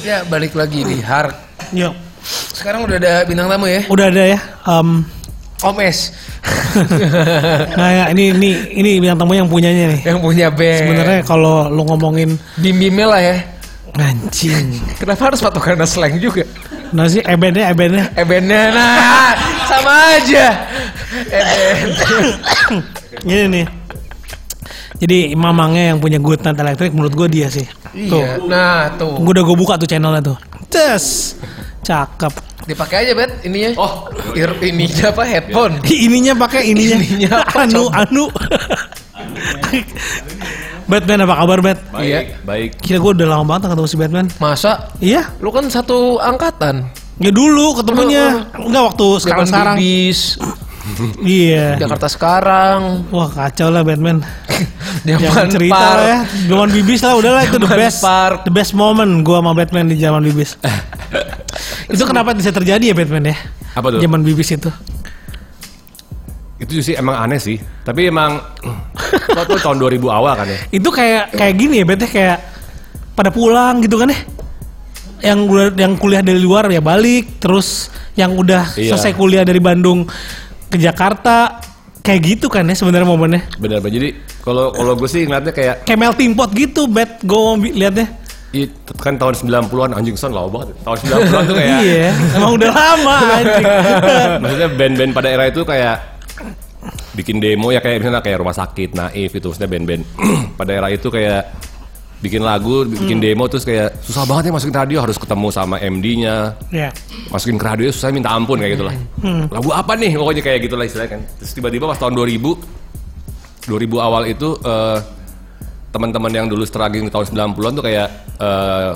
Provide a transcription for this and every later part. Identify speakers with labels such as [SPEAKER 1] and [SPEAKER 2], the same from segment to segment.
[SPEAKER 1] Ya balik lagi di Hark.
[SPEAKER 2] Yuk,
[SPEAKER 1] Sekarang udah ada bintang tamu ya,
[SPEAKER 2] udah ada ya. Em,
[SPEAKER 1] Om S.
[SPEAKER 2] nah, ya, ini ini ini bintang tamu yang punyanya nih.
[SPEAKER 1] yang punya band.
[SPEAKER 2] Sebenarnya kalau lu ngomongin
[SPEAKER 1] bim-bimnya lah ya.
[SPEAKER 2] anjing,
[SPEAKER 1] Kenapa harus patokan slang juga?
[SPEAKER 2] nah sih ebennya ebennya
[SPEAKER 1] Eh bandnya nah sama aja. Eh band.
[SPEAKER 2] ini nih. Jadi mamangnya yang punya Good Night Electric menurut gue dia sih.
[SPEAKER 1] Iya. Nah tuh
[SPEAKER 2] Gue udah gue buka tuh channelnya tuh. Cus, cakep.
[SPEAKER 1] dipakai aja bet ininya. Oh Iya, Ir, ininya apa headphone?
[SPEAKER 2] Ih, Ininya pakai ininya.
[SPEAKER 1] Ininya apa,
[SPEAKER 2] anu
[SPEAKER 1] coba?
[SPEAKER 2] anu. Batman apa kabar Bat?
[SPEAKER 3] Baik,
[SPEAKER 1] Iya.
[SPEAKER 3] baik.
[SPEAKER 2] Kira gue udah lama banget gak ketemu si Batman.
[SPEAKER 1] Masa?
[SPEAKER 2] Iya,
[SPEAKER 1] Lu kan satu angkatan.
[SPEAKER 2] ya dulu ketemunya enggak waktu
[SPEAKER 1] Zaman
[SPEAKER 2] sekarang-sekarang.
[SPEAKER 1] Bubis,
[SPEAKER 2] Iya.
[SPEAKER 1] Jakarta sekarang,
[SPEAKER 2] Wah kacau lah Batman. Jangan
[SPEAKER 1] zaman
[SPEAKER 2] cerita
[SPEAKER 1] Park.
[SPEAKER 2] lah ya. Zaman bibis lah udahlah itu the
[SPEAKER 1] Zaman
[SPEAKER 2] best
[SPEAKER 1] Park.
[SPEAKER 2] the best moment gua sama Batman di zaman bibis. itu kenapa bisa terjadi ya Batman ya?
[SPEAKER 3] Apa tuh?
[SPEAKER 2] Zaman bibis itu.
[SPEAKER 3] Itu sih emang aneh sih. Tapi emang lo tuh tahun 2000 awal kan ya.
[SPEAKER 2] Itu kayak kayak gini ya Batman kayak pada pulang gitu kan ya. Yang udah yang kuliah dari luar ya balik, terus yang udah
[SPEAKER 3] Iya.
[SPEAKER 2] selesai kuliah dari Bandung ke Jakarta kayak gitu kan ya sebenarnya momennya.
[SPEAKER 3] Benar benar. Jadi kalau kalau gue sih ngeliatnya kayak
[SPEAKER 2] Kayak melting pot gitu, Bat. Gue liatnya.
[SPEAKER 3] i- kan tahun 90-an anjing son lama banget. ya. Tahun 90-an tuh kayak
[SPEAKER 2] Iya, emang udah lama anjing.
[SPEAKER 3] maksudnya band-band pada era itu kayak bikin demo ya kayak misalnya kayak rumah sakit naif itu maksudnya band-band pada era itu kayak bikin lagu bikin demo terus kayak susah banget ya masukin radio harus ketemu sama MD-nya
[SPEAKER 2] ya.
[SPEAKER 3] masukin ke radio susah minta ampun kayak gitulah.
[SPEAKER 2] Hmm.
[SPEAKER 3] Lagu apa nih pokoknya kayak gitulah istilahnya kan. Terus tiba-tiba pas tahun 2000 2000 awal itu eh, teman-teman yang dulu struggling di tahun 90-an tuh kayak eh,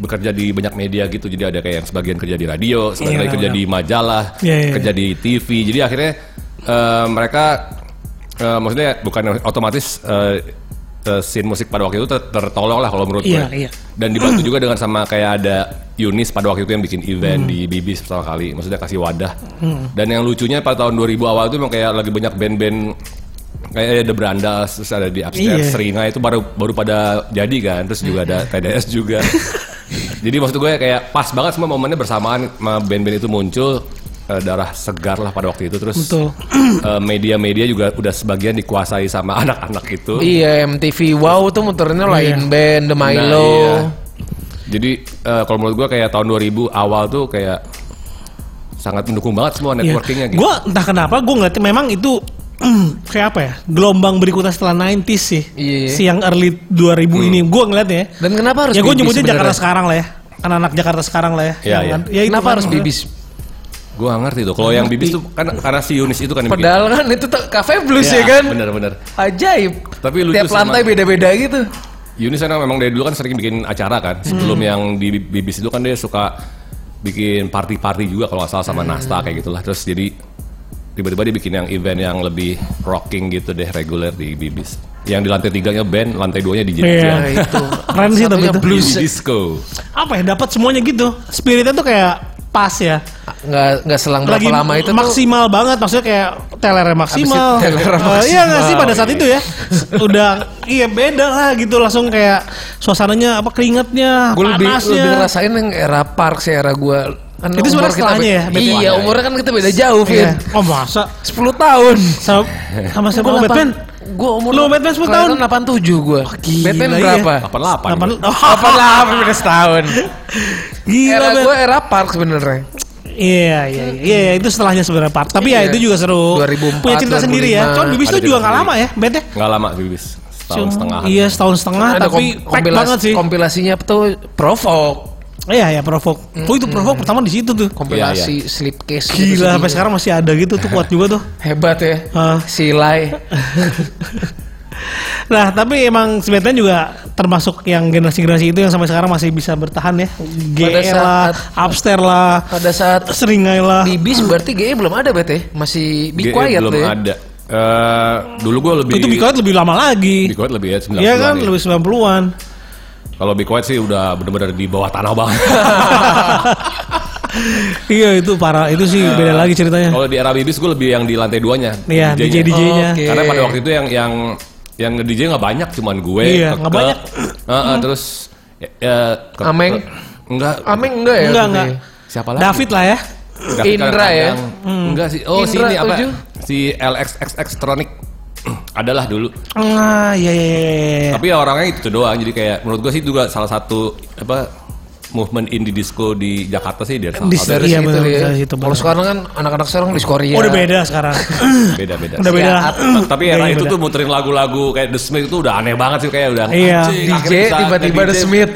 [SPEAKER 3] bekerja di banyak media gitu. Jadi ada kayak yang sebagian kerja di radio, sebagian
[SPEAKER 2] Iya,
[SPEAKER 3] lagi kerja
[SPEAKER 2] benar.
[SPEAKER 3] di majalah,
[SPEAKER 2] Iya, iya,
[SPEAKER 3] kerja di TV. Jadi akhirnya eh, mereka eh, maksudnya bukan otomatis eh, eh, scene musik pada waktu itu ter- tertolong lah kalau menurut
[SPEAKER 2] Iya, iya.
[SPEAKER 3] gue. Dan dibantu juga dengan sama kayak ada Yunis pada waktu itu yang bikin event di
[SPEAKER 2] Hmm.
[SPEAKER 3] Bibis pertama kali, maksudnya kasih wadah. Dan yang lucunya pada tahun 2000 awal itu memang kayak lagi banyak band-band kayak ada The Brandas, terus ada di Upstairs,
[SPEAKER 2] Iya. Hmm.
[SPEAKER 3] Seringa itu baru baru pada jadi kan, terus juga ada TDS juga. jadi maksud gue kayak pas banget semua momennya bersamaan sama band-band itu muncul eh, darah segar lah pada waktu itu terus
[SPEAKER 2] Betul.
[SPEAKER 3] eh, media-media juga udah sebagian dikuasai sama anak-anak itu.
[SPEAKER 1] Iya MTV Wow tuh muterinnya
[SPEAKER 2] Iya.
[SPEAKER 1] lain band The
[SPEAKER 3] Nah,
[SPEAKER 1] Milo.
[SPEAKER 3] iya. Jadi eh, kalau menurut gua kayak tahun 2000 awal tuh kayak sangat mendukung banget semua
[SPEAKER 2] Iya.
[SPEAKER 3] networkingnya gitu.
[SPEAKER 2] Gue entah kenapa gue ngeliat memang itu kayak apa ya? Gelombang berikutnya setelah 90s sih.
[SPEAKER 1] Iya. Hmm.
[SPEAKER 2] Siang early 2000 ini gue ngeliatnya ya.
[SPEAKER 1] Dan kenapa harus
[SPEAKER 2] Ya gue
[SPEAKER 1] Bibis
[SPEAKER 2] nyebutnya
[SPEAKER 1] sebenarnya?
[SPEAKER 2] Jakarta sekarang lah ya. Anak-anak Jakarta sekarang lah ya.
[SPEAKER 3] Iya,
[SPEAKER 2] Yang
[SPEAKER 3] iya.
[SPEAKER 2] kan- ya itu
[SPEAKER 1] Kenapa
[SPEAKER 2] kan.
[SPEAKER 1] harus Bibis?
[SPEAKER 3] Gua nggak ngerti tuh. Kalau yang bibis tuh kan karena si Yunis itu kan yang bikin.
[SPEAKER 1] Padahal kan itu tuh cafe blues
[SPEAKER 3] Iya,
[SPEAKER 1] ya, kan?
[SPEAKER 3] Bener-bener.
[SPEAKER 1] Ajaib.
[SPEAKER 3] Tapi lucu
[SPEAKER 1] Tiap
[SPEAKER 3] sama-
[SPEAKER 1] lantai beda-beda gitu.
[SPEAKER 3] Yunis kan memang dari dulu kan sering bikin acara kan. Sebelum yang di bibis itu kan dia suka bikin party-party juga kalau nggak salah sama Nasta kayak gitulah. Terus jadi tiba-tiba dia bikin yang event yang lebih rocking gitu deh reguler di bibis. Yang di lantai tiganya band, lantai duanya DJ.
[SPEAKER 2] Iya.
[SPEAKER 1] Nah, itu.
[SPEAKER 2] Keren sih tapi
[SPEAKER 1] Satunya
[SPEAKER 2] itu.
[SPEAKER 1] blues.
[SPEAKER 3] Disco.
[SPEAKER 2] Apa ya? Dapat semuanya gitu. Spiritnya tuh kayak pas ya.
[SPEAKER 1] Nggak nggak selang berapa
[SPEAKER 2] lagi
[SPEAKER 1] lama itu tuh.
[SPEAKER 2] maksimal banget maksudnya kayak tellernya maksimal.
[SPEAKER 1] Abis itu tellernya
[SPEAKER 2] Eh,
[SPEAKER 1] maksimal.
[SPEAKER 2] iya nggak sih pada saat itu ya? Udah iya beda lah gitu langsung kayak suasananya apa keringatnya,
[SPEAKER 1] Gue lebih,
[SPEAKER 2] panasnya. Iya.
[SPEAKER 1] lebih ngerasain yang era Park sih era gue. Kan
[SPEAKER 2] Itu
[SPEAKER 1] umur
[SPEAKER 2] sebenarnya
[SPEAKER 1] kita
[SPEAKER 2] setelahnya
[SPEAKER 1] be-
[SPEAKER 2] ya, berarti?
[SPEAKER 1] Iya, umurnya kan kita beda jauh, Vin.
[SPEAKER 2] Iya. Oh masa
[SPEAKER 1] 10 tahun.
[SPEAKER 2] sama sama siapa
[SPEAKER 1] Gua
[SPEAKER 2] sama
[SPEAKER 1] delapan-
[SPEAKER 2] Batman?
[SPEAKER 1] Gua umur
[SPEAKER 2] Lu Batman 10 tahun?
[SPEAKER 1] Kelihatan 87 gue.
[SPEAKER 2] gila,
[SPEAKER 1] Batman
[SPEAKER 2] iya.
[SPEAKER 1] berapa?
[SPEAKER 3] 88.
[SPEAKER 2] Delapan- oh,
[SPEAKER 1] Apa lah, beda setahun.
[SPEAKER 2] gila
[SPEAKER 1] Era
[SPEAKER 2] Bat.
[SPEAKER 1] gue era Park sebenarnya.
[SPEAKER 2] Iya iya iya, iya, itu setelahnya sebenarnya part. Tapi
[SPEAKER 1] Iya.
[SPEAKER 2] ya itu juga seru.
[SPEAKER 1] 2004,
[SPEAKER 2] Punya cerita sendiri ya.
[SPEAKER 1] 2005.
[SPEAKER 2] Cuman Bibis
[SPEAKER 3] Ada
[SPEAKER 2] tuh juga
[SPEAKER 3] cerita
[SPEAKER 2] nggak lama ya,
[SPEAKER 3] sendiri.
[SPEAKER 2] Batman.
[SPEAKER 3] Nggak lama bibis. Setahun setengah.
[SPEAKER 2] Iya setahun setengah tapi
[SPEAKER 1] kom-
[SPEAKER 2] pack
[SPEAKER 1] kompilas-
[SPEAKER 2] banget sih.
[SPEAKER 1] Kompilasinya tuh provok,
[SPEAKER 2] Iya ya provok. Oh itu provok
[SPEAKER 1] Hmm.
[SPEAKER 2] pertama di situ tuh.
[SPEAKER 3] Iya,
[SPEAKER 1] kompilasi slipcase. gitu
[SPEAKER 2] Gila, sampai
[SPEAKER 1] CD-nya.
[SPEAKER 2] sekarang masih ada gitu tuh kuat juga tuh.
[SPEAKER 1] Hebat ya.
[SPEAKER 2] Hah.
[SPEAKER 1] Silai.
[SPEAKER 2] Nah, tapi emang sebenarnya juga termasuk yang generasi-generasi itu yang sampai sekarang masih bisa bertahan ya.
[SPEAKER 1] Pada
[SPEAKER 2] GE lah,
[SPEAKER 1] saat-
[SPEAKER 2] Upstairs lah,
[SPEAKER 1] Pada saat
[SPEAKER 2] Seringai lah.
[SPEAKER 3] Iya.
[SPEAKER 1] Bibis berarti GE belum ada bete, masih be
[SPEAKER 3] GE
[SPEAKER 1] quiet
[SPEAKER 3] E belum
[SPEAKER 1] tuh ya.
[SPEAKER 3] ada. Eh, dulu gue lebih
[SPEAKER 2] Itu Bikoet lebih lama
[SPEAKER 3] Be
[SPEAKER 2] lagi.
[SPEAKER 3] Quiet lebih ya 90
[SPEAKER 2] Iya kan, lebih 90-an.
[SPEAKER 3] Kalau Be Quiet sih udah bener-bener di bawah tanah banget.
[SPEAKER 2] Iya, itu parah. Itu sih beda lagi ceritanya.
[SPEAKER 3] Kalau di era Bibis gue lebih yang di lantai duanya.
[SPEAKER 2] Iya,
[SPEAKER 3] DJ-nya.
[SPEAKER 2] DJ-DJ-nya.
[SPEAKER 1] Oke.
[SPEAKER 3] Karena pada waktu itu yang yang yang nge DJ nggak banyak, cuman gue.
[SPEAKER 2] Iya,
[SPEAKER 3] Keke,
[SPEAKER 2] nggak banyak.
[SPEAKER 3] eh, eh, terus eh, eh, Ke-
[SPEAKER 1] Ameng.
[SPEAKER 3] Ke- Enggak.
[SPEAKER 1] Ameng enggak ya?
[SPEAKER 2] Enggak,
[SPEAKER 1] waktu
[SPEAKER 2] enggak.
[SPEAKER 1] itu ya?
[SPEAKER 3] Siapa lagi?
[SPEAKER 2] David lah ya.
[SPEAKER 3] David
[SPEAKER 1] Indra
[SPEAKER 3] Kadang-
[SPEAKER 1] ya?
[SPEAKER 2] Hmm.
[SPEAKER 3] Enggak sih. Oh, si
[SPEAKER 1] Indra
[SPEAKER 3] ini apa?
[SPEAKER 1] tujuh?
[SPEAKER 3] Si LXXX Tronic. Adalah dulu.
[SPEAKER 2] Ah, iya iya iya. iya.
[SPEAKER 3] Tapi ya orangnya itu doang. Jadi kayak menurut gua sih juga salah satu apa movement indie disco di Jakarta sih dia salah
[SPEAKER 2] Di-
[SPEAKER 3] satu
[SPEAKER 1] Dari
[SPEAKER 2] Iya,
[SPEAKER 1] situ
[SPEAKER 2] benar,
[SPEAKER 1] ya.
[SPEAKER 2] dari situ,
[SPEAKER 1] Kalau
[SPEAKER 2] benar.
[SPEAKER 1] sekarang kan anak-anak sekarang di Korea.
[SPEAKER 2] Oh, udah beda sekarang.
[SPEAKER 3] beda-beda.
[SPEAKER 2] udah beda lah.
[SPEAKER 3] Iya. Tapi era
[SPEAKER 2] Kayaknya
[SPEAKER 3] itu
[SPEAKER 2] beda.
[SPEAKER 3] tuh muterin lagu-lagu kayak The Smith itu udah aneh banget sih kayak udah
[SPEAKER 2] Iya.
[SPEAKER 3] anjing,
[SPEAKER 1] DJ,
[SPEAKER 3] akhirnya bisa
[SPEAKER 1] tiba-tiba
[SPEAKER 3] nge-
[SPEAKER 1] The
[SPEAKER 3] DJ.
[SPEAKER 1] Smith.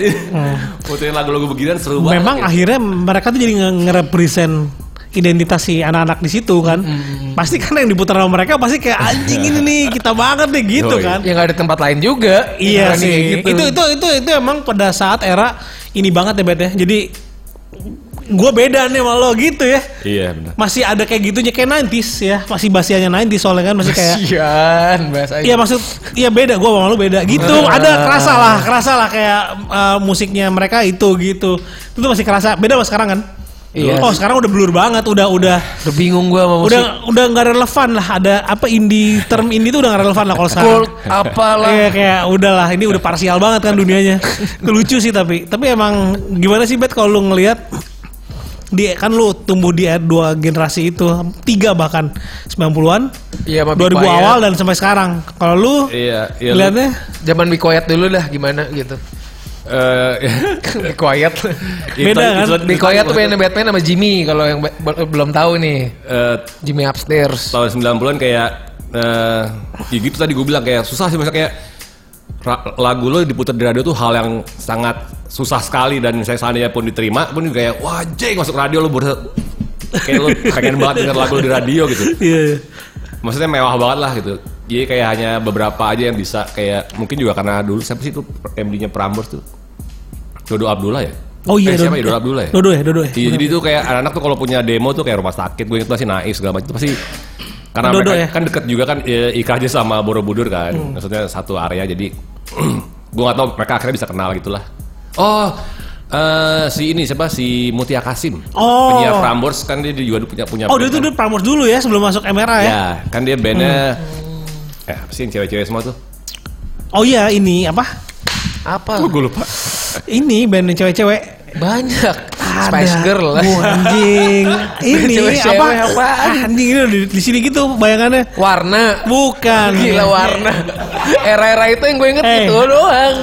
[SPEAKER 3] muterin lagu-lagu beginian seru banget.
[SPEAKER 2] Hmm. Memang
[SPEAKER 3] gitu.
[SPEAKER 2] akhirnya mereka tuh jadi nge- nge-represent identitas si anak-anak di situ kan. Pasti kan yang diputar sama mereka pasti kayak anjing ini nih kita banget deh gitu
[SPEAKER 3] Yoi.
[SPEAKER 2] kan.
[SPEAKER 1] Ya nggak ada tempat lain juga.
[SPEAKER 2] Iya
[SPEAKER 1] Berani kayak
[SPEAKER 2] sih.
[SPEAKER 1] gitu.
[SPEAKER 2] Itu itu itu itu emang pada saat era ini banget ya Bet ya. Jadi gua beda nih sama lo gitu ya.
[SPEAKER 3] Iya benar.
[SPEAKER 2] Masih ada kayak gitunya kayak 90s ya. Masih basiannya 90s soalnya kan masih kayak
[SPEAKER 1] Kasian bahasa
[SPEAKER 2] Iya maksud Iya beda gua sama lu beda gitu.
[SPEAKER 1] Iya.
[SPEAKER 2] Ada kerasa lah, kerasa lah kayak eh, musiknya mereka itu gitu. Itu tuh masih kerasa. Beda sama sekarang kan?
[SPEAKER 1] Iya.
[SPEAKER 2] Oh, sekarang udah blur banget, udah udah
[SPEAKER 1] Udah bingung gua sama musik.
[SPEAKER 2] udah udah nggak relevan lah ada apa indie term indie itu udah nggak relevan lah kalau sekarang.
[SPEAKER 1] Gold apalah.
[SPEAKER 2] Iya kayak udahlah ini udah parsial banget kan dunianya. Itu Lucu sih tapi tapi emang gimana sih Bet kalau lu ngelihat di kan lu tumbuh di dua generasi itu tiga bahkan 90-an,
[SPEAKER 1] Iya, sama
[SPEAKER 2] 2000
[SPEAKER 1] Big Quiet.
[SPEAKER 2] awal dan sampai sekarang. Kalau lu
[SPEAKER 3] Iya, iya. lu-
[SPEAKER 2] ngeliatnya
[SPEAKER 1] Zaman Be Quiet dulu dah gimana gitu.
[SPEAKER 3] Eh,
[SPEAKER 1] Be Quiet.
[SPEAKER 2] Beda
[SPEAKER 3] Itu-
[SPEAKER 2] kan?
[SPEAKER 3] itu-
[SPEAKER 1] Be
[SPEAKER 3] itu-
[SPEAKER 1] Quiet tuh bandnya Batman sama Jimmy kalau yang be- be- belum tahu nih.
[SPEAKER 3] eh,
[SPEAKER 1] Jimmy Upstairs.
[SPEAKER 3] tahun 90-an kayak eh ya gitu tadi gue bilang kayak susah sih misalnya kayak ra- lagu lo diputar di radio tuh hal yang sangat susah sekali dan misalnya seandainya pun diterima pun kayak wah jeng masuk radio lo berasa kayak lo pengen banget denger lagu lo di radio gitu
[SPEAKER 2] iya iya.
[SPEAKER 3] maksudnya mewah banget lah gitu jadi kayak hanya beberapa aja yang bisa kayak mungkin juga karena dulu siapa sih itu MD-nya Prambors tuh Dodo Abdullah ya
[SPEAKER 2] Oh iya,
[SPEAKER 3] Eh,
[SPEAKER 2] Dodo-
[SPEAKER 3] siapa ya Dodo Abdullah ya
[SPEAKER 2] Dodo ya, Dodo ya.
[SPEAKER 3] Iya, jadi tuh kayak anak-anak tuh kalau punya demo tuh kayak rumah sakit, gue inget masih naif segala macam itu pasti karena
[SPEAKER 2] Dodo
[SPEAKER 3] mereka
[SPEAKER 2] ya? Hmm.
[SPEAKER 3] kan deket juga kan ya, IKJ sama Borobudur kan, maksudnya satu area jadi gue gak tau mereka akhirnya bisa kenal gitulah. Oh eh, si ini siapa si Mutia Kasim
[SPEAKER 2] Oh.
[SPEAKER 3] penyiar Prambors kan dia juga punya punya
[SPEAKER 2] Oh, dia
[SPEAKER 3] band
[SPEAKER 2] tuh
[SPEAKER 3] kan.
[SPEAKER 2] dulu Prambors dulu ya sebelum masuk MRA ya. Hmm.
[SPEAKER 3] ya kan dia bandnya eh apa sih yang cewek-cewek semua tuh
[SPEAKER 2] Oh iya, ini apa?
[SPEAKER 1] Apa?
[SPEAKER 3] gue lupa
[SPEAKER 2] Ini band cewek-cewek.
[SPEAKER 1] Banyak.
[SPEAKER 2] Ada.
[SPEAKER 1] Spice Girl lah.
[SPEAKER 2] Wah, anjing. ini
[SPEAKER 1] Cewek-cewek
[SPEAKER 2] apa?
[SPEAKER 1] apaan?
[SPEAKER 2] Ah, anjing ini di, di sini gitu bayangannya.
[SPEAKER 1] Warna.
[SPEAKER 2] Bukan. Iya.
[SPEAKER 1] Gila warna. Era-era itu yang gue inget
[SPEAKER 2] Hey.
[SPEAKER 1] gitu doang.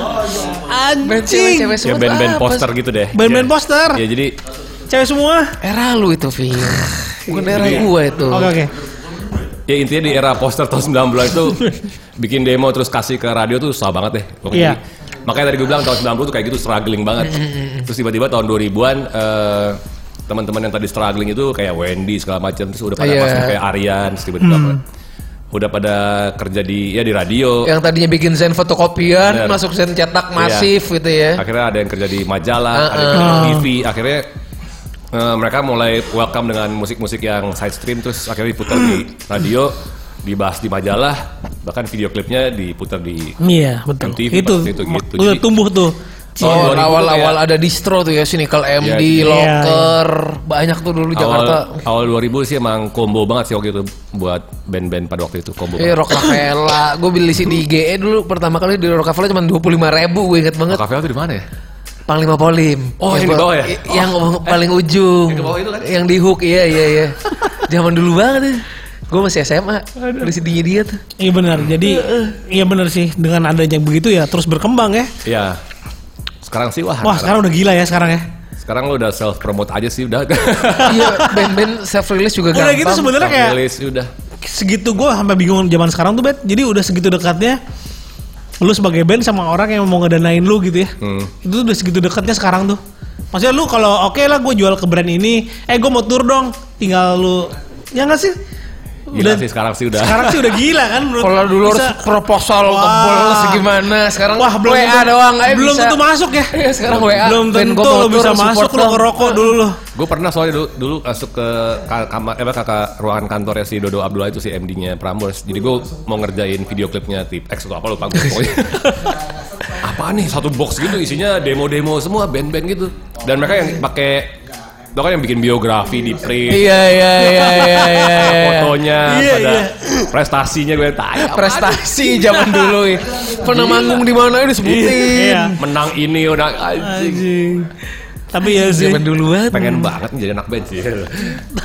[SPEAKER 1] Band
[SPEAKER 2] Anjing.
[SPEAKER 1] cewek-cewek semua tuh
[SPEAKER 3] ya band-band
[SPEAKER 1] apa
[SPEAKER 3] poster
[SPEAKER 1] sih?
[SPEAKER 3] gitu deh
[SPEAKER 2] Band-band
[SPEAKER 3] Ya.
[SPEAKER 2] poster.
[SPEAKER 3] ya jadi
[SPEAKER 2] Cewek semua.
[SPEAKER 1] Era lu itu, Vin. Bukan era gue itu.
[SPEAKER 2] Oke, oke.
[SPEAKER 3] Ya intinya di era poster tahun 90 itu bikin demo terus kasih ke radio tuh susah banget deh.
[SPEAKER 2] Iya.
[SPEAKER 3] Pokoknya. Makanya tadi gue bilang tahun 90 tuh kayak gitu struggling banget. Terus tiba-tiba tahun 2000-an eh, teman-teman yang tadi struggling itu kayak Wendy segala macam terus udah pada
[SPEAKER 1] Iya.
[SPEAKER 3] masuk kayak Aryan terus tiba-tiba apa, udah pada kerja di ya di radio.
[SPEAKER 1] Yang tadinya bikin zen fotokopian,
[SPEAKER 3] Bener.
[SPEAKER 1] masuk zen cetak masif gitu ya.
[SPEAKER 3] Akhirnya ada yang kerja di majalah,
[SPEAKER 1] Uh-uh.
[SPEAKER 3] ada yang kerja di TV. Akhirnya eh, mereka mulai welcome dengan musik-musik yang side stream, terus akhirnya diputar di radio, dibahas di majalah, bahkan video klipnya diputar di
[SPEAKER 2] Iya, betul.
[SPEAKER 3] MTV
[SPEAKER 2] itu
[SPEAKER 3] Kan waktu itu gitu.
[SPEAKER 2] udah
[SPEAKER 3] Jadi-
[SPEAKER 2] tumbuh tuh.
[SPEAKER 1] Oh,
[SPEAKER 3] Iya, 2000 tuh
[SPEAKER 1] awal-awal
[SPEAKER 3] kayak-
[SPEAKER 1] ada distro tuh ya, Cynical
[SPEAKER 3] Iya,
[SPEAKER 1] MD,
[SPEAKER 3] iya.
[SPEAKER 1] Locker, banyak tuh dulu Jakarta.
[SPEAKER 3] awal, awal 2000 sih emang combo banget sih waktu itu buat band-band pada waktu itu combo.
[SPEAKER 1] Eh,
[SPEAKER 3] banget.
[SPEAKER 1] Rockefeller. gue beli CD IGE E dulu pertama kali di Rockefeller cuma 25 ribu, gue inget banget.
[SPEAKER 3] Kafe itu di mana ya?
[SPEAKER 1] Panglima Polim.
[SPEAKER 3] Oh, yang di
[SPEAKER 1] pa-
[SPEAKER 3] bawah ya?
[SPEAKER 1] i- Yang paling ujung. Yang
[SPEAKER 3] ke bawah itu kan?
[SPEAKER 1] di hook, iya, iya, iya. Zaman dulu banget ya. Gue masih SMA, udah CD-nya E dia tuh.
[SPEAKER 2] Iya benar. Jadi iya benar sih dengan adanya begitu ya terus berkembang ya.
[SPEAKER 3] Iya. Sekarang sih wah.
[SPEAKER 2] Wah, sekarang udah gila ya sekarang ya.
[SPEAKER 3] sekarang lo udah self promote aja sih udah.
[SPEAKER 1] Iya, band-band self-release juga
[SPEAKER 2] Udah
[SPEAKER 1] gampang.
[SPEAKER 2] gitu sebenarnya kayak
[SPEAKER 3] Rilis udah.
[SPEAKER 2] segitu gue sampai bingung zaman sekarang tuh bet jadi udah segitu dekatnya lu sebagai band sama orang yang mau ngedanain lu gitu ya
[SPEAKER 3] Hmm.
[SPEAKER 2] itu udah segitu dekatnya sekarang tuh maksudnya lu kalau oke lah gue jual ke brand ini eh gue mau tour dong tinggal lu ya nggak sih
[SPEAKER 3] Gila
[SPEAKER 2] Udah-
[SPEAKER 3] sih sekarang sih udah.
[SPEAKER 2] sekarang sih udah gila kan menurut-
[SPEAKER 1] Kalau dulu harus
[SPEAKER 2] bisa-
[SPEAKER 1] proposal
[SPEAKER 2] Wah.
[SPEAKER 1] tebel segimana, sekarang
[SPEAKER 2] wah belum
[SPEAKER 1] WA
[SPEAKER 2] tentu-
[SPEAKER 1] doang aja
[SPEAKER 2] belum
[SPEAKER 1] bisa.
[SPEAKER 2] tentu masuk ya
[SPEAKER 1] Iya, sekarang WA.
[SPEAKER 2] belum
[SPEAKER 1] Band
[SPEAKER 2] tentu
[SPEAKER 1] gua mau
[SPEAKER 2] lu
[SPEAKER 1] tour,
[SPEAKER 2] bisa
[SPEAKER 1] support
[SPEAKER 2] masuk lu
[SPEAKER 1] dong.
[SPEAKER 2] ngerokok dulu lu
[SPEAKER 3] Gue pernah soalnya dulu, dulu masuk ke ka- kamar, eh, apa, kakak ruangan kantornya si Dodo Abdullah itu si MD-nya Prambors. Jadi gue mau ngerjain video klipnya tip X atau apa lupa gue pokoknya. apa nih satu box gitu isinya demo-demo semua band-band gitu. Dan mereka yang pakai lo kan yang bikin biografi di print,
[SPEAKER 1] Iya, iya, iya, iya, iya. iya.
[SPEAKER 3] fotonya,
[SPEAKER 2] Iya,
[SPEAKER 3] pada
[SPEAKER 2] iya.
[SPEAKER 3] prestasinya gue tanya. apaan?
[SPEAKER 1] Prestasi zaman
[SPEAKER 3] Iya.
[SPEAKER 1] dulu ya. Pernah manggung di mana ya disebutin.
[SPEAKER 2] Iya.
[SPEAKER 3] Menang ini udah anjing.
[SPEAKER 2] Anjing. Tapi ya sih.
[SPEAKER 1] Zaman dulu banget.
[SPEAKER 3] pengen banget nih jadi anak band sih.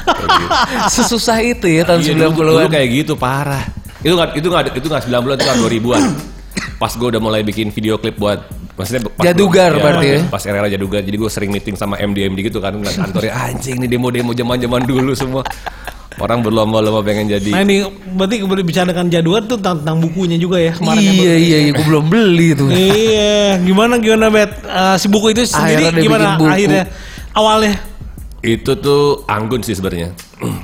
[SPEAKER 1] Sesusah itu ya tahun
[SPEAKER 3] Iya, dulu-
[SPEAKER 1] 90-an.
[SPEAKER 3] dulu kayak gitu parah. Itu nggak itu nggak itu nggak 90-an itu kan 2000-an. Pas gue udah mulai bikin video klip buat maksudnya pas Iya,
[SPEAKER 1] Jadugar berarti ya?
[SPEAKER 3] Pas era jadugar. Jadi gue sering meeting sama MD MD gitu kan ngeliat kantornya anjing nih demo-demo zaman-zaman dulu semua. Orang berlomba-lomba pengen
[SPEAKER 1] Iya.
[SPEAKER 2] Nah
[SPEAKER 3] jadi
[SPEAKER 2] ini berarti kembali bicara dengan jadwal tuh tentang, tentang bukunya juga ya kemarin yang
[SPEAKER 1] Iya
[SPEAKER 2] baru-
[SPEAKER 1] iya iya, gue belum beli tuh.
[SPEAKER 2] Iya, gimana gimana bet Eh, si buku itu sendiri
[SPEAKER 1] Akhirnya dia
[SPEAKER 2] gimana
[SPEAKER 1] bikin buku.
[SPEAKER 2] akhirnya awalnya?
[SPEAKER 3] itu tuh anggun sih sebenarnya.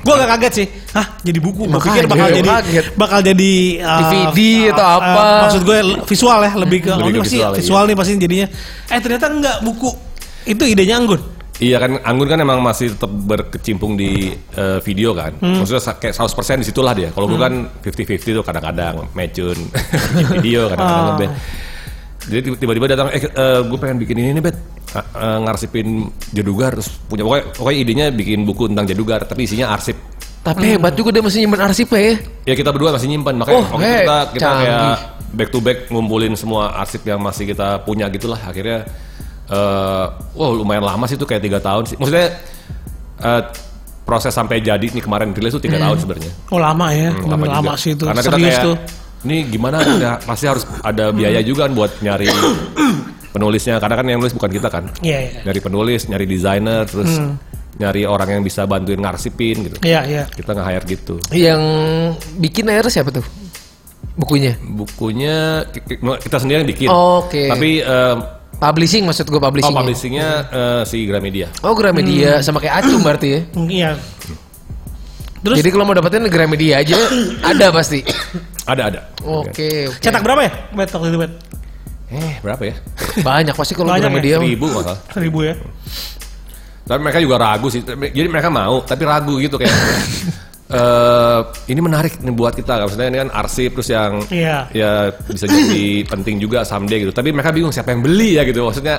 [SPEAKER 2] Gue agak kaget sih, hah jadi buku? Gue
[SPEAKER 1] Makanya,
[SPEAKER 2] pikir bakal
[SPEAKER 1] gua
[SPEAKER 2] jadi
[SPEAKER 1] kaget.
[SPEAKER 2] bakal jadi eh,
[SPEAKER 1] DVD atau
[SPEAKER 2] eh,
[SPEAKER 1] apa.
[SPEAKER 2] maksud gue visual ya lebih ke,
[SPEAKER 3] Lebih
[SPEAKER 2] oh, ini
[SPEAKER 3] ke
[SPEAKER 2] pasti
[SPEAKER 3] visual,
[SPEAKER 2] visual,
[SPEAKER 3] iya.
[SPEAKER 2] nih pasti jadinya. Eh ternyata enggak buku itu idenya Anggun.
[SPEAKER 3] Iya kan Anggun kan emang masih tetap berkecimpung di eh, video kan. Maksudnya sa- kayak 100% disitulah dia. Kalau gue kan 50-50 tuh kadang-kadang mecun bikin video kadang-kadang
[SPEAKER 2] Ah.
[SPEAKER 3] ngeband. Jadi tiba- tiba-tiba datang eh gue pengen bikin ini nih bet. Ah, eh, ngarsipin jadugar terus punya pokoknya, pokoknya idenya bikin buku tentang jadugar tapi isinya arsip.
[SPEAKER 1] Tapi hebat juga dia masih nyimpen arsipnya ya.
[SPEAKER 3] Ya kita berdua masih nyimpan makanya
[SPEAKER 1] Oh,
[SPEAKER 3] waktu itu
[SPEAKER 1] eh,
[SPEAKER 3] kita kita kayak
[SPEAKER 1] canggih.
[SPEAKER 3] back to back ngumpulin semua arsip yang masih kita punya gitulah akhirnya eh wow lumayan lama sih itu kayak tiga tahun sih maksudnya eh, proses sampai jadi nih kemarin rilis tuh tiga tahun sebenarnya
[SPEAKER 2] Oh lama ya,
[SPEAKER 3] Hmm,
[SPEAKER 2] lama,
[SPEAKER 3] juga.
[SPEAKER 2] lama sih itu.
[SPEAKER 3] karena kita
[SPEAKER 2] Serius
[SPEAKER 3] kayak
[SPEAKER 2] tuh.
[SPEAKER 3] ini gimana ada- pasti harus ada biaya juga kan buat nyari penulisnya karena kan yang nulis bukan kita kan
[SPEAKER 2] Iya, iya. Hmm.
[SPEAKER 3] nyari penulis nyari desainer terus nyari orang yang bisa bantuin ngarsipin gitu
[SPEAKER 2] Iya, iya.
[SPEAKER 3] kita nge hire gitu
[SPEAKER 1] Yang bikin akhirnya siapa tuh? Bukunya.
[SPEAKER 3] bukunya ki- ki- kita sendiri yang bikin.
[SPEAKER 1] Oke.
[SPEAKER 3] Tapi eh,
[SPEAKER 1] Publishing maksud gue
[SPEAKER 3] oh,
[SPEAKER 1] publishing. Oh,
[SPEAKER 3] publishingnya eh, si Gramedia.
[SPEAKER 1] Gramedia
[SPEAKER 2] Hmm.
[SPEAKER 1] sama kayak Acung berarti ya.
[SPEAKER 2] Iya. Terus
[SPEAKER 1] Jadi kalau mau dapetin Gramedia aja ada pasti.
[SPEAKER 3] Ada ada.
[SPEAKER 1] Oke, oke.
[SPEAKER 2] cetak berapa ya? Bet waktu itu bet
[SPEAKER 3] Eh berapa ya?
[SPEAKER 1] Banyak pasti kalau
[SPEAKER 2] Banyak ya,
[SPEAKER 1] Gramedia. mah.
[SPEAKER 3] Seribu nggak salah.
[SPEAKER 2] seribu ya.
[SPEAKER 3] Tapi mereka juga ragu sih. Tapi- Jadi mereka mau, tapi ragu gitu kayak. eh, ini menarik nih buat kita. Maksudnya ini kan arsip terus yang
[SPEAKER 2] Iya.
[SPEAKER 3] ya bisa jadi penting juga someday gitu. Tapi mereka bingung siapa yang beli ya gitu. Maksudnya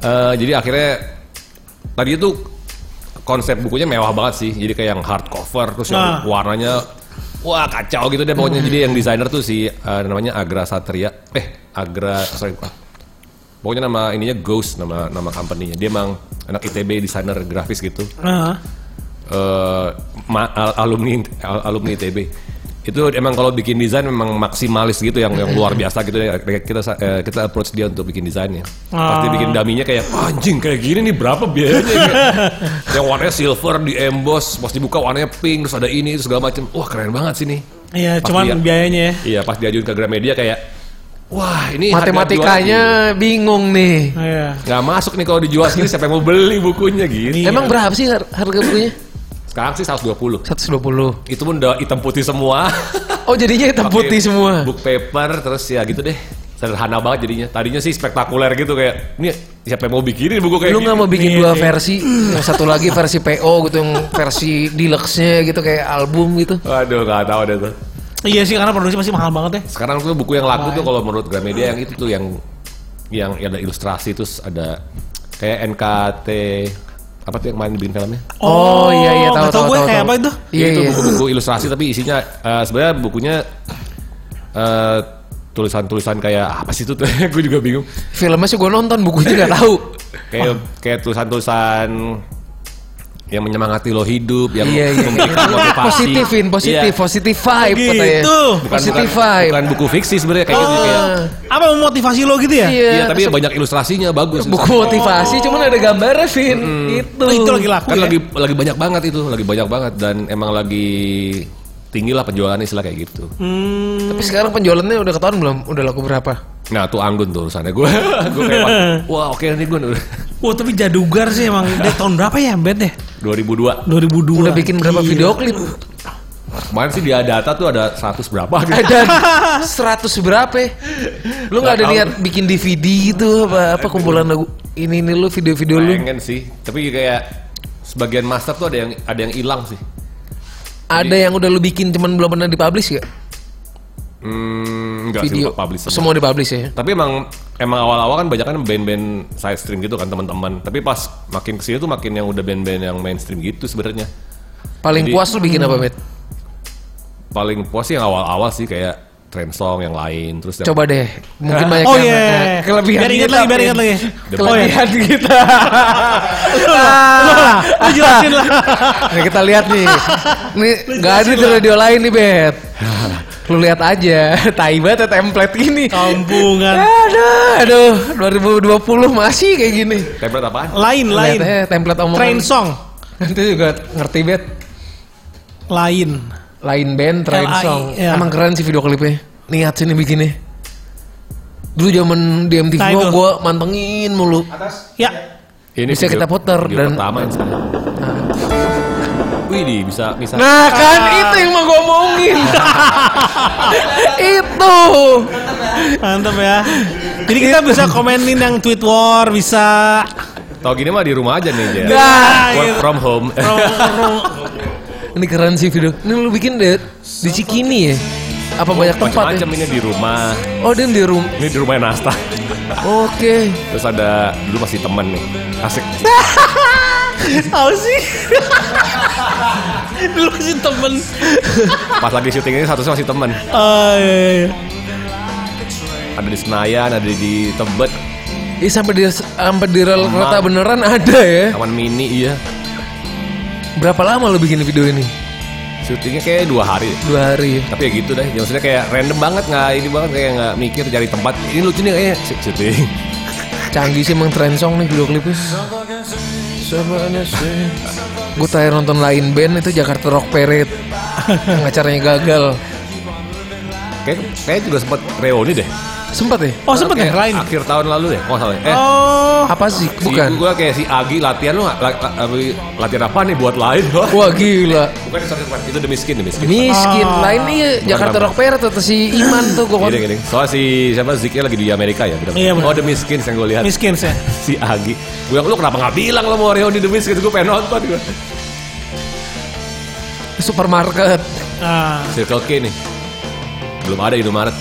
[SPEAKER 3] eh, jadi akhirnya tadi itu konsep bukunya mewah banget sih. Jadi kayak yang hardcover terus
[SPEAKER 2] Nah.
[SPEAKER 3] yang warnanya wah kacau gitu deh pokoknya. Jadi yang desainer tuh si eh, namanya Agra Satria. Eh Agra sorry ah. Pokoknya nama ininya Ghost nama nama company-nya. Dia emang anak ITB desainer grafis gitu
[SPEAKER 2] Nah,
[SPEAKER 3] eh ma- al- alumni al- alumni ITB itu emang kalau bikin desain memang maksimalis gitu yang yang luar biasa gitu ya Kayak kita sa- eh, kita approach dia untuk bikin desainnya pasti
[SPEAKER 2] Ah.
[SPEAKER 3] bikin daminya kayak anjing kayak gini nih berapa biayanya ya?" yang warnanya silver di emboss pas dibuka warnanya pink terus ada ini terus segala macam wah keren banget sih nih
[SPEAKER 2] iya
[SPEAKER 3] Pasti
[SPEAKER 2] cuman
[SPEAKER 3] ya.
[SPEAKER 2] biayanya ya.
[SPEAKER 3] iya pas diajuin ke Gramedia kayak wah ini harga jual
[SPEAKER 1] Matematikanya bingung nih.
[SPEAKER 2] Iya.
[SPEAKER 3] ini nggak masuk nih kalau dijual segini siapa yang mau beli bukunya gitu
[SPEAKER 2] Iya.
[SPEAKER 1] Emang berapa sih har- harga bukunya?
[SPEAKER 3] sekarang sih 120
[SPEAKER 1] 120.
[SPEAKER 3] itu pun udah hitam putih semua
[SPEAKER 1] Oh jadinya hitam
[SPEAKER 3] Pakai
[SPEAKER 1] putih semua.
[SPEAKER 3] Book paper terus ya gitu deh. Sederhana banget jadinya. Tadinya sih spektakuler gitu kayak ini siapa yang mau bikinin buku kayak
[SPEAKER 1] Lu
[SPEAKER 3] gitu. gini?
[SPEAKER 1] nggak mau bikin dua versi, yang satu lagi versi PO gitu, yang versi deluxe-nya gitu kayak album gitu.
[SPEAKER 3] Waduh gak tahu deh tuh.
[SPEAKER 2] Iya sih karena produksi pasti mahal banget ya.
[SPEAKER 3] Sekarang tuh buku yang laku tuh kalau menurut Gramedia yang itu tuh yang yang ada ilustrasi terus ada kayak NKT apa tuh yang main bikin filmnya?
[SPEAKER 1] Oh, iya, iya, tahu,
[SPEAKER 2] nggak tahu
[SPEAKER 1] tahu,
[SPEAKER 2] gue
[SPEAKER 1] tahu,
[SPEAKER 2] kayak
[SPEAKER 1] tahu.
[SPEAKER 2] apa itu?
[SPEAKER 1] Iya
[SPEAKER 3] itu
[SPEAKER 1] iya.
[SPEAKER 3] buku-buku ilustrasi tapi isinya eh, sebenarnya bukunya eh, tulisan-tulisan kayak "Ah, apa sih itu tuh? Gue juga bingung.
[SPEAKER 1] Filmnya sih gue nonton, bukunya nggak tahu.
[SPEAKER 3] kayak kayak tulisan-tulisan yang menyemangati lo hidup, yang
[SPEAKER 1] Iya iya.
[SPEAKER 3] memberikan motivasi.
[SPEAKER 1] Positifin, positif,
[SPEAKER 3] Iya.
[SPEAKER 1] positif vibe
[SPEAKER 2] Gitu.
[SPEAKER 1] katanya.
[SPEAKER 3] Bukan, bukan,
[SPEAKER 1] Positif vibe. Oh,
[SPEAKER 3] bukan buku fiksi sebenarnya kayak gitu kayak.
[SPEAKER 2] Ah. Apa memotivasi lo gitu ya?
[SPEAKER 1] Iya.
[SPEAKER 3] Iya, tapi banyak ilustrasinya bagus.
[SPEAKER 1] Buku motivasi, cuman ada gambarnya, Vin. Gitu. Itu.
[SPEAKER 2] Oh, itu lagi laku
[SPEAKER 3] kan
[SPEAKER 2] ya?
[SPEAKER 3] lagi lagi banyak banget itu, lagi banyak banget dan emang lagi tinggi lah penjualannya istilah kayak gitu.
[SPEAKER 2] Hmm,
[SPEAKER 1] Tapi sekarang penjualannya udah ketahuan belum? Udah laku berapa?
[SPEAKER 3] Nah tuh anggun tuh urusannya gue. gue kayak wah oke nih gue
[SPEAKER 2] wah tapi jadugar sih emang. Dia tahun berapa ya bed deh?
[SPEAKER 3] 2002.
[SPEAKER 2] 2002.
[SPEAKER 1] Udah bikin berapa video klip?
[SPEAKER 3] Kemarin sih dia data tuh ada 100 berapa gitu.
[SPEAKER 1] Ada 100 berapa? ya? Lu nggak ada
[SPEAKER 3] Nggak tahu.
[SPEAKER 1] niat bikin DVD gitu apa apa kumpulan lagu ini ini lu video-video lu
[SPEAKER 3] Pengen sih, tapi kayak sebagian master tuh ada yang ada yang hilang sih.
[SPEAKER 1] Ada yang udah lu bikin cuman belum pernah dipublish gak?
[SPEAKER 3] Hmm, enggak sih
[SPEAKER 1] Video.
[SPEAKER 3] lupa publish semua.
[SPEAKER 1] semua dipublish ya.
[SPEAKER 3] Tapi emang emang awal-awal kan banyak kan band-band side stream gitu kan teman-teman. Tapi pas makin kesini tuh makin yang udah band-band yang mainstream gitu sebenarnya.
[SPEAKER 1] Paling
[SPEAKER 3] Jadi-
[SPEAKER 1] puas lu bikin apa, Met?
[SPEAKER 3] Paling puas sih yang awal-awal sih kayak trend song yang lain terus
[SPEAKER 1] Coba deh, mungkin banyak
[SPEAKER 2] Oh
[SPEAKER 1] yang
[SPEAKER 2] iya.
[SPEAKER 1] eh, kelebihan
[SPEAKER 2] Biar
[SPEAKER 1] kita.
[SPEAKER 2] ingat lagi, biar
[SPEAKER 1] Pin.
[SPEAKER 2] ingat lagi. Oh iya.
[SPEAKER 1] Kelebihan kita.
[SPEAKER 2] Lu lah, lu Ah, jelasin lah.
[SPEAKER 1] Nah, kita lihat nih. Nih nggak ada di radio lain nih, Bet. Lu lihat aja, tai banget ya template ini.
[SPEAKER 2] Kampungan.
[SPEAKER 1] Eh, Aduh, aduh, 2020 masih kayak gini.
[SPEAKER 3] template apaan?
[SPEAKER 2] Lain, lain.
[SPEAKER 1] Lihat aja template omongan.
[SPEAKER 2] Train song.
[SPEAKER 1] Nanti juga ngerti, Bet.
[SPEAKER 2] Lain.
[SPEAKER 1] Lain band, train
[SPEAKER 2] LAI,
[SPEAKER 1] song.
[SPEAKER 2] iya.
[SPEAKER 1] Emang keren sih video klipnya. Niat sini bikinnya. Dulu zaman di MTV
[SPEAKER 2] Tidal.
[SPEAKER 1] gue mantengin mulu.
[SPEAKER 2] Ya.
[SPEAKER 3] Ini
[SPEAKER 1] Bisa kita puter
[SPEAKER 3] video
[SPEAKER 1] dan-
[SPEAKER 3] pertama yang sekarang. Wih, di, bisa bisa.
[SPEAKER 1] Nah kan itu yang mau gue omongin. itu.
[SPEAKER 2] Mantap ya. Jadi kita bisa komenin yang tweet war, bisa
[SPEAKER 3] Tau gini mah di rumah aja nih Jer.
[SPEAKER 2] Nah,
[SPEAKER 3] Work
[SPEAKER 1] iya.
[SPEAKER 2] gitu.
[SPEAKER 3] from home.
[SPEAKER 1] Ini keren sih video. Ini lu bikin deh di Cikini ya. Apa banyak tempat ya?
[SPEAKER 3] Macam-macam ini di rumah.
[SPEAKER 1] Oh dan di room.
[SPEAKER 3] Ini di rumah Nasta.
[SPEAKER 1] Oke.
[SPEAKER 3] Terus ada dulu masih temen nih. Asik.
[SPEAKER 2] Tahu sih. Dulu sih temen.
[SPEAKER 3] Pas lagi syuting ini statusnya masih temen.
[SPEAKER 2] Oh, iya, iya.
[SPEAKER 3] Ada di Senayan, ada di Tebet,
[SPEAKER 1] Ih sampai di sampai di rel kereta beneran ada ya.
[SPEAKER 3] Taman Mini, iya.
[SPEAKER 1] Berapa lama lu bikin video ini?
[SPEAKER 3] Syutingnya kayak dua hari.
[SPEAKER 1] Dua hari.
[SPEAKER 3] Tapi ya gitu deh, ya maksudnya kayak random banget nggak ini banget kayak nggak mikir cari tempat. Ini lucu nih kayaknya Sy- syuting.
[SPEAKER 1] Canggih sih emang tren song nih video klipnya. Gue terakhir nonton lain band itu Jakarta Rock Parade. Yang acaranya gagal.
[SPEAKER 3] Kayak kayak juga sempat reuni deh.
[SPEAKER 1] Sempat ya?
[SPEAKER 2] Oh, sempet ya?
[SPEAKER 3] Kayak
[SPEAKER 2] Lain.
[SPEAKER 3] Akhir tahun lalu deh, kalau nggak salah. Eh,
[SPEAKER 2] Oh,
[SPEAKER 1] Apa sih?
[SPEAKER 3] Si
[SPEAKER 1] Bukan.
[SPEAKER 3] gue kayak si Agi latihan lu nggak- la- la- la- latihan apa nih buat lain? Wah,
[SPEAKER 2] Oh.
[SPEAKER 1] Wah gila.
[SPEAKER 3] Bukan sorry, bukan. itu demi miskin, demi miskin.
[SPEAKER 2] Iya,
[SPEAKER 1] Miskin.
[SPEAKER 2] Ah.
[SPEAKER 1] Lain nih Jakarta
[SPEAKER 3] apa?
[SPEAKER 1] Rock Parade atau si Iman tuh kan gue
[SPEAKER 3] Gini, gini. Soalnya si siapa Ziknya lagi di Amerika ya. Bener.
[SPEAKER 2] Iya, bener.
[SPEAKER 3] oh demi miskin yang gue lihat
[SPEAKER 2] miskin sih.
[SPEAKER 3] si Agi. Gue bilang lu kenapa nggak bilang lo mau reuni demi miskin? Gue pengen nonton gue.
[SPEAKER 1] supermarket.
[SPEAKER 2] Ah.
[SPEAKER 3] Circle K nih. Belum ada Indomaret.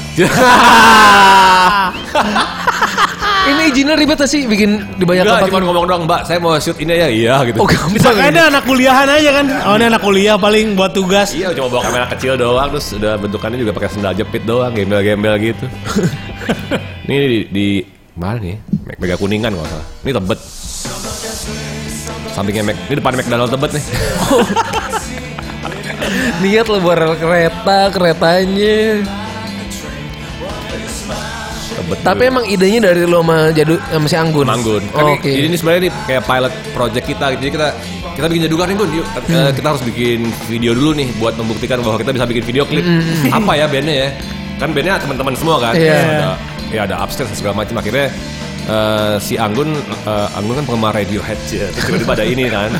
[SPEAKER 1] Ini izinnya ribet gak sih bikin di banyak
[SPEAKER 3] Enggak,
[SPEAKER 1] tempat?
[SPEAKER 3] cuma ngomong doang, Mbak. Saya mau shoot ini ya. Iya gitu.
[SPEAKER 1] Oh gampang.
[SPEAKER 2] Makanya
[SPEAKER 1] ini.
[SPEAKER 2] ada anak kuliahan aja kan. Oh, ini anak kuliah paling buat tugas.
[SPEAKER 3] Iya, cuma bawa kamera kecil doang terus udah bentukannya juga pakai sendal jepit doang, gembel-gembel gitu. ini di, di mana nih? Meg- Mega Kuningan kalau nggak salah. Ini Tebet. Sampingnya Meg. Ini depan McDonald Tebet nih.
[SPEAKER 1] Lihat lo barel kereta, keretanya.
[SPEAKER 3] Tebet.
[SPEAKER 1] Tapi emang idenya dari lo sama jadu eh, sama si Anggun.
[SPEAKER 3] Manggun. Kan
[SPEAKER 1] Oh,
[SPEAKER 3] ini-
[SPEAKER 1] Oke.
[SPEAKER 3] Jadi ini sebenarnya ini kayak pilot project kita. gitu. Jadi kita kita bikin jadukan nih Gun. Yuk, eh,
[SPEAKER 1] Hmm.
[SPEAKER 3] kita harus bikin video dulu nih buat membuktikan bahwa kita bisa bikin video klip. Apa ya bandnya ya? Kan bandnya teman-teman semua kan.
[SPEAKER 1] Hmm, Iya.
[SPEAKER 3] Terus Ada, ya ada upstairs dan segala macam. Akhirnya eh, si Anggun, eh, Anggun kan penggemar Radiohead ya. Terus tiba-tiba ada ini kan.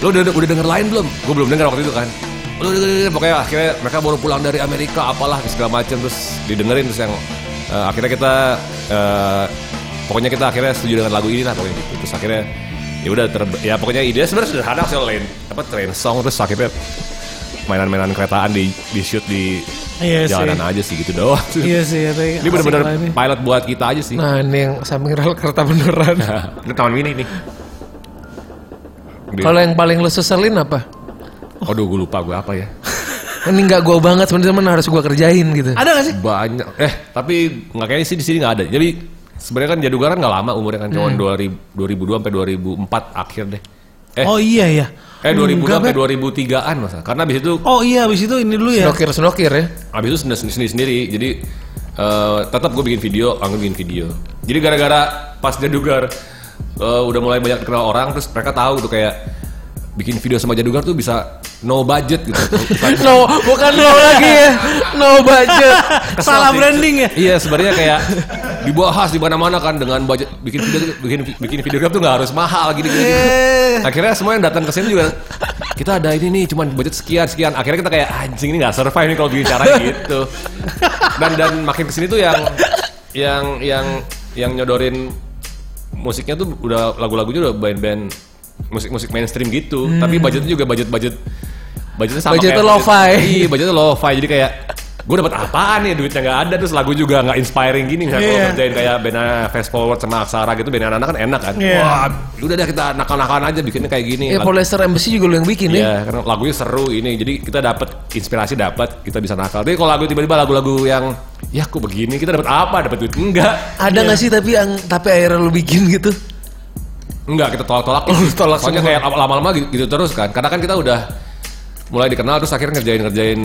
[SPEAKER 3] Lo udah udah denger lain belum? Gue belum denger waktu itu kan. Lo udah- udah- udah- pokoknya akhirnya mereka baru pulang dari Amerika apalah segala macam terus didengerin terus yang eh, akhirnya kita eh, pokoknya kita akhirnya setuju dengan lagu ini lah pokoknya gitu. Terus akhirnya ya udah ter- ya pokoknya ide sebenarnya sederhana sih lain apa train song terus akhirnya mainan-mainan keretaan di di shoot di
[SPEAKER 2] Iya sih.
[SPEAKER 3] jalanan aja sih gitu doang.
[SPEAKER 2] Iya sih, ya, tapi
[SPEAKER 3] Ini
[SPEAKER 2] asik lah
[SPEAKER 3] benar-benar
[SPEAKER 2] ini.
[SPEAKER 3] pilot buat kita aja sih.
[SPEAKER 1] Nah ini yang samping rel kereta beneran.
[SPEAKER 3] Ini tahun ini nih. Di-
[SPEAKER 1] Kalau yang paling lo seselin apa?
[SPEAKER 3] Aduh gue lupa gue apa ya.
[SPEAKER 1] Ini nggak gue banget sebenarnya teman harus gue kerjain gitu.
[SPEAKER 2] Ada gak sih?
[SPEAKER 3] banyak eh tapi nggak kayaknya sih di sini nggak ada jadi sebenarnya kan jadugaran nggak lama umurnya kan
[SPEAKER 2] Hmm.
[SPEAKER 3] cuma 2000 2002 sampai 2004 akhir deh eh
[SPEAKER 2] Oh iya ya.
[SPEAKER 3] eh 2002
[SPEAKER 2] Enggak,
[SPEAKER 3] sampai
[SPEAKER 2] Bet.
[SPEAKER 3] 2003an masa karena abis itu
[SPEAKER 2] Oh iya, abis itu ini dulu ya.
[SPEAKER 1] Senokir senokir ya.
[SPEAKER 3] abis itu sendiri sendiri, sendiri. jadi eh, tetap gue bikin video anggun bikin video jadi gara-gara pas jadugar eh, udah mulai banyak dikenal orang terus mereka tahu tuh kayak bikin video sama jadugar tuh bisa no budget gitu
[SPEAKER 1] No, bukan no lagi ya. No budget.
[SPEAKER 3] Kesel
[SPEAKER 2] Salah
[SPEAKER 3] sih.
[SPEAKER 2] branding ya.
[SPEAKER 3] Iya sebenarnya kayak dibahas di mana-mana kan dengan budget bikin video bikin bikin videograf tuh nggak harus mahal gini gini.
[SPEAKER 2] Iya,
[SPEAKER 3] gini.
[SPEAKER 2] Eh,
[SPEAKER 3] Akhirnya semua yang datang ke sini juga kita ada ini nih cuman budget sekian sekian. Akhirnya kita kayak anjing ini nggak survive nih kalau begini caranya gitu. Dan dan makin kesini tuh yang yang yang yang nyodorin musiknya tuh udah lagu-lagunya udah band-band musik-musik mainstream gitu. Tapi budgetnya juga budget-budget budgetnya sama
[SPEAKER 1] Budgetnya
[SPEAKER 3] kayak
[SPEAKER 1] lo-fi.
[SPEAKER 3] Iya, budgetnya lo-fi jadi kayak gue dapat apaan ya duitnya nggak ada terus lagu juga nggak inspiring gini nggak kalau
[SPEAKER 2] Iya.
[SPEAKER 3] kerjain kayak band fast forward sama aksara gitu band anak-anak kan enak kan
[SPEAKER 2] Iya.
[SPEAKER 3] wah udah deh kita nakal-nakalan aja bikinnya kayak gini
[SPEAKER 1] Ya
[SPEAKER 3] Lagu-
[SPEAKER 1] Polyester Embassy juga lu yang bikin ya. nih.
[SPEAKER 3] Iya, karena lagunya seru ini. Jadi kita dapat inspirasi dapat, kita bisa nakal. Tapi kalau lagu tiba-tiba lagu-lagu yang ya aku begini, kita dapat apa? Dapat duit? Enggak.
[SPEAKER 1] Ada nggak sih tapi yang tapi akhirnya lu bikin gitu?
[SPEAKER 3] Enggak, kita tolak-tolak.
[SPEAKER 1] Lu Oh, tolak
[SPEAKER 3] Soalnya
[SPEAKER 1] semua.
[SPEAKER 3] kayak lama-lama gitu, gitu terus kan. Karena kan kita udah mulai dikenal terus akhirnya ngerjain-ngerjain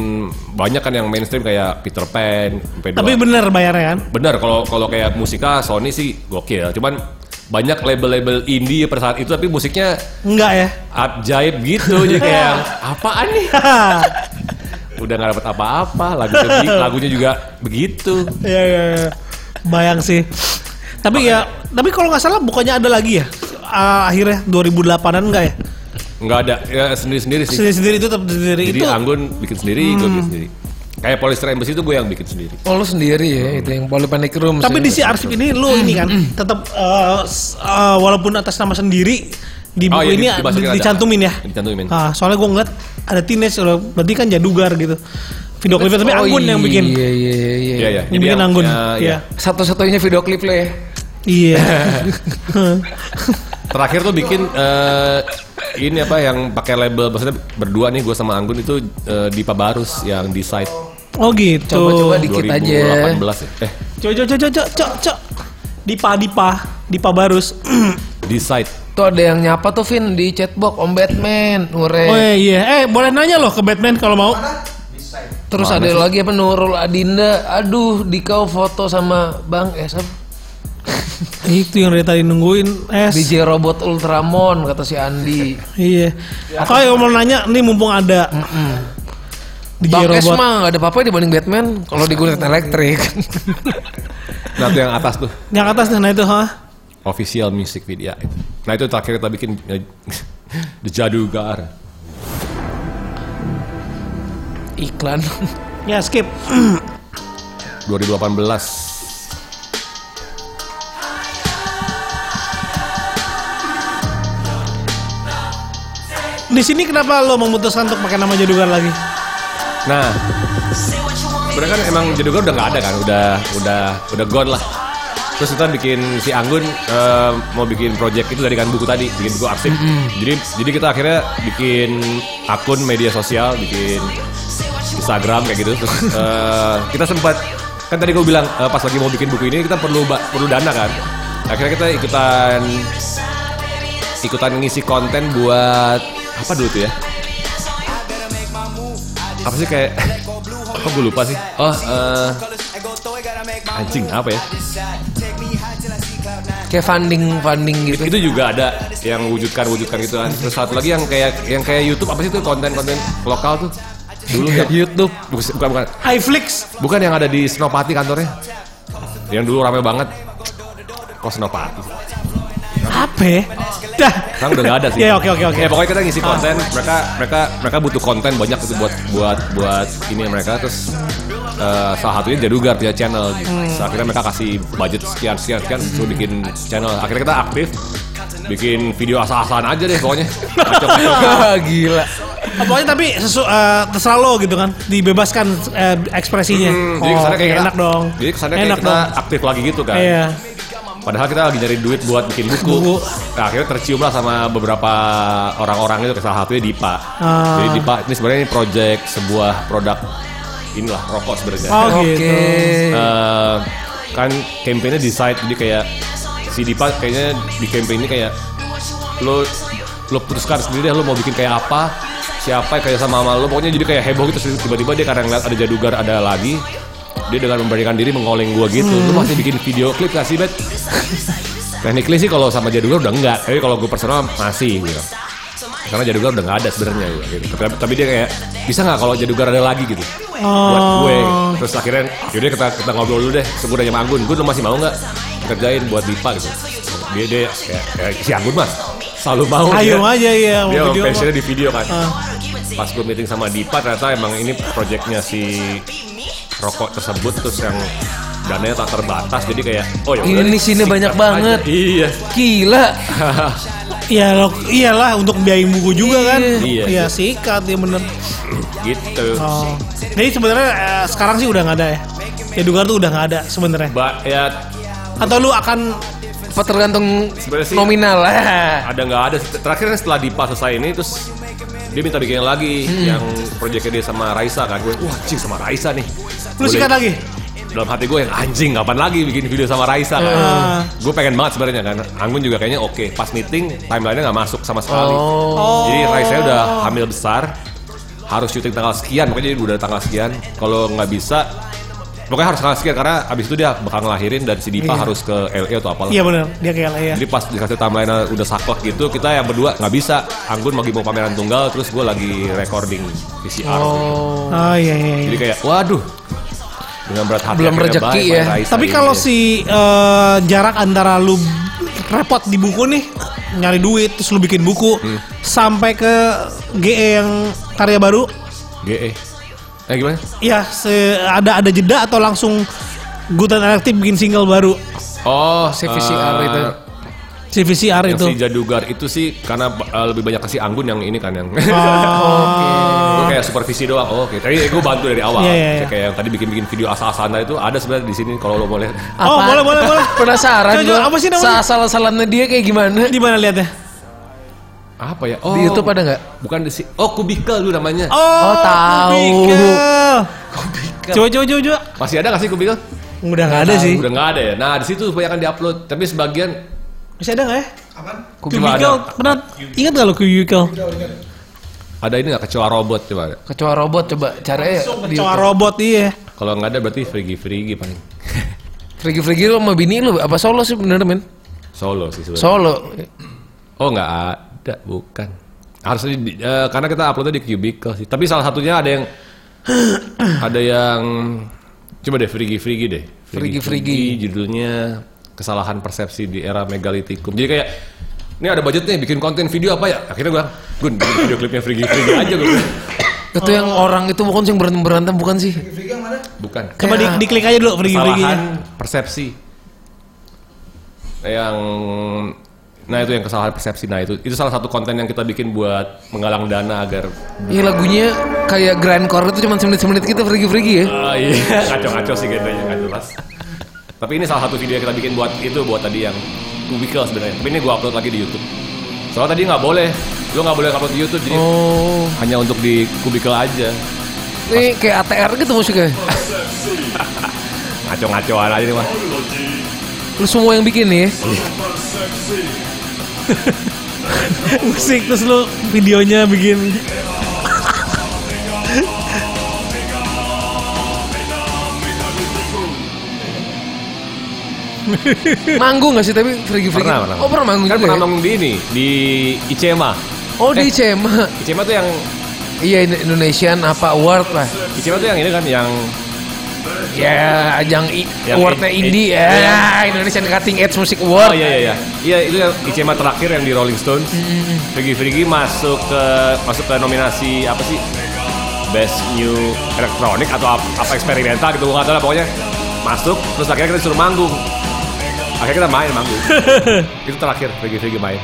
[SPEAKER 3] banyak kan yang mainstream kayak Peter Pan, MP2.
[SPEAKER 2] Tapi bener bayarnya kan?
[SPEAKER 3] benar kalau kalau kayak musika Sony sih gokil. Cuman banyak label-label indie pada saat itu tapi musiknya
[SPEAKER 2] Enggak ya?
[SPEAKER 3] ajaib gitu jadi kayak apaan nih udah nggak dapat apa-apa lagunya begi- lagunya juga begitu
[SPEAKER 2] Iya, iya, iya. Bayang sih. Tapi ya, tapi kalau nggak salah bukannya ada lagi ya? Ah, akhirnya 2008-an enggak ya?
[SPEAKER 3] nggak ada ya sendiri sendiri sih
[SPEAKER 2] Sendiri-sendiri itu tetap sendiri
[SPEAKER 3] jadi
[SPEAKER 2] itu.
[SPEAKER 3] Anggun bikin sendiri gue
[SPEAKER 2] Hmm.
[SPEAKER 3] bikin sendiri kayak Polyester Embassy itu gue yang bikin sendiri
[SPEAKER 1] Oh lu sendiri ya itu yang Polypanic Room.
[SPEAKER 2] Tapi di si arsip ini lu
[SPEAKER 3] Hmm,
[SPEAKER 2] ini kan tetap eh, s- eh, walaupun atas nama sendiri di buku
[SPEAKER 3] Oh, iya, di-
[SPEAKER 2] ini
[SPEAKER 3] dimasukin
[SPEAKER 2] di-
[SPEAKER 3] ada.
[SPEAKER 2] dicantumin ya.
[SPEAKER 3] Dicantumin.
[SPEAKER 2] Ah, soalnya gue ngeliat ada teenage loh, berarti kan jadugar gitu. Video klipnya tapi Anggun yang bikin.
[SPEAKER 1] Iya iya iya. iya.
[SPEAKER 3] Oh Iya, iya.
[SPEAKER 2] Yang
[SPEAKER 3] Jadi
[SPEAKER 2] bikin
[SPEAKER 3] yang-
[SPEAKER 2] Anggun.
[SPEAKER 3] ya,
[SPEAKER 2] Iya.
[SPEAKER 3] iya.
[SPEAKER 1] Satu-satunya video klip lu ya.
[SPEAKER 2] Iya.
[SPEAKER 3] terakhir tuh bikin eh, ini apa yang pakai label maksudnya berdua nih gue sama Anggun itu eh, di Pabarus yang di site
[SPEAKER 2] Oh gitu.
[SPEAKER 1] Coba-coba di- Dikit aja.
[SPEAKER 3] 2018 ya. eh
[SPEAKER 2] Cok cok cok cok cok cok cok. Dipa Dipa Dipa Barus.
[SPEAKER 3] di site
[SPEAKER 1] Tuh ada yang nyapa tuh Vin di chatbox Om Batman, Ure.
[SPEAKER 2] oh iya. Eh boleh nanya loh ke Batman kalau mau.
[SPEAKER 1] Terus ada lagi apa Nurul Adinda. Aduh, di kau foto sama Bang eh, siapa?
[SPEAKER 2] Itu yang dari tadi nungguin es.
[SPEAKER 1] DJ Robot Ultramon kata si Andi.
[SPEAKER 2] Iya. Kalau yang mau nanya nih mumpung ada. Di
[SPEAKER 1] Bang Es
[SPEAKER 2] robot.
[SPEAKER 1] mah nggak ada apa-apa dibanding Batman kalau digunakan elektrik.
[SPEAKER 3] nah tuh yang atas tuh
[SPEAKER 2] Yang atas nah itu ha.
[SPEAKER 3] official music video itu. Nah itu terakhir kita bikin eh, The Jadugar.
[SPEAKER 1] Iklan.
[SPEAKER 2] Ya skip.
[SPEAKER 3] 2018.
[SPEAKER 2] Di sini kenapa lo memutuskan untuk pakai nama jadugar lagi?
[SPEAKER 3] Nah, sebenarnya kan emang Jadugar udah nggak ada kan, udah udah udah gone lah. Terus kita bikin si Anggun eh, mau bikin project itu dari kan buku tadi, bikin buku arsip. Jadi jadi kita akhirnya bikin akun media sosial, bikin Instagram kayak gitu. Terus eh, kita sempat kan tadi gue bilang eh, pas lagi mau bikin buku ini kita perlu ba- perlu dana kan. Akhirnya kita ikutan ikutan ngisi konten buat apa dulu tuh ya? Apa sih kayak apa gue lupa sih? Oh, eh, anjing apa ya?
[SPEAKER 1] Kayak funding funding gitu.
[SPEAKER 3] Itu juga ada yang wujudkan wujudkan gitu kan. Terus satu lagi yang kayak yang kayak YouTube apa sih itu konten-konten lokal tuh? Dulu ya.
[SPEAKER 1] YouTube.
[SPEAKER 3] Bukan bukan
[SPEAKER 2] iFlix.
[SPEAKER 3] bukan yang ada di Senopati kantornya. Yang dulu rame banget. Kok Senopati?
[SPEAKER 2] Apa ya? Dah.
[SPEAKER 3] Sekarang udah gak ada sih.
[SPEAKER 2] Ya oke oke oke.
[SPEAKER 3] Ya pokoknya kita ngisi konten, mereka mereka mereka butuh konten banyak itu buat buat buat ini mereka terus eh, salah satunya Jadugar punya channel. gitu.
[SPEAKER 2] Hmm.
[SPEAKER 3] Terus akhirnya mereka kasih budget sekian sekian sekian suruh bikin channel. Akhirnya kita aktif bikin video asal-asalan aja deh pokoknya. Kacau-kacau.
[SPEAKER 1] Gila.
[SPEAKER 2] Oh, Pokoknya tapi sesu, eh, terserah lo gitu kan, dibebaskan eh, ekspresinya.
[SPEAKER 3] Hmm, jadi
[SPEAKER 2] Oh,
[SPEAKER 3] kesannya kayak kita-
[SPEAKER 2] enak dong.
[SPEAKER 3] Jadi kesannya kayak
[SPEAKER 2] enak
[SPEAKER 3] kita aktif lagi gitu kan.
[SPEAKER 2] Iya.
[SPEAKER 3] Padahal kita lagi nyari duit buat bikin buku.
[SPEAKER 2] Buku.
[SPEAKER 3] Nah, akhirnya tercium lah sama beberapa orang-orang itu salah satunya Dipa.
[SPEAKER 2] Ah.
[SPEAKER 3] Jadi Dipa ini sebenarnya ini project sebuah produk inilah rokok sebenarnya.
[SPEAKER 2] Oh,
[SPEAKER 1] Oke.
[SPEAKER 2] gitu.
[SPEAKER 3] Eh, kan campaignnya decide jadi kayak si Dipa kayaknya di campaign ini kayak lo lo putuskan sendiri deh lo mau bikin kayak apa siapa yang kayak sama sama lo pokoknya jadi kayak heboh gitu Terus tiba-tiba dia karena ngeliat ada jadugar ada lagi dia dengan memberanikan diri mengoleng gua gitu
[SPEAKER 2] Hmm.
[SPEAKER 3] lo masih bikin video klip gak sih bet technically sih kalau sama jadugar udah enggak tapi kalau gue personal masih gitu karena jadugar udah nggak ada sebenarnya gitu. Tapi, tapi dia kayak bisa nggak kalau jadugar ada lagi gitu buat gue
[SPEAKER 2] Oh.
[SPEAKER 3] terus akhirnya yaudah kita, kita ngobrol dulu deh terus gue nanya sama Anggun gue lu masih mau nggak kerjain buat Dipa gitu dia dia kayak, kayak si Anggun mas selalu mau
[SPEAKER 2] Ayo
[SPEAKER 3] dia,
[SPEAKER 2] aja
[SPEAKER 1] Iya,
[SPEAKER 2] ya
[SPEAKER 3] dia
[SPEAKER 2] mau
[SPEAKER 3] emang
[SPEAKER 2] video.
[SPEAKER 3] passionnya di video kan
[SPEAKER 1] Ah.
[SPEAKER 3] pas gue meeting sama Dipa ternyata emang ini proyeknya si rokok tersebut terus yang dananya tak terbatas jadi kayak oh ya
[SPEAKER 1] Ini nih, sini banyak banget.
[SPEAKER 3] iya
[SPEAKER 1] Gila.
[SPEAKER 2] Iya lo, iyalah untuk biayain buku juga kan.
[SPEAKER 3] Iya.
[SPEAKER 2] sikat ya bener.
[SPEAKER 3] gitu
[SPEAKER 2] Oh. Jadi sebenarnya eh, sekarang sih udah nggak ada ya. Ya Dugar tuh udah nggak ada sebenarnya.
[SPEAKER 3] Ba- ya
[SPEAKER 2] Atau lu akan
[SPEAKER 1] Apa tergantung
[SPEAKER 3] Sebenarnya sih-
[SPEAKER 1] nominal ah.
[SPEAKER 3] ada nggak ada terakhir kan setelah Dipa selesai ini terus dia minta bikin lagi
[SPEAKER 1] Hmm.
[SPEAKER 3] yang proyeknya dia sama Raisa kan gue wah anjing sama Raisa nih
[SPEAKER 2] lu
[SPEAKER 3] Boleh.
[SPEAKER 2] sikat lagi?
[SPEAKER 3] dalam hati gue yang anjing kapan lagi bikin video sama Raisa kan
[SPEAKER 2] Ah.
[SPEAKER 3] gue pengen banget sebenarnya kan Anggun juga kayaknya oke pas meeting timelinenya nggak masuk sama sekali
[SPEAKER 2] Oh.
[SPEAKER 3] jadi Raisa udah hamil besar harus syuting tanggal sekian pokoknya jadi udah tanggal sekian kalau nggak bisa pokoknya harus tanggal sekian karena abis itu dia bakal ngelahirin dan si Dipa harus ke LA atau apalah
[SPEAKER 2] Iya benar, dia kayak lah ya.
[SPEAKER 3] Oh. jadi pas dikasih timeline udah saklek gitu, kita yang berdua nggak bisa. Anggun lagi mau pameran tunggal, terus gue lagi recording PCR.
[SPEAKER 1] Oh.
[SPEAKER 2] Oh iya iya. iya.
[SPEAKER 3] Jadi kayak, waduh, dengan berat hati.
[SPEAKER 1] Belum
[SPEAKER 3] akhirnya
[SPEAKER 1] rejeki
[SPEAKER 3] bye-bye
[SPEAKER 1] ya.
[SPEAKER 3] Raisa
[SPEAKER 2] Tapi
[SPEAKER 3] ini.
[SPEAKER 2] kalau si eh, jarak antara lu repot di buku nih nyari duit terus lu bikin buku
[SPEAKER 3] Hmm.
[SPEAKER 2] sampai ke GE yang karya baru
[SPEAKER 3] GE, eh gimana?
[SPEAKER 2] ya se- ada ada jeda atau langsung Gutan Elective bikin single baru
[SPEAKER 3] Oh,
[SPEAKER 1] Si VCR
[SPEAKER 3] eh,
[SPEAKER 1] itu.
[SPEAKER 2] CVCR
[SPEAKER 3] Yang
[SPEAKER 2] itu.
[SPEAKER 3] si Jadugar itu sih karena eh, lebih banyak kasih Anggun yang ini kan yang.
[SPEAKER 2] Oh.
[SPEAKER 3] Gue kayak supervisi doang. Oh, Oke, tadi gue bantu dari awal.
[SPEAKER 2] Iya, iya, iya.
[SPEAKER 3] Kayak yang tadi bikin-bikin video asal-asalan tadi itu ada sebenarnya di sini kalau lo mau lihat.
[SPEAKER 2] Oh,
[SPEAKER 1] Apaan?
[SPEAKER 2] boleh, boleh, boleh.
[SPEAKER 1] Penasaran
[SPEAKER 2] Coba, coba, apa sih namanya?
[SPEAKER 1] Salah-salannya dia kayak gimana?
[SPEAKER 2] Di mana lihatnya?
[SPEAKER 3] Apa ya? Oh,
[SPEAKER 1] Di YouTube ada nggak?
[SPEAKER 3] Bukan di si Oh, kubikel dulu namanya.
[SPEAKER 1] Oh, tahu.
[SPEAKER 2] Kubikel. Coba coba coba coba.
[SPEAKER 3] Masih ada nggak sih kubikel?
[SPEAKER 2] Udah nggak ada sih.
[SPEAKER 3] Udah nggak ada ya. Nah di situ banyak yang diupload, tapi sebagian
[SPEAKER 2] Masih ada nggak ya?
[SPEAKER 3] Coba ada.
[SPEAKER 2] Kubikel pernah ingat nggak lo kubikel?
[SPEAKER 3] ada ini nggak kecewa robot coba. ada.
[SPEAKER 1] Kecoa robot coba caranya di
[SPEAKER 2] Kecoa robot iya.
[SPEAKER 3] Kalau nggak ada berarti frigi frigi paling
[SPEAKER 1] Frigi-frigi lu sama bini lu apa solo sih bener men?
[SPEAKER 3] solo sih sebenarnya.
[SPEAKER 1] Solo.
[SPEAKER 3] oh nggak ada, bukan. Harusnya di- eh, karena kita uploadnya di cubicle sih. Tapi salah satunya ada yang ada yang coba deh frigi frigi deh.
[SPEAKER 1] Frigi-frigi.
[SPEAKER 3] judulnya kesalahan persepsi di era megalitikum. Jadi kayak ini ada budget nih bikin konten video apa ya? Akhirnya gue, gun bikin video klipnya frigi frigi aja gue. bilang.
[SPEAKER 1] Itu yang orang itu bukan sih yang berantem berantem bukan sih?
[SPEAKER 3] Bukan.
[SPEAKER 2] Coba di, diklik aja dulu pergi pergi.
[SPEAKER 3] kesalahan persepsi yang nah itu yang kesalahan persepsi nah itu itu salah satu konten yang kita bikin buat menggalang dana agar
[SPEAKER 1] Iya lagunya kayak grindcore itu cuma semenit-semenit gitu frigi-frigi ya.
[SPEAKER 3] Ah, iya kacau-kacau sih genrenya nggak jelas tapi ini salah satu video yang kita bikin buat itu buat tadi yang kubikel sebenarnya tapi ini gua upload lagi di YouTube soalnya tadi nggak boleh lo nggak boleh upload di YouTube jadi
[SPEAKER 1] Oh.
[SPEAKER 3] hanya untuk di kubikel aja
[SPEAKER 1] Ini kayak ATR gitu musiknya.
[SPEAKER 3] ngaco-ngacoan aja nih mah
[SPEAKER 1] Oh, Lu semua yang bikin nih. ya.
[SPEAKER 2] Musik terus lu videonya bikin.
[SPEAKER 1] Manggung gak sih tapi frigi-frigi?
[SPEAKER 3] pernah pernah
[SPEAKER 1] Oh pernah manggung
[SPEAKER 3] kan
[SPEAKER 1] juga
[SPEAKER 3] pernah
[SPEAKER 1] ya?
[SPEAKER 3] manggung Eh. di ini di Icema
[SPEAKER 1] Oh di ICMA.
[SPEAKER 3] Icema tuh yang
[SPEAKER 1] Iya Ind- Indonesian apa award lah.
[SPEAKER 3] Icema tuh yang ini kan yang
[SPEAKER 1] Ya ajang I-
[SPEAKER 3] Yang
[SPEAKER 1] awardnya
[SPEAKER 3] i- i-
[SPEAKER 1] indie ya.
[SPEAKER 3] iya.
[SPEAKER 1] Indonesian Cutting Edge Music
[SPEAKER 3] Oh
[SPEAKER 1] Award.
[SPEAKER 3] iya iya iya. Iya itu yang Icema terakhir yang di Rolling Stones. Frigi Frigi masuk ke masuk ke nominasi apa sih? Best New Electronic atau apa, apa eksperimental gitu gue nggak tahu lah pokoknya masuk terus akhirnya kita disuruh manggung. Akhirnya kita main manggung. itu terakhir Frigi Frigi main.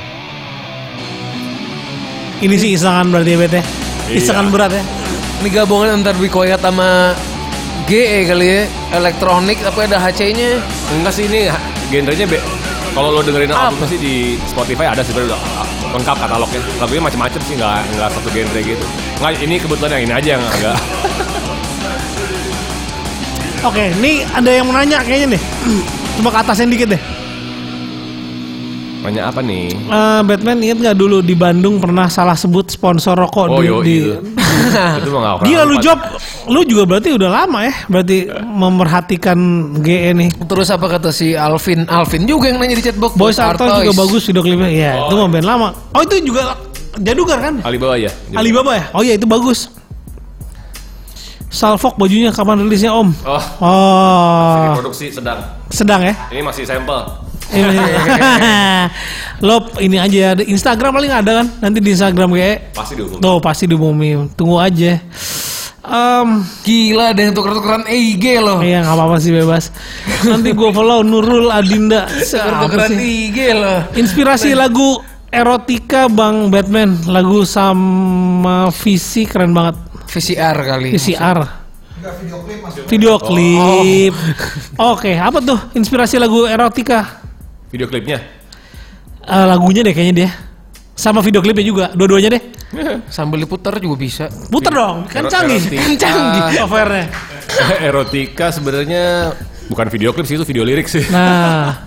[SPEAKER 2] Ini sih isangan berarti ya Bet ya.
[SPEAKER 3] Iya.
[SPEAKER 2] Isangan berat ya.
[SPEAKER 1] Ini gabungan antar Bikoyat sama GE kali ya. Elektronik tapi ada HC-nya.
[SPEAKER 3] Enggak sih ini ha- genrenya be kalau lo dengerin album sih di Spotify ada sih udah lengkap katalognya. Lagunya macam-macam sih nggak nggak satu genre gitu. Nggak ini kebetulan yang ini aja yang agak
[SPEAKER 2] Oke, ini ada yang mau nanya kayaknya nih. Coba ke atasnya dikit deh.
[SPEAKER 3] Nanya apa nih?
[SPEAKER 2] Eh, Batman inget nggak dulu di Bandung pernah salah sebut sponsor rokok
[SPEAKER 3] Oh
[SPEAKER 2] di,
[SPEAKER 3] yo
[SPEAKER 2] di
[SPEAKER 3] itu. itu mah nggak pernah
[SPEAKER 2] Gila lu
[SPEAKER 3] lupa.
[SPEAKER 2] job, lu juga berarti udah lama ya, berarti memperhatikan GE nih.
[SPEAKER 1] Terus apa kata si Alvin? Alvin juga yang nanya di chatbox.
[SPEAKER 2] Boys Arto juga bagus video klipnya, ya itu mau band lama. Oh itu juga Jadugar kan?
[SPEAKER 3] Alibaba ya.
[SPEAKER 2] Alibaba ya? Oh iya itu bagus. Salfok bajunya kapan rilisnya Om?
[SPEAKER 3] Oh, Ah.
[SPEAKER 2] Oh,
[SPEAKER 3] produksi sedang.
[SPEAKER 2] sedang ya?
[SPEAKER 3] Ini masih sampel.
[SPEAKER 2] Ini- Lo ini aja, ya. ada Instagram paling ada kan? Nanti di Instagram kayak
[SPEAKER 3] Pasti dihukum.
[SPEAKER 2] Tuh pasti diumumin, tunggu aja. Em,
[SPEAKER 1] Gila deh tuker-tukeran EIG loh.
[SPEAKER 2] Iya nggak apa-apa sih bebas. Nanti gue follow Nurul Adinda. Apa
[SPEAKER 1] Tuker-tukeran
[SPEAKER 2] sih? ya?
[SPEAKER 1] EIG loh.
[SPEAKER 2] Inspirasi lagu erotika Bang Batman, lagu sama visi keren banget.
[SPEAKER 1] VCR kali.
[SPEAKER 2] VCR. Video klip. Oke, apa tuh inspirasi lagu erotika?
[SPEAKER 3] Video klipnya.
[SPEAKER 2] Eh, lagunya deh kayaknya dia. Sama video klipnya juga, dua-duanya deh.
[SPEAKER 1] Sambil diputar juga bisa.
[SPEAKER 2] Puter dong, kan
[SPEAKER 3] Erot-
[SPEAKER 2] canggih,
[SPEAKER 3] erotika.
[SPEAKER 2] kan canggih covernya.
[SPEAKER 3] Erotika sebenarnya bukan video klip sih itu video lirik sih.
[SPEAKER 2] Nah,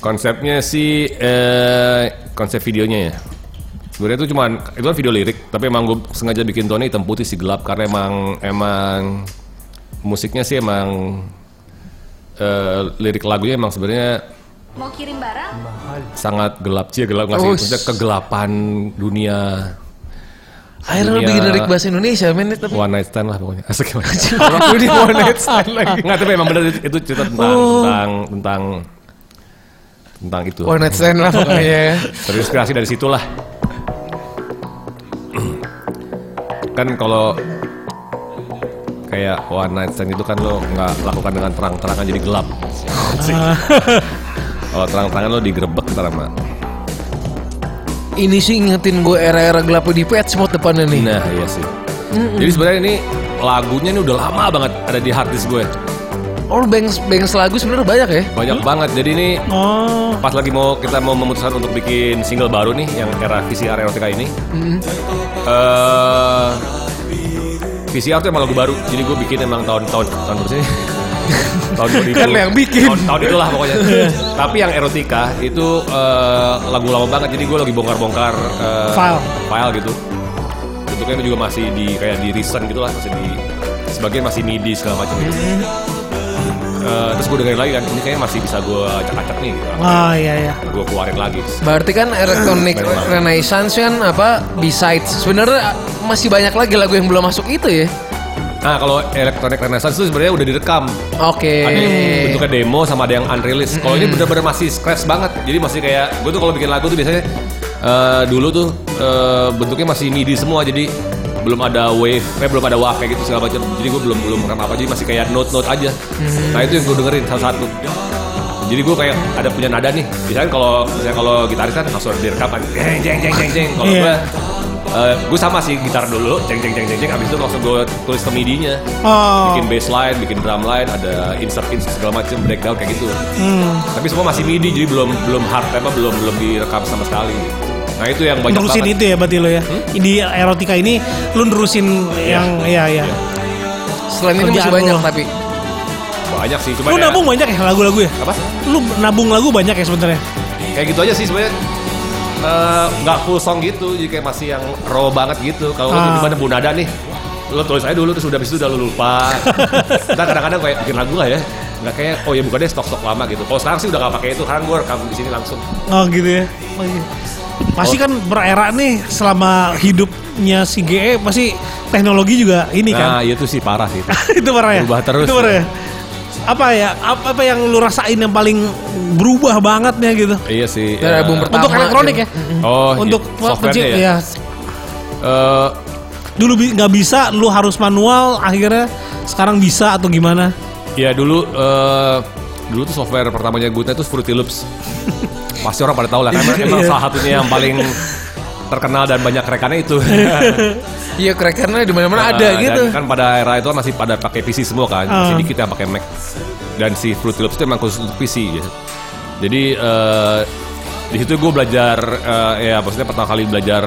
[SPEAKER 3] Konsepnya sih eh, konsep videonya ya. Sebenarnya itu cuman itu kan video lirik, tapi emang gue sengaja bikin tone hitam putih sih gelap karena emang emang musiknya sih emang eh, lirik lagunya emang sebenarnya
[SPEAKER 4] Mau kirim barang?
[SPEAKER 3] sangat gelap sih gelap nggak sih?
[SPEAKER 1] Oh,
[SPEAKER 3] Maksudnya kegelapan dunia
[SPEAKER 1] Akhirnya lo
[SPEAKER 3] Iya.
[SPEAKER 1] bikin lirik bahasa Indonesia men tapi
[SPEAKER 3] one night stand lah pokoknya. Asik banget.
[SPEAKER 1] Orang di one night stand lagi.
[SPEAKER 3] Nggak tapi emang bener itu cerita tentang tentang tentang tentang itu.
[SPEAKER 1] Oh. One night stand lah pokoknya.
[SPEAKER 3] Terinspirasi dari situlah. kan kalau kayak one night stand itu kan lo nggak lakukan dengan terang-terangan jadi gelap. kalau terang-terangan lo digerebek ntar sama.
[SPEAKER 1] Ini sih ingetin gue era-era gelap di pet spot depannya nih.
[SPEAKER 3] Nah iya sih. Jadi sebenarnya ini lagunya ini udah lama banget ada di hard disk gue.
[SPEAKER 1] Oh bangs bangs lagu sebenarnya banyak ya.
[SPEAKER 3] Banyak banget. Jadi ini
[SPEAKER 2] oh,
[SPEAKER 3] pas lagi mau kita mau memutuskan untuk bikin single baru nih yang era VCR erotika ini. Eh, VCR tuh emang lagu baru. Jadi gue bikin emang tahun-tahun tahun berapa sih? tahun 2000.
[SPEAKER 1] Kan yang bikin.
[SPEAKER 3] Tahun, tahun itulah pokoknya. Tapi yang erotika itu eh, lagu lama banget. Jadi gue lagi bongkar-bongkar eh,
[SPEAKER 2] File.
[SPEAKER 3] file gitu. Bentuknya juga masih di kayak di recent gitu lah, masih di sebagian masih MIDI segala macam gitu.
[SPEAKER 1] Hmm.
[SPEAKER 3] Eh, terus gue dengerin lagi kan ini kayaknya masih bisa gue acak-acak nih gitu
[SPEAKER 2] oh iya iya.
[SPEAKER 3] gue keluarin lagi
[SPEAKER 1] Berarti kan electronic
[SPEAKER 3] Memang.
[SPEAKER 1] renaissance kan apa besides sebenarnya ah, masih banyak lagi lagu yang belum masuk itu ya.
[SPEAKER 3] nah kalau electronic renaissance itu sebenarnya udah direkam
[SPEAKER 1] Oke.
[SPEAKER 3] ada yang Kan bentuknya demo sama ada yang unreleased kalau ini bener-bener masih scratch banget jadi masih kayak gue tuh kalau bikin lagu tuh biasanya eh, dulu tuh eh, bentuknya masih midi semua jadi belum ada wave eh, belum ada wave kayak gitu segala macam jadi gue belum belum rekam apa jadi masih kayak note note aja nah itu yang gue dengerin satu-satu jadi gue kayak ada punya nada nih misalnya kalau misalnya kalau gitaris kan langsung ada direkam kan jeng jeng jeng jeng jeng kalau
[SPEAKER 2] Iya.
[SPEAKER 3] gue gue sama sih gitar dulu jeng jeng jeng jeng jeng abis itu langsung gue tulis ke midinya
[SPEAKER 2] Oh,
[SPEAKER 3] bikin bass line, bikin drum line, ada insert insert segala macam breakdown kayak gitu.
[SPEAKER 2] hmm.
[SPEAKER 3] Tapi semua masih midi jadi belum belum hard apa belum belum direkam sama sekali. Nah itu yang banyak
[SPEAKER 2] nerusin
[SPEAKER 3] banget. Hmm?
[SPEAKER 2] itu ya berarti lo ya. Di erotika ini lu nerusin yang iya iya.
[SPEAKER 1] Selain itu masih
[SPEAKER 2] Kerjaan
[SPEAKER 1] banyak
[SPEAKER 2] lo.
[SPEAKER 1] tapi
[SPEAKER 3] Banyak sih cuma
[SPEAKER 2] Lu
[SPEAKER 3] ya,
[SPEAKER 2] nabung banyak ya lagu-lagu ya?
[SPEAKER 3] apa?
[SPEAKER 2] Lu nabung lagu banyak ya sebenarnya.
[SPEAKER 3] Kayak gitu aja sih sebenarnya Eh, nggak full song gitu jadi kayak masih yang raw banget gitu kalau
[SPEAKER 2] Ah.
[SPEAKER 3] lu gimana Bu Nada nih lu tulis aja dulu terus udah habis itu udah lu lupa Ntar kadang-kadang kayak bikin lagu lah ya nggak kayak oh ya bukannya stok-stok lama gitu kalau sekarang sih udah nggak pakai itu sekarang gue rekam di sini langsung
[SPEAKER 2] Oh gitu ya. Oh, iya. Pasti kan berera nih selama hidupnya si GE pasti teknologi juga ini kan.
[SPEAKER 3] nah itu sih parah sih itu.
[SPEAKER 2] itu parah ya.
[SPEAKER 3] Berubah terus.
[SPEAKER 2] Itu parah ya. Apa ya? Apa, apa yang lu rasain yang paling berubah bangetnya gitu?
[SPEAKER 3] iya sih
[SPEAKER 1] Dari
[SPEAKER 3] ya.
[SPEAKER 1] album pertama.
[SPEAKER 2] Untuk elektronik ya.
[SPEAKER 3] Oh,
[SPEAKER 2] Untuk
[SPEAKER 3] iya. software
[SPEAKER 2] penci-
[SPEAKER 3] ya.
[SPEAKER 2] ya.
[SPEAKER 3] Eh,
[SPEAKER 2] Dulu bi- nggak bisa, lu harus manual. Akhirnya sekarang bisa atau gimana?
[SPEAKER 3] ya dulu eh dulu tuh software pertamanya Gutnya itu Fruity Loops. Pasti orang pada tahu lah karena emang salah satunya yang paling terkenal dan banyak rekannya itu.
[SPEAKER 1] Iya crackernya di mana-mana ada
[SPEAKER 3] Nah,
[SPEAKER 1] gitu. Oh.
[SPEAKER 3] Dan kan pada era itu masih pada pakai PC semua kan, masih dikit yang pakai Mac. Dan si Fruity Loops itu emang khusus untuk PC gitu. Jadi eh, di situ gue belajar eh, ya maksudnya pertama kali belajar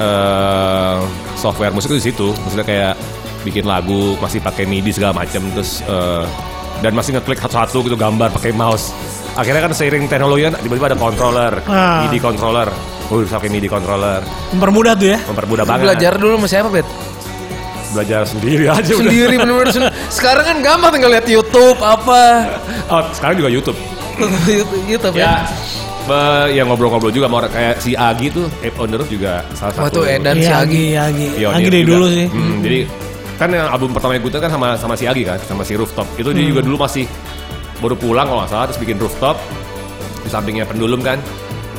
[SPEAKER 3] eh, software musik itu di situ. Maksudnya kayak bikin lagu masih pakai MIDI segala macam terus eh, dan masih ngeklik satu-satu gitu gambar pakai mouse. Akhirnya kan seiring teknologi kan tiba-tiba ada controller,
[SPEAKER 2] Ah.
[SPEAKER 3] MIDI controller. Uh, pakai MIDI controller,
[SPEAKER 2] Mempermudah tuh ya.
[SPEAKER 3] mempermudah banget. Ya
[SPEAKER 1] Belajar dulu sama siapa, Bet?
[SPEAKER 3] Belajar sendiri aja udah.
[SPEAKER 1] Sendiri bener-bener sen- Sekarang kan gampang tinggal lihat YouTube apa.
[SPEAKER 3] Oh, sekarang juga YouTube.
[SPEAKER 1] YouTube- YouTube
[SPEAKER 3] Ya,
[SPEAKER 1] ya.
[SPEAKER 3] be- ya ngobrol-ngobrol juga sama orang kayak si Agi tuh, Ape on the Roof juga salah
[SPEAKER 1] Wah,
[SPEAKER 3] satu.
[SPEAKER 1] tuh Edan si Iya, Agi. Iya,
[SPEAKER 2] Iya, Agi, Agi.
[SPEAKER 3] pionir
[SPEAKER 2] Oh, Agi dari
[SPEAKER 3] juga.
[SPEAKER 2] dulu sih.
[SPEAKER 3] Hmm, Jadi kan yang album pertamanya Guta kan sama sama si Agi kan, sama si Rooftop. Itu dia
[SPEAKER 2] Hmm.
[SPEAKER 3] juga dulu masih baru pulang kalau nggak salah terus bikin Rooftop di sampingnya pendulum kan.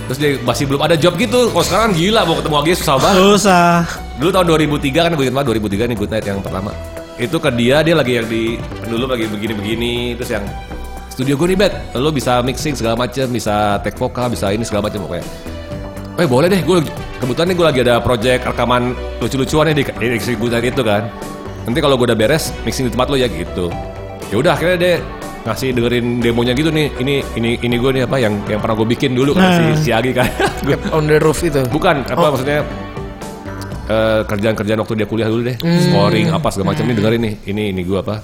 [SPEAKER 3] Terus dia masih belum ada job gitu. Kalau sekarang gila mau ketemu Agi susah banget.
[SPEAKER 2] Susah.
[SPEAKER 3] Dulu tahun 2003 kan gue ingat banget 2003 nih Good Night yang pertama. Itu ke dia dia lagi yang di dulu lagi begini-begini terus yang studio gue nih bet lo bisa mixing segala macem bisa take vokal bisa ini segala macem pokoknya eh boleh deh gue kebetulan nih gue lagi ada project rekaman lucu-lucuan nih di, di eksekutor itu kan nanti kalau gue udah beres mixing di tempat lo ya gitu ya udah akhirnya dia ngasih dengerin demonya gitu nih ini ini ini gue nih apa yang yang pernah gue bikin dulu kan
[SPEAKER 2] Nah.
[SPEAKER 3] si Siagi kan Gua-
[SPEAKER 1] ya. On the roof itu.
[SPEAKER 3] bukan apa maksudnya eh, kerjaan-kerjaan waktu dia kuliah dulu deh scoring apa segala macam ini dengerin nih ini ini gue apa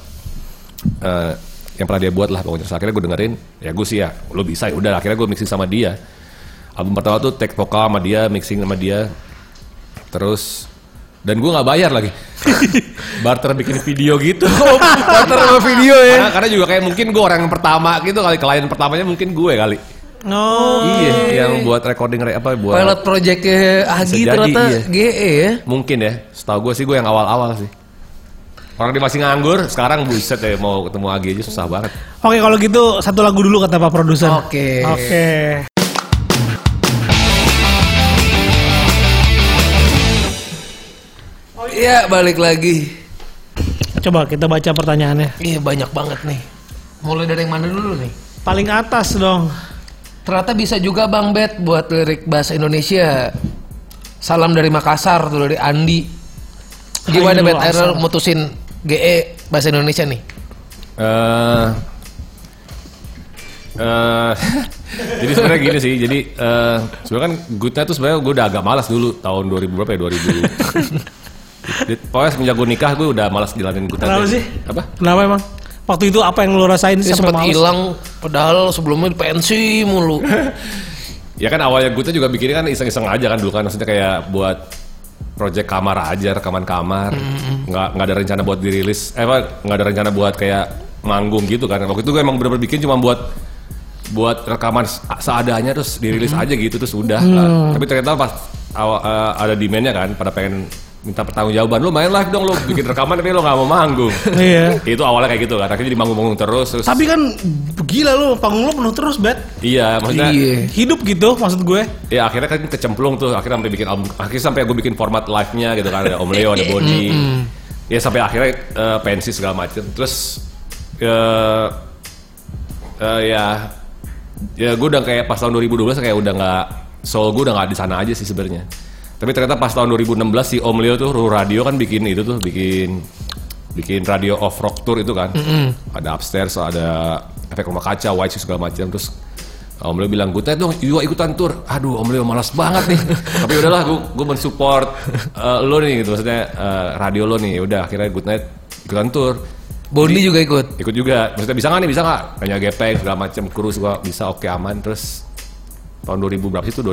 [SPEAKER 3] eh, yang pernah dia buat lah pokoknya Terus akhirnya gue dengerin ya gue sih ya lo bisa ya udah akhirnya gue mixing sama dia album pertama tuh take vokal sama dia mixing sama dia terus dan gue nggak bayar lagi barter bikin video gitu
[SPEAKER 1] Partner sama video ya.
[SPEAKER 3] karena, karena juga kayak mungkin gue orang yang pertama gitu kali klien pertamanya mungkin gue kali
[SPEAKER 2] Oh.
[SPEAKER 3] iya yang buat recording re- apa buat
[SPEAKER 1] Pilot project Agi
[SPEAKER 3] jadi,
[SPEAKER 1] ternyata
[SPEAKER 3] iya.
[SPEAKER 1] GE ya.
[SPEAKER 3] Mungkin ya. Setahu gue sih gue yang awal-awal sih. Orang dia masih nganggur, sekarang buset ya mau ketemu Agi aja susah banget.
[SPEAKER 2] Oke kalau gitu satu lagu dulu kata Pak Produser.
[SPEAKER 1] Oke.
[SPEAKER 2] Oke.
[SPEAKER 1] Iya, balik lagi.
[SPEAKER 2] Coba kita baca pertanyaannya.
[SPEAKER 1] Iya, banyak banget nih. Mulai dari yang mana dulu nih?
[SPEAKER 2] Paling atas dong.
[SPEAKER 1] Ternyata bisa juga Bang Bet buat lirik bahasa Indonesia. Salam dari Makassar tuh dari Andi. Gimana
[SPEAKER 2] Hai,
[SPEAKER 1] Bet
[SPEAKER 2] Makassar.
[SPEAKER 1] Akhirnya mutusin GE bahasa Indonesia nih?
[SPEAKER 3] eh eh, jadi sebenarnya gini sih, jadi eh sebenarnya kan goodnya tuh sebenarnya gue udah agak malas dulu tahun 2000 berapa ya 2000. Di- Pokoknya semenjak gue nikah gue udah malas jalanin goodnya.
[SPEAKER 2] Kenapa sih?
[SPEAKER 3] Apa?
[SPEAKER 2] Kenapa emang? Waktu itu apa yang lo rasain
[SPEAKER 1] Dia
[SPEAKER 2] sampai
[SPEAKER 1] sempat
[SPEAKER 2] males?
[SPEAKER 1] hilang padahal sebelumnya di pensi mulu.
[SPEAKER 3] Ya kan awalnya gue tuh juga bikinnya kan iseng-iseng aja kan dulu kan maksudnya kayak buat project kamar aja rekaman kamar nggak nggak ada rencana buat dirilis eh apa nggak ada rencana buat kayak manggung gitu kan waktu itu gue emang bener-bener bikin cuma buat buat rekaman se- seadanya terus dirilis aja gitu terus udah
[SPEAKER 2] Mm.
[SPEAKER 3] Nah, tapi ternyata pas awa- eh, ada demandnya kan pada pengen minta pertanggungjawaban lu main live dong lu bikin rekaman tapi lu nggak mau manggung
[SPEAKER 2] Iya.
[SPEAKER 3] itu awalnya kayak gitu kan akhirnya jadi manggung-manggung terus terus
[SPEAKER 2] Tapi kan gila lo panggung lo penuh terus bet.
[SPEAKER 3] iya maksudnya
[SPEAKER 1] Iya.
[SPEAKER 2] Hidup gitu maksud gue.
[SPEAKER 3] Ya akhirnya kan kecemplung tuh akhirnya sampai bikin album, akhirnya sampai gue bikin format live-nya gitu kan ada Om Leo ada Boni. Ya sampai akhirnya eh, pensi segala macem Terus eh, eh, ya ya gue udah kayak pas tahun 2012 kayak udah nggak soul gue udah nggak di sana aja sih sebenarnya. Tapi ternyata pas tahun 2016 si Om Leo tuh Ruru Radio kan bikin itu tuh bikin bikin radio off rock tour itu kan. Ada upstairs, ada efek rumah kaca, white shoes segala macam terus Om Leo bilang, gue dong juga ikutan tour. Aduh, Om Leo malas banget nih. Tapi udahlah, gue gue mensupport eh, lo nih, gitu. maksudnya eh, radio lo nih. Udah, akhirnya Good Night ikutan tour
[SPEAKER 1] Bondi juga ikut.
[SPEAKER 3] ikut juga maksudnya bisa nggak nih bisa nggak tanya gepeng segala macam kurus gua bisa oke aman terus tahun 2000 berapa sih itu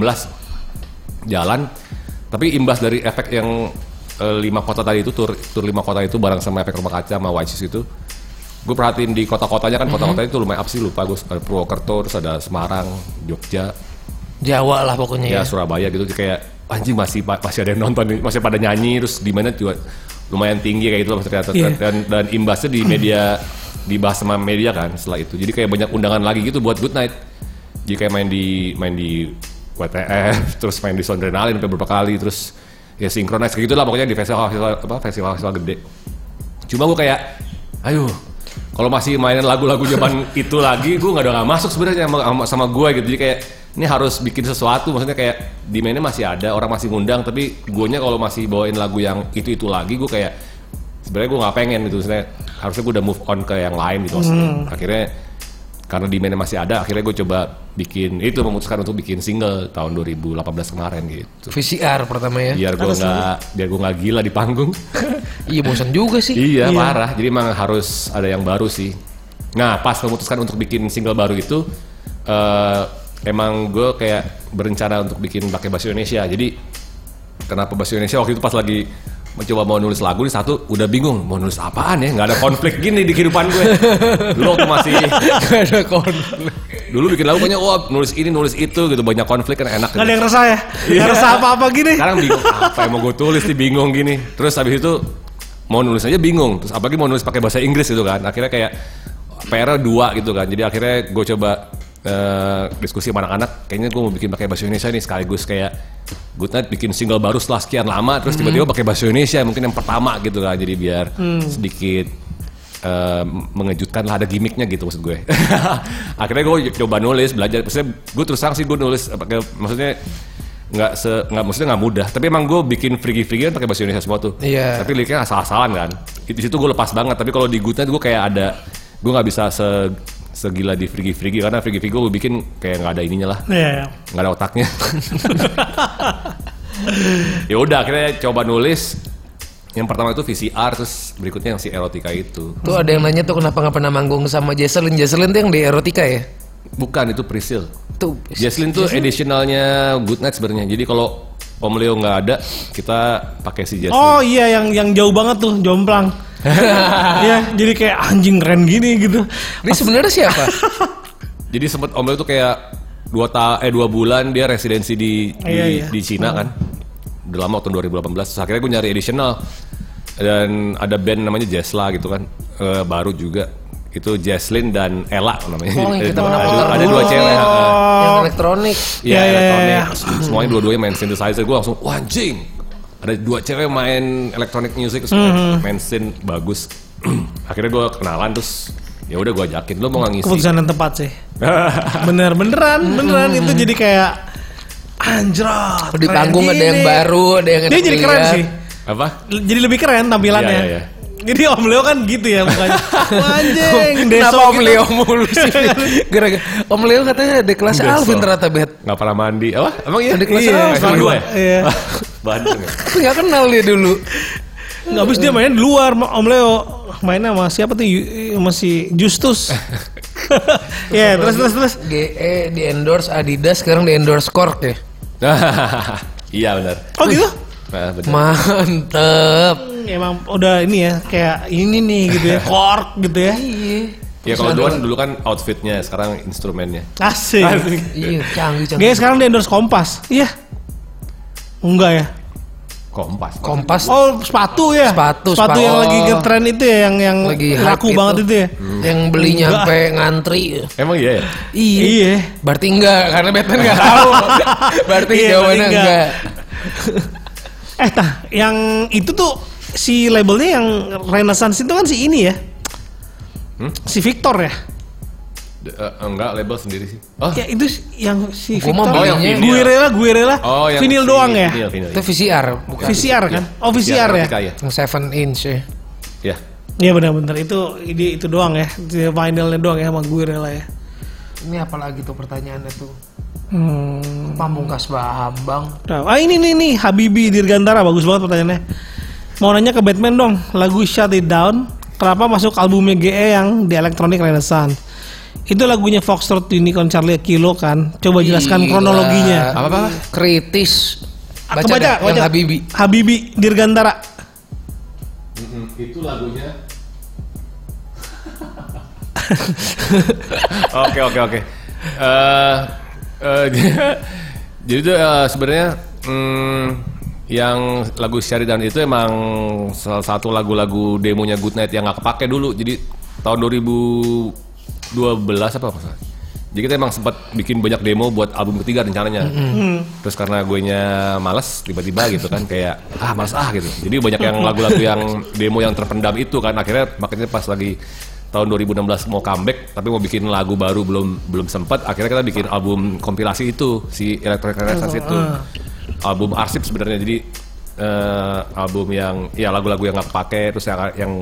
[SPEAKER 3] 2016 jalan tapi imbas dari efek yang eh, lima kota tadi itu tur tur lima kota itu bareng sama efek rumah kaca sama White Shoes itu gue perhatiin di kota-kotanya kan kota-kotanya itu lumayan apa sih lupa gue ada Purwokerto terus ada Semarang Jogja
[SPEAKER 1] Jawa lah pokoknya
[SPEAKER 3] ya
[SPEAKER 1] ya.
[SPEAKER 3] Surabaya gitu kayak anjing masih pa- masih ada yang nonton nih, masih pada nyanyi terus di mana juga lumayan tinggi kayak gitu loh ternyata
[SPEAKER 2] Iya.
[SPEAKER 3] dan dan imbasnya di media dibahas sama media kan setelah itu jadi kayak banyak undangan lagi gitu buat good night jadi kayak main di main di WTF terus main di Sondrenalin sampai beberapa kali terus ya sinkronize kayak gitulah pokoknya di festival festival apa festival festival gede cuma gue kayak ayo kalau masih mainin lagu-lagu zaman itu lagi gue nggak ada nggak masuk sebenarnya sama, sama, sama gue gitu jadi kayak ini harus bikin sesuatu maksudnya kayak di mainnya masih ada orang masih ngundang tapi guanya kalau masih bawain lagu yang itu itu lagi gue kayak sebenarnya gue nggak pengen gitu maksudnya harusnya gue udah move on ke yang lain gitu maksudnya. akhirnya karena di mainnya masih ada akhirnya gue coba bikin itu memutuskan untuk bikin single tahun 2018 kemarin gitu
[SPEAKER 1] VCR pertama ya.
[SPEAKER 3] biar gue nggak biar gue nggak gila di panggung
[SPEAKER 1] Iya bosan juga sih.
[SPEAKER 3] Iya, parah. Jadi emang harus ada yang baru sih. Nah, pas memutuskan untuk bikin single baru itu, eh, emang gue kayak berencana untuk bikin pakai bahasa Indonesia. Jadi kenapa bahasa Indonesia waktu itu pas lagi mencoba mau nulis lagu nih satu udah bingung mau nulis apaan ya nggak ada konflik gini di kehidupan gue dulu waktu masih
[SPEAKER 1] Gak ada konflik.
[SPEAKER 3] dulu bikin lagu banyak wah nulis ini nulis itu gitu banyak konflik kan enak gitu.
[SPEAKER 2] Gak ada yang resah ya?
[SPEAKER 1] Iya.
[SPEAKER 2] Gak resah apa-apa gini?
[SPEAKER 3] Sekarang bingung apa yang mau gue tulis nih bingung gini. Terus habis itu mau nulis aja bingung. Terus apalagi mau nulis pakai bahasa Inggris gitu kan. Akhirnya kayak PR dua gitu kan. Jadi akhirnya gue coba eh, diskusi sama anak-anak. Kayaknya gue mau bikin pakai bahasa Indonesia nih sekaligus kayak Good Night bikin single baru setelah sekian lama. Terus tiba-tiba pakai bahasa Indonesia mungkin yang pertama gitu kan. Jadi biar sedikit eh, mengejutkan lah ada gimmicknya gitu maksud gue akhirnya gue coba nulis belajar maksudnya gue terus terang sih gue nulis eh, pakai maksudnya nggak se nggak maksudnya nggak mudah tapi emang gue bikin frigi frigi kan pakai bahasa Indonesia semua tuh
[SPEAKER 1] Iya.
[SPEAKER 3] tapi liriknya asal-asalan kan di situ gue lepas banget tapi kalau di Goodnight gue kayak ada gue nggak bisa se segila di frigi frigi karena frigi frigi gue bikin kayak nggak ada ininya lah
[SPEAKER 2] Iya.
[SPEAKER 3] nggak ada otaknya ya udah akhirnya coba nulis yang pertama itu VCR terus berikutnya yang si erotika itu
[SPEAKER 1] Tuh ada yang nanya tuh kenapa nggak pernah manggung sama Jesselyn. Jesselyn tuh yang di erotika ya?
[SPEAKER 3] bukan itu Priscil
[SPEAKER 1] Tuh.
[SPEAKER 3] Jaslin tuh additionalnya Good Night sebenarnya jadi kalau Om Leo nggak ada kita pakai si Jaslin
[SPEAKER 2] Oh iya yang yang jauh banget tuh jomplang. Iya, jadi kayak anjing keren gini gitu.
[SPEAKER 1] Ini sebenarnya siapa?
[SPEAKER 3] jadi sempet Om Leo tuh kayak dua ta eh dua bulan dia residensi di di,
[SPEAKER 2] Iya, iya.
[SPEAKER 3] di Cina kan udah lama tahun 2018 Terus akhirnya gue nyari additional dan ada band namanya Jesla gitu kan Eh, baru juga itu Jaslin dan Ella namanya
[SPEAKER 1] Oh, yang kita Oh.
[SPEAKER 3] Eh, ada,
[SPEAKER 1] pernah
[SPEAKER 3] ada-
[SPEAKER 1] putar
[SPEAKER 3] ada dua
[SPEAKER 1] dulu.
[SPEAKER 3] cewek heeh.
[SPEAKER 1] yang elektronik.
[SPEAKER 3] Iya,
[SPEAKER 2] Ya, ya,
[SPEAKER 3] elektronik. Semuanya dua-duanya main synthesizer. Gue langsung, wah anjing. Ada dua cewek main electronic music, terus
[SPEAKER 2] Mhm.
[SPEAKER 3] main synth bagus. Akhirnya gue kenalan terus ya udah gue ajakin lo mau nggak ngisi.
[SPEAKER 2] Keputusan yang tepat sih. Bener beneran beneran
[SPEAKER 1] Hmm.
[SPEAKER 2] itu jadi kayak anjrot.
[SPEAKER 1] Di
[SPEAKER 2] keren
[SPEAKER 1] panggung ada yang
[SPEAKER 2] gini.
[SPEAKER 1] baru, ada yang
[SPEAKER 2] Dia
[SPEAKER 1] enak
[SPEAKER 2] jadi keren
[SPEAKER 1] dilihat.
[SPEAKER 2] sih.
[SPEAKER 3] Apa?
[SPEAKER 2] Jadi lebih keren tampilannya.
[SPEAKER 3] Iya, iya, iya.
[SPEAKER 2] Jadi Om Leo kan gitu ya mukanya. Wah, Anjing,
[SPEAKER 1] Kenapa
[SPEAKER 2] deso
[SPEAKER 1] Om
[SPEAKER 2] gitu.
[SPEAKER 1] Leo mulu sih? Gara-gara Om Leo katanya ada kelas
[SPEAKER 3] Besok.
[SPEAKER 1] Alvin ternyata bet.
[SPEAKER 3] Nggak pernah mandi. Apa? Emang iya?
[SPEAKER 1] Ada kelas
[SPEAKER 3] Iya,
[SPEAKER 1] apa?
[SPEAKER 3] SMA dua ya?
[SPEAKER 2] Iya.
[SPEAKER 3] Bandung ya?
[SPEAKER 1] Tapi nggak kenal dia dulu.
[SPEAKER 2] Nggak habis dia main di luar Om Leo mainnya sama siapa tuh Yu- eh, sama si Justus. Ya, terus terus terus.
[SPEAKER 1] GE E di endorse Adidas, sekarang di endorse Cork ya.
[SPEAKER 3] Iya benar.
[SPEAKER 2] Oh gitu.
[SPEAKER 3] Nah, benar.
[SPEAKER 1] Mantep.
[SPEAKER 2] Emang udah ini ya kayak ini nih gitu ya, kork gitu ya.
[SPEAKER 1] Iya.
[SPEAKER 3] Ya kalau duluan dulu kan outfitnya, sekarang instrumennya.
[SPEAKER 2] Asik.
[SPEAKER 1] Iya, canggih canggih.
[SPEAKER 2] Guys, sekarang di endorse Kompas. Iya. Enggak ya.
[SPEAKER 3] Kompas.
[SPEAKER 1] Kompas
[SPEAKER 2] Oh, sepatu ya.
[SPEAKER 1] Sepatu,
[SPEAKER 2] sepatu
[SPEAKER 1] sepatu.
[SPEAKER 2] yang lagi ngetren itu ya, yang yang
[SPEAKER 1] Lagi
[SPEAKER 2] laku
[SPEAKER 1] hype
[SPEAKER 2] banget
[SPEAKER 1] itu.
[SPEAKER 2] itu, ya.
[SPEAKER 1] yang beli nyampe ngantri.
[SPEAKER 3] Emang iya ya?
[SPEAKER 1] Iya.
[SPEAKER 2] Iya.
[SPEAKER 1] Berarti enggak karena Batman enggak tahu. Berarti
[SPEAKER 2] Iya,
[SPEAKER 1] jawabannya
[SPEAKER 2] berarti
[SPEAKER 1] enggak.
[SPEAKER 2] enggak. Eh, tah, yang itu tuh si labelnya yang Renaissance itu kan si ini ya.
[SPEAKER 1] Hmm?
[SPEAKER 2] Si Victor ya.
[SPEAKER 3] D- eh, enggak, label sendiri sih. Oh,
[SPEAKER 2] Ya itu si- yang si
[SPEAKER 1] Gua mah belinya-
[SPEAKER 2] Victor.
[SPEAKER 3] Oh, yang
[SPEAKER 2] gue rela, gue rela.
[SPEAKER 3] oh yang
[SPEAKER 2] vinil
[SPEAKER 3] si-
[SPEAKER 2] doang ya.
[SPEAKER 3] Vinil, vinil.
[SPEAKER 1] Itu VCR bukan
[SPEAKER 2] VCR kan? Oh,
[SPEAKER 1] Iya,
[SPEAKER 2] VCR ya.
[SPEAKER 3] Erotika, iya. ya?
[SPEAKER 1] yang 7 inch ya.
[SPEAKER 3] Ya.
[SPEAKER 2] Iya benar-benar itu ide itu doang ya. Di Finalnya doang ya sama gue rela ya.
[SPEAKER 1] Ini apalagi tuh pertanyaannya tuh.
[SPEAKER 2] Hmm.
[SPEAKER 1] Pamungkas Bambang.
[SPEAKER 2] Nah, ah ini nih nih Habibi Dirgantara bagus banget pertanyaannya. Mau nanya ke Batman dong, lagu Shut It Down kenapa masuk albumnya GE yang di Electronic Renaissance? Itu lagunya Foxtrot Unicorn Charlie Kilo kan. Coba jelaskan
[SPEAKER 1] Gila.
[SPEAKER 2] kronologinya.
[SPEAKER 3] Apa-apa?
[SPEAKER 1] Kritis.
[SPEAKER 2] Ah,
[SPEAKER 1] Baca,
[SPEAKER 2] kebaca,
[SPEAKER 1] dah, yang
[SPEAKER 2] kebaca.
[SPEAKER 1] Habibi.
[SPEAKER 2] Habibi Dirgantara.
[SPEAKER 3] Itu lagunya. Oke oke oke. Eh, eh, Jadi itu eh, sebenarnya mm, yang lagu Shut It Down itu emang salah satu lagu-lagu demonya Good Night yang nggak kepake dulu. Jadi tahun 2012 apa maksudnya? Jadi kita emang sempat bikin banyak demo buat album ketiga rencananya. Terus karena gue nya males tiba-tiba gitu kan kayak ah males ah gitu. Jadi banyak yang lagu-lagu yang demo yang terpendam itu kan akhirnya makanya pas lagi tahun 2016 mau comeback tapi mau bikin lagu baru belum belum sempat akhirnya kita bikin album kompilasi itu si Electronic Renaissance itu. Album arsip sebenarnya jadi eh, album yang ya lagu-lagu yang nggak kepake terus yang yang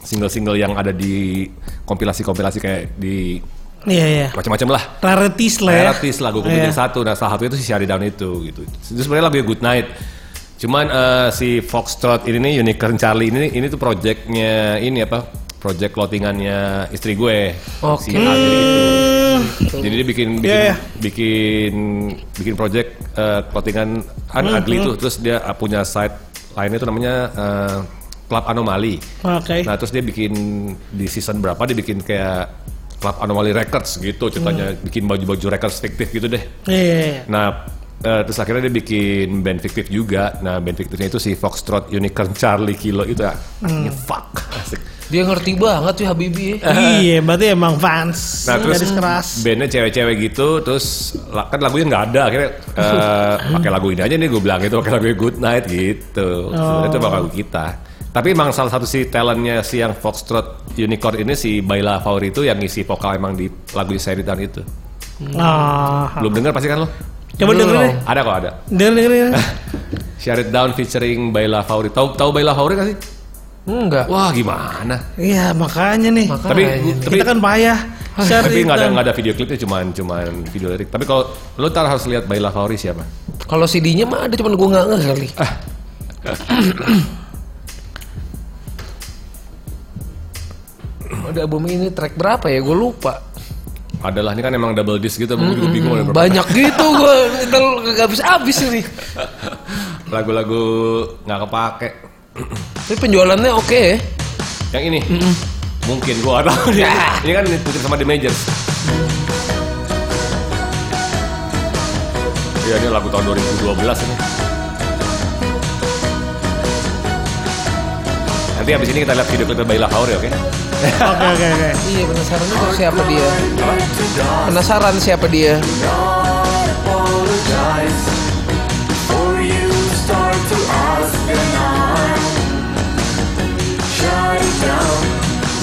[SPEAKER 3] single-single yang ada di kompilasi-kompilasi kayak di
[SPEAKER 2] Iya iya.
[SPEAKER 3] macam-macam lah
[SPEAKER 2] Rarities lah ya.
[SPEAKER 3] Relatis lagu komedi
[SPEAKER 2] Iya.
[SPEAKER 3] satu Nah salah satunya itu si Shut It Down itu gitu Itu sebenarnya lagunya Good Night Cuman eh, si Foxtrot ini nih Unicorn Charlie ini ini tuh projectnya ini apa project clothingannya istri gue
[SPEAKER 1] Oke.
[SPEAKER 3] si Adri itu
[SPEAKER 2] Hmm,
[SPEAKER 3] jadi dia bikin bikin
[SPEAKER 2] Iya, iya.
[SPEAKER 3] bikin bikin project eh, clothingan an Adli
[SPEAKER 2] Mm-hmm.
[SPEAKER 3] tuh terus dia eh, punya site lainnya tuh namanya eh, Club Anomali
[SPEAKER 2] Oke.
[SPEAKER 3] Nah terus dia bikin di season berapa dia bikin kayak Club Anomaly Records gitu ceritanya bikin baju-baju records fiktif gitu deh.
[SPEAKER 2] Iya iya. iya.
[SPEAKER 3] Nah eh, terus akhirnya dia bikin band fiktif juga. Nah band fiktifnya itu si Foxtrot Unicorn Charlie Kilo itu ya. Artinya fuck asik.
[SPEAKER 1] Dia ngerti banget sih Habibi. ya.
[SPEAKER 2] Iya, berarti emang fans
[SPEAKER 3] Nah terus
[SPEAKER 2] garis keras.
[SPEAKER 3] bandnya cewek-cewek gitu terus la- kan lagunya nggak ada akhirnya eh, pakai lagu ini aja nih gue bilang itu pakai lagu Good Night gitu. Sebenarnya itu bakal lagu kita. Tapi emang salah satu si talentnya si yang Foxtrot Unicorn ini si Baila Fauri itu yang ngisi vokal emang di lagu Shut It Down itu.
[SPEAKER 2] Nah,
[SPEAKER 3] Belum dengar pasti kan lo?
[SPEAKER 2] Coba
[SPEAKER 1] Belum.
[SPEAKER 2] dengerin deh.
[SPEAKER 3] Ada kok ada.
[SPEAKER 2] Dengerin, dengerin. dengerin.
[SPEAKER 3] Share It Down featuring Baila Fauri. Tahu tahu Baila Fauri gak sih?
[SPEAKER 1] Enggak.
[SPEAKER 3] Wah gimana?
[SPEAKER 2] Iya, makanya nih.
[SPEAKER 1] Makanya.
[SPEAKER 3] Tapi
[SPEAKER 1] Kayaknya
[SPEAKER 3] tapi
[SPEAKER 2] kita kan payah. Share
[SPEAKER 3] tapi nggak ada
[SPEAKER 2] it
[SPEAKER 3] nggak ada video klipnya cuman cuman video lirik. Tapi kalau lu ntar harus lihat Baila Fauri siapa?
[SPEAKER 1] Kalau CD-nya mah ada cuman gue nggak ngeh kali.
[SPEAKER 3] Ah.
[SPEAKER 1] Ada album ini track berapa ya? Gue lupa.
[SPEAKER 3] Adalah ini kan emang double disc gitu, gue juga bingung ada berapa.
[SPEAKER 1] Banyak gitu gue nggak habis habis ini.
[SPEAKER 3] lagu-lagu nggak kepake.
[SPEAKER 1] Tapi penjualannya oke ya.
[SPEAKER 3] Yang ini mungkin gua nggak tahu nih. Ini kan mungkin sama The Majors. Iya ini lagu tahun 2012 ini. Nanti habis ini kita lihat video klip Baila Fauri oke?
[SPEAKER 2] down. Oke, oke, oke.
[SPEAKER 1] Iya penasaran tuh siapa dia. Penasaran siapa dia.
[SPEAKER 4] apologize for you start to ask and I shut it down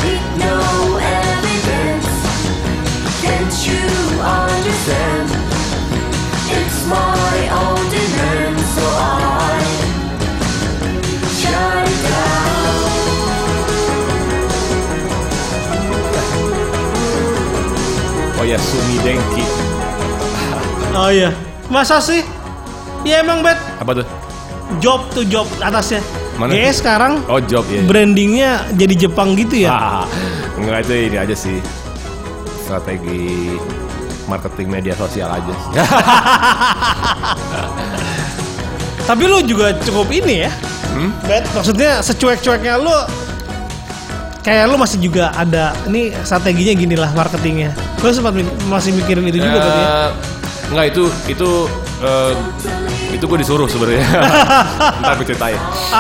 [SPEAKER 4] with no evidence. Can't you understand? It's my own demand, so I shut it down.
[SPEAKER 3] Oh ya Sumi Denki.
[SPEAKER 2] Oh iya. Masa sih? Ya emang bet
[SPEAKER 3] Apa tuh?
[SPEAKER 2] job to job atasnya.
[SPEAKER 3] Mana?
[SPEAKER 2] Mana? sekarang
[SPEAKER 3] Oh job ya.
[SPEAKER 2] brandingnya jadi Jepang gitu ya.
[SPEAKER 3] Ah, enggak itu ini aja sih strategi marketing media sosial aja. sih.
[SPEAKER 2] Tapi lu juga cukup ini ya.
[SPEAKER 3] Hmm?
[SPEAKER 2] Bet, maksudnya secuek-cueknya lu kayak lu masih juga ada ini strateginya gini lah marketingnya. Lu sempat mi- masih mikirin itu juga berarti ya.
[SPEAKER 3] Eh, Enggak itu itu eh, itu gue disuruh sebenarnya. Ntar gue ceritain.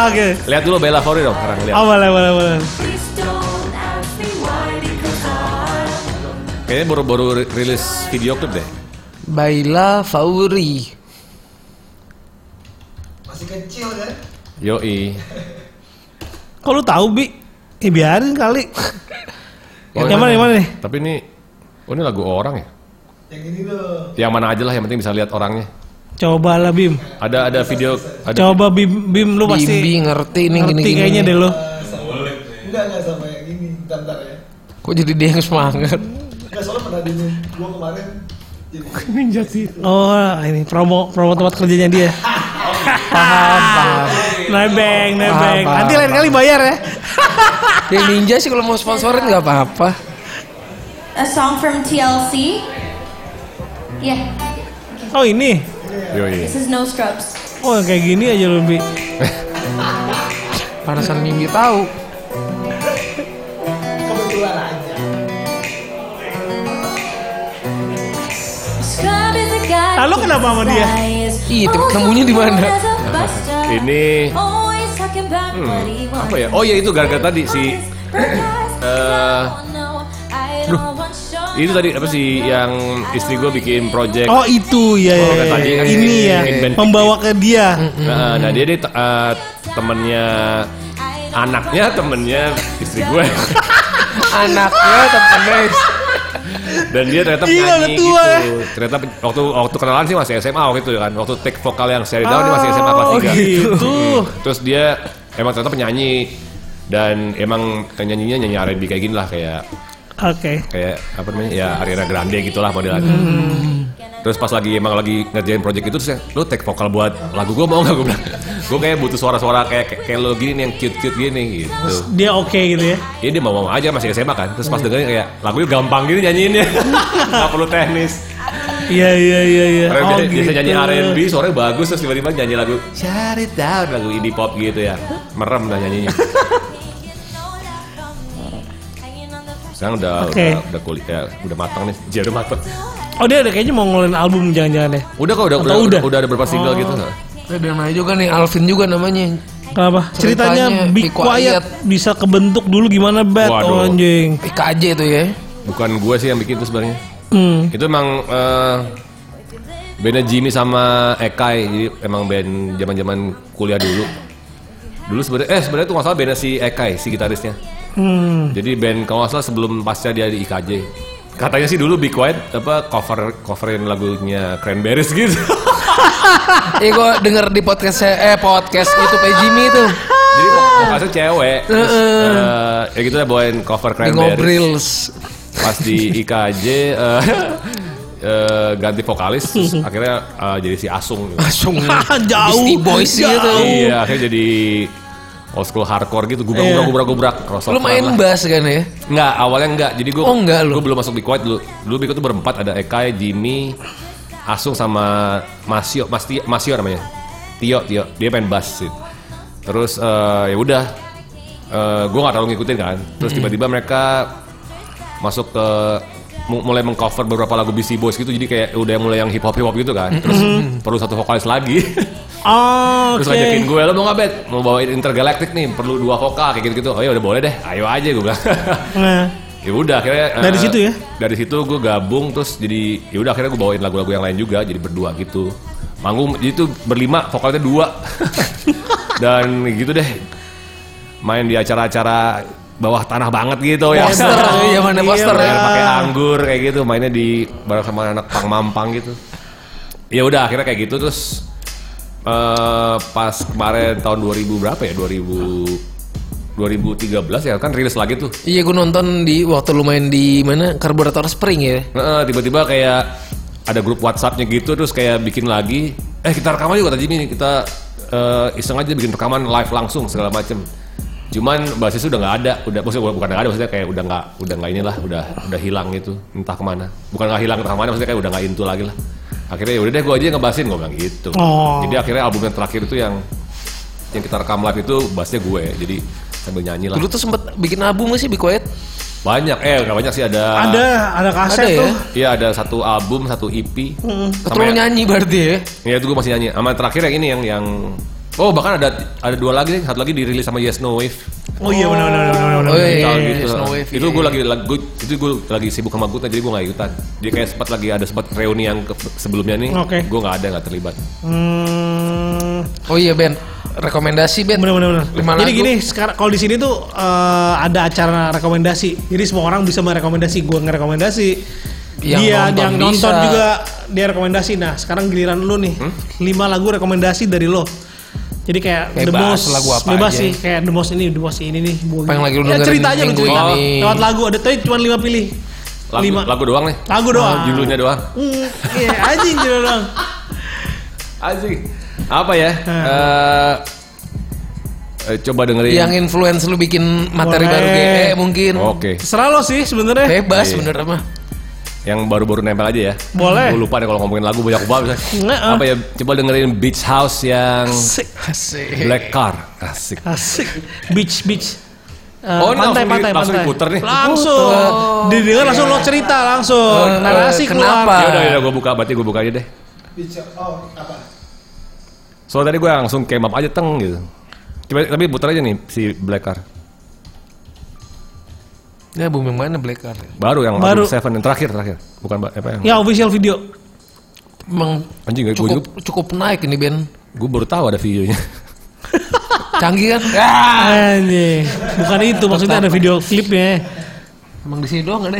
[SPEAKER 2] Oke.
[SPEAKER 3] Lihat dulu Bella Fori dong sekarang lihat.
[SPEAKER 2] Oh, boleh, boleh, boleh.
[SPEAKER 4] Please don't ask me why because I
[SPEAKER 3] Kayaknya baru-baru ri- rilis video klip deh.
[SPEAKER 1] Baila Fauri.
[SPEAKER 3] Yoi.
[SPEAKER 2] Kok lu tahu, Bi? Ya biarin kali.
[SPEAKER 3] Oh,
[SPEAKER 2] yang mana, yang mana nih?
[SPEAKER 3] Tapi ini oh ini lagu orang ya? Yang ini dong. Yang mana aja lah yang penting bisa lihat orangnya.
[SPEAKER 2] Coba lah, Bim.
[SPEAKER 3] Ada ada video ada
[SPEAKER 2] Coba Bim, Bim lu pasti
[SPEAKER 1] Bimbi ngerti ini
[SPEAKER 2] ngerti
[SPEAKER 1] gini-gini.
[SPEAKER 2] kayaknya deh lu.
[SPEAKER 5] Enggak, enggak sama yang ini. Bentar, bentar ya.
[SPEAKER 1] Kok jadi dia yang semangat?
[SPEAKER 5] Enggak, soalnya pernah di gua kemarin. Jadi,
[SPEAKER 2] Oh, ini promo promo tempat kerjanya dia. paham, paham. Nebeng, nebeng.
[SPEAKER 1] Paham,
[SPEAKER 2] Nanti
[SPEAKER 1] paham,
[SPEAKER 2] lain kali bayar ya.
[SPEAKER 1] Dia ninja sih kalau mau sponsorin nggak apa-apa.
[SPEAKER 6] a song from TLC. Yeah,
[SPEAKER 2] Oh, ini.
[SPEAKER 3] Yoi.
[SPEAKER 6] this is No Scrubs.
[SPEAKER 2] Oh, kayak gini aja lu, Bi.
[SPEAKER 1] Panasan mimpi tahu.
[SPEAKER 6] Scrub is a guy.
[SPEAKER 2] Ah, lo kenapa sama dia?
[SPEAKER 1] Ih,
[SPEAKER 2] Oh,
[SPEAKER 1] tempat kamunya Iya, di mana?
[SPEAKER 3] Ini apa ya? Oh, ya, itu gara-gara tadi si- eh, Itu tadi apa sih yang istri gue bikin project
[SPEAKER 2] Oh, itu ya. ya,
[SPEAKER 3] kan
[SPEAKER 2] ya,
[SPEAKER 3] tadi
[SPEAKER 2] ya.
[SPEAKER 3] kan
[SPEAKER 2] Ini
[SPEAKER 3] si
[SPEAKER 2] ya.
[SPEAKER 3] Inven
[SPEAKER 2] Membawa ke dia.
[SPEAKER 3] Nah, nah, dia deh te- eh, temennya anaknya temennya istri gue
[SPEAKER 1] Anaknya temennya
[SPEAKER 3] dan dia ternyata
[SPEAKER 2] Iya,
[SPEAKER 3] penyanyi
[SPEAKER 2] udah tua
[SPEAKER 3] gitu. Ternyata pe- waktu waktu kenalan sih masih SMA waktu itu kan. Waktu take vokal yang seri down dia masih SMA kelas
[SPEAKER 2] Oh,
[SPEAKER 3] 3.
[SPEAKER 2] gitu.
[SPEAKER 3] Terus dia emang ternyata penyanyi dan emang nyanyinya nyanyi R&B kayak gini lah kayak
[SPEAKER 2] Oke.
[SPEAKER 3] kayak apa namanya ya Ariana Grande gitulah modelannya. Terus pas lagi emang lagi ngerjain project itu terus ya, lu take vokal buat lagu gue mau nggak gue bilang gue kayak butuh suara-suara kayak kayak, kayak lo gini nih, yang cute-cute gini gitu.
[SPEAKER 2] Dia oke gitu ya.
[SPEAKER 3] Iya dia mau-mau aja masih SMA kan Terus pas dengerin kayak lagunya gampang gini nyanyiinnya Gak perlu teknis
[SPEAKER 2] Iya, iya, iya, iya.
[SPEAKER 3] Karena
[SPEAKER 2] Oh,
[SPEAKER 3] biasa, biasa nyanyi
[SPEAKER 2] gitu.
[SPEAKER 3] R&B suaranya bagus Terus tiba-tiba nyanyi lagu Shut it down Lagu indie pop gitu ya Merem dah nyanyinya Sekarang
[SPEAKER 2] Oke.
[SPEAKER 3] udah, udah, udah kuliah Udah matang nih Dia udah matang
[SPEAKER 2] Oh, dia ada kayaknya mau ngeluarin album jangan-jangan ya.
[SPEAKER 3] Udah kok udah,
[SPEAKER 2] Atau
[SPEAKER 3] udah,
[SPEAKER 2] udah? Oh.
[SPEAKER 3] udah, udah ada berapa single gitu
[SPEAKER 1] Ada yang lain juga nih Alvin juga namanya.
[SPEAKER 2] Kenapa?
[SPEAKER 1] Ceritanya
[SPEAKER 2] Ceritanya,
[SPEAKER 1] Be
[SPEAKER 2] Be Quiet, bisa kebentuk dulu gimana bet
[SPEAKER 3] Waduh.
[SPEAKER 2] anjing.
[SPEAKER 1] PKJ itu ya.
[SPEAKER 3] Bukan gue sih yang bikin itu sebenarnya
[SPEAKER 2] Hmm.
[SPEAKER 3] Itu emang eh, bandnya Jimmy sama Ekai, jadi emang band zaman-zaman kuliah dulu. Dulu sebenarnya eh sebenarnya tuh nggak salah bandnya si Ekai si gitarisnya.
[SPEAKER 2] Hmm.
[SPEAKER 3] Jadi band kalau nggak salah sebelum pasca dia di IKJ. Katanya sih dulu Be Quiet apa cover coverin lagunya Cranberries gitu.
[SPEAKER 1] Iya gue denger di podcast eh podcast itu Pak Jimmy itu
[SPEAKER 3] Jadi vokalisnya cewek. Terus, eh, ya gitu lah bawain cover
[SPEAKER 1] di
[SPEAKER 3] Cranberries.
[SPEAKER 1] ngobrol.
[SPEAKER 3] Pas di IKJ eh, eh, ganti vokalis terus akhirnya eh, jadi si Asung gitu.
[SPEAKER 1] Langsung
[SPEAKER 2] Jauh.
[SPEAKER 1] Hmm. Beastie Boys
[SPEAKER 2] jauh.
[SPEAKER 1] gitu.
[SPEAKER 3] Iya, akhirnya jadi old school hardcore gitu, gubrak-gubrak gubrak-gubrak
[SPEAKER 1] Iya.
[SPEAKER 3] crossover
[SPEAKER 1] Lu main
[SPEAKER 3] lah.
[SPEAKER 1] bass kan ya?
[SPEAKER 3] Enggak, awalnya enggak. Jadi gue
[SPEAKER 1] Oh, enggak lu.
[SPEAKER 3] Gue belum masuk Big White dulu. Dulu Big White tuh berempat ada Eka, Jimmy, Asung sama Masio, Mas Tio, Masio namanya. Tio, Tio. Dia main bass sih. Terus eh, ya udah Eh, gue gak terlalu ngikutin kan. Terus tiba-tiba mereka masuk ke mu- mulai mengcover beberapa lagu BC Boys gitu jadi kayak udah mulai yang hip hop hip hop gitu kan terus perlu satu vokalis lagi
[SPEAKER 2] Oh,
[SPEAKER 3] terus
[SPEAKER 2] oke.
[SPEAKER 3] ngajakin gue lo mau nggak bet mau bawain intergalactic nih perlu dua vokal kayak gitu gitu oh ya udah boleh deh ayo aja gue bilang
[SPEAKER 2] Nah,
[SPEAKER 3] ya udah akhirnya eh,
[SPEAKER 2] Dari situ ya?
[SPEAKER 3] dari situ gue gabung terus jadi ya udah akhirnya gue bawain lagu-lagu yang lain juga jadi berdua gitu manggung jadi itu berlima vokalnya dua dan gitu deh main di acara-acara bawah tanah banget gitu ya
[SPEAKER 1] Poster,
[SPEAKER 2] Nah,
[SPEAKER 1] zamannya
[SPEAKER 2] iya,
[SPEAKER 1] poster ya.
[SPEAKER 3] Main Iya, pakai anggur kayak gitu mainnya di bareng sama anak pang mampang gitu ya udah akhirnya kayak gitu terus eh pas kemarin tahun 2000 berapa ya 2000 2013 ya kan rilis lagi tuh
[SPEAKER 1] Iya gue nonton di waktu lu main di mana Karburator Spring ya.
[SPEAKER 3] Heeh, tiba-tiba kayak ada grup WhatsAppnya gitu terus kayak bikin lagi eh kita rekaman juga tadi ini kita eh, iseng aja bikin rekaman live langsung segala macem cuman basisnya udah nggak ada udah maksudnya bukan nggak ada maksudnya kayak udah nggak udah nggak inilah udah udah hilang gitu entah kemana bukan nggak hilang entah kemana maksudnya kayak udah nggak into lagi lah akhirnya ya udah deh gue aja yang ngebasin gue bilang gitu
[SPEAKER 2] Oh.
[SPEAKER 3] jadi akhirnya album yang terakhir itu yang yang kita rekam live itu bassnya gue jadi sambil nyanyi lah
[SPEAKER 1] Dulu tuh sempet bikin album gak sih Be Quiet?
[SPEAKER 3] banyak eh nggak banyak sih ada
[SPEAKER 2] ada ada kaset
[SPEAKER 1] Ada ya?
[SPEAKER 2] tuh.
[SPEAKER 3] Iya ada satu album, satu E EP.
[SPEAKER 2] Hmm.
[SPEAKER 1] Atau lu nyanyi berarti ya?
[SPEAKER 3] Ya itu gue masih nyanyi. Sama yang terakhir yang ini yang yang Oh bahkan ada ada dua lagi nih, satu lagi dirilis sama Yes No Wave.
[SPEAKER 2] Oh iya benar benar benar benar,
[SPEAKER 1] Oh
[SPEAKER 2] benar.
[SPEAKER 1] iya,
[SPEAKER 3] Tahun
[SPEAKER 1] iya,
[SPEAKER 3] gitu.
[SPEAKER 1] Snow Wave,
[SPEAKER 3] itu
[SPEAKER 1] iya,
[SPEAKER 3] gue
[SPEAKER 1] iya.
[SPEAKER 3] lagi lagi- gua- itu gue lagi sibuk sama Guta jadi gue gak ikutan. Jadi kayak sempat lagi ada sempat reuni yang ke- sebelumnya nih,
[SPEAKER 2] Oke.
[SPEAKER 3] gue gak ada gak terlibat.
[SPEAKER 2] Hmm,
[SPEAKER 1] Oh iya Ben, rekomendasi Ben.
[SPEAKER 2] benar benar benar.
[SPEAKER 1] Lima
[SPEAKER 2] Jadi
[SPEAKER 1] lagu.
[SPEAKER 2] gini, sekarang kalau di sini tuh eh, ada acara rekomendasi. Jadi semua orang bisa merekomendasi, gua ngerekomendasi.
[SPEAKER 1] Yang
[SPEAKER 2] dia
[SPEAKER 1] nonton
[SPEAKER 2] yang nonton
[SPEAKER 1] bisa.
[SPEAKER 2] juga dia rekomendasi. Nah, sekarang giliran lu nih.
[SPEAKER 1] Hmm?
[SPEAKER 2] Lima lagu rekomendasi dari lo. Jadi kayak the
[SPEAKER 1] Bebas,
[SPEAKER 2] most
[SPEAKER 1] lagu apa
[SPEAKER 2] bebas
[SPEAKER 1] aja.
[SPEAKER 2] sih kayak the most ini, the most ini nih.
[SPEAKER 1] Apa yang lagi lu
[SPEAKER 2] ya,
[SPEAKER 1] dengerin Oh.
[SPEAKER 2] cerita aja lu
[SPEAKER 1] minggu
[SPEAKER 2] cerita.
[SPEAKER 1] ini?
[SPEAKER 2] Lewat lagu ada tadi cuma lima pilih.
[SPEAKER 3] Lagu,
[SPEAKER 2] lima
[SPEAKER 3] lagu doang nih.
[SPEAKER 2] Lagu doang.
[SPEAKER 3] Oh, judulnya doang.
[SPEAKER 2] Hmm, Iya, anjing judul doang.
[SPEAKER 3] Asik. Apa ya?
[SPEAKER 2] Ah.
[SPEAKER 3] Eh, eh, coba dengerin.
[SPEAKER 1] Yang influence lu bikin materi
[SPEAKER 2] Boleh.
[SPEAKER 1] baru GE mungkin.
[SPEAKER 3] Oke.
[SPEAKER 2] Terserah lo sih sebenarnya.
[SPEAKER 1] Bebas
[SPEAKER 3] Iya.
[SPEAKER 1] bener mah.
[SPEAKER 3] Yang baru-baru nempel aja ya.
[SPEAKER 2] Boleh.
[SPEAKER 3] Gue lupa deh kalau ngomongin lagu banyak banget.
[SPEAKER 2] Nggak, ah.
[SPEAKER 3] Apa ya? Coba dengerin Beach House yang
[SPEAKER 2] Asik.
[SPEAKER 1] Asik.
[SPEAKER 3] Black Car. Asik.
[SPEAKER 2] Asik. Beach, beach. Eh,
[SPEAKER 3] Oh, ini langsung di- langsung diputer nih.
[SPEAKER 2] Langsung. Didengar langsung lo cerita langsung.
[SPEAKER 1] Eh,
[SPEAKER 2] Narasi
[SPEAKER 1] kenapa?
[SPEAKER 2] keluar.
[SPEAKER 3] Ya udah, gue buka. Berarti gue buka aja deh.
[SPEAKER 5] Bicara, oh apa?
[SPEAKER 3] Soalnya tadi gue langsung came up aja teng gitu. Coba, tapi putar aja nih si Black Car.
[SPEAKER 1] Ini album yang mana Black Card?
[SPEAKER 3] Baru yang
[SPEAKER 2] Baru.
[SPEAKER 3] album Seven yang terakhir terakhir. Bukan ba- apa yang.
[SPEAKER 2] Ya official video.
[SPEAKER 1] Emang
[SPEAKER 3] Anjing gue
[SPEAKER 1] cukup
[SPEAKER 3] gue
[SPEAKER 1] cukup naik ini Ben.
[SPEAKER 3] gue baru tahu ada videonya.
[SPEAKER 1] Canggih kan?
[SPEAKER 2] Ya.
[SPEAKER 3] Ah.
[SPEAKER 2] Anjing. Eh, Bukan itu maksudnya ada video klipnya.
[SPEAKER 1] Emang di sini doang ada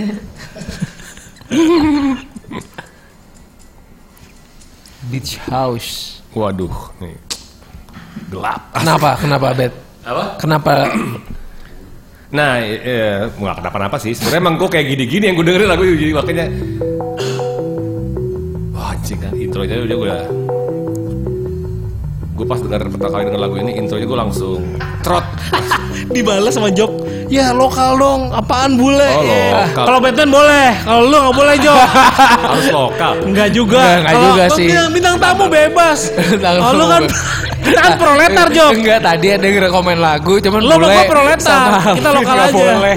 [SPEAKER 1] Beach House.
[SPEAKER 3] Waduh. Nih. Gelap.
[SPEAKER 1] Kenapa? Kenapa Bet?
[SPEAKER 3] Apa?
[SPEAKER 1] Kenapa?
[SPEAKER 3] Nah, i- iya, nggak kenapa-napa sih. Sebenarnya emang gue kayak gini-gini yang gue dengerin lagu itu, jadi makanya. Wah, anjing kan intronya udah udah. Gue pas denger pertama kali denger lagu ini, intronya gue langsung trot.
[SPEAKER 2] Dibalas sama Jok. Ya lokal dong. Apaan bule?
[SPEAKER 3] Oh,
[SPEAKER 2] Ya.
[SPEAKER 3] lokal.
[SPEAKER 2] Kalau Batman boleh. Kalau lu nggak boleh Jok.
[SPEAKER 3] Harus lokal.
[SPEAKER 2] Enggak juga.
[SPEAKER 1] Enggak, enggak
[SPEAKER 2] Kalau
[SPEAKER 1] juga
[SPEAKER 2] lu
[SPEAKER 1] sih.
[SPEAKER 2] Bintang, bintang tamu bebas.
[SPEAKER 1] Bintang
[SPEAKER 2] Kalau lu
[SPEAKER 1] tamu
[SPEAKER 2] kan
[SPEAKER 1] bebas.
[SPEAKER 2] kan proletar, Jok.
[SPEAKER 1] Nah, Enggak, tadi ada yang rekomen lagu, cuman
[SPEAKER 2] Lo
[SPEAKER 1] boleh.
[SPEAKER 2] bapak proletar,
[SPEAKER 1] sama
[SPEAKER 2] kita
[SPEAKER 1] Alvin
[SPEAKER 2] lokal
[SPEAKER 1] nggak
[SPEAKER 2] aja.
[SPEAKER 1] Boleh.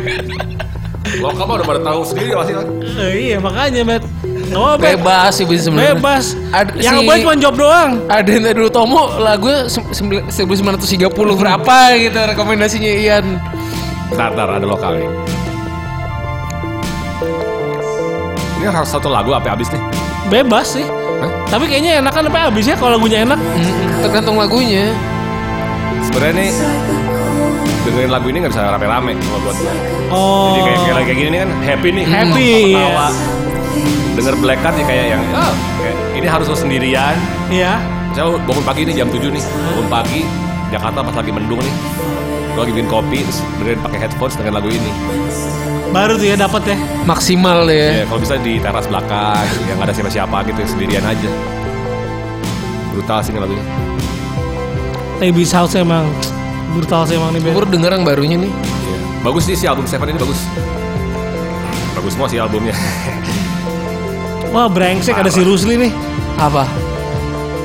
[SPEAKER 3] Lokal mah udah pada tahu sendiri pasti kan.
[SPEAKER 2] Eh, iya, makanya, Oh, Bet. Enggak apa-apa.
[SPEAKER 1] Bebas sih bisa sebenarnya.
[SPEAKER 2] Bebas.
[SPEAKER 1] Ada
[SPEAKER 2] Yang
[SPEAKER 1] si-
[SPEAKER 2] ngebuat cuma job doang.
[SPEAKER 1] Ada yang dulu Tomo lagunya sem- sembil- 1930 berapa gitu rekomendasinya Ian.
[SPEAKER 3] Ntar, ntar, ada lokal nih. Ini harus satu lagu apa habis nih?
[SPEAKER 2] Bebas sih.
[SPEAKER 3] Hah?
[SPEAKER 2] Tapi kayaknya enakan apa habis ya kalau lagunya enak.
[SPEAKER 1] Tergantung lagunya.
[SPEAKER 3] Sebenarnya nih, dengerin lagu ini nggak bisa rame-rame kalau buat gue.
[SPEAKER 2] Oh.
[SPEAKER 3] Jadi kayak, kayak, kayak gini nih kan happy nih,
[SPEAKER 2] Happy,
[SPEAKER 3] ketawa.
[SPEAKER 2] yes.
[SPEAKER 3] Denger Black Cat ya kayak yang "Ah, kayak ini harus lo sendirian.
[SPEAKER 2] Iya.
[SPEAKER 3] Saya "Oh, bangun pagi nih jam 7 nih, bangun pagi Jakarta pas lagi mendung nih. Gue lagi bikin kopi, terus dengerin pakai headphones dengan lagu ini.
[SPEAKER 2] Baru tuh ya dapat ya.
[SPEAKER 1] Maksimal ya.
[SPEAKER 2] Iya.
[SPEAKER 3] Ya, kalau bisa di teras belakang, yang nggak ada siapa-siapa gitu, yang sendirian aja. Brutal sih ini lagunya.
[SPEAKER 2] Baby's House emang brutal sih emang nih
[SPEAKER 1] Gue
[SPEAKER 2] band.
[SPEAKER 1] baru denger yang barunya nih.
[SPEAKER 3] Iya. Bagus sih si album Seven ini bagus. Bagus semua sih albumnya.
[SPEAKER 2] Wah brengsek ada si Rusli nih.
[SPEAKER 1] Apa?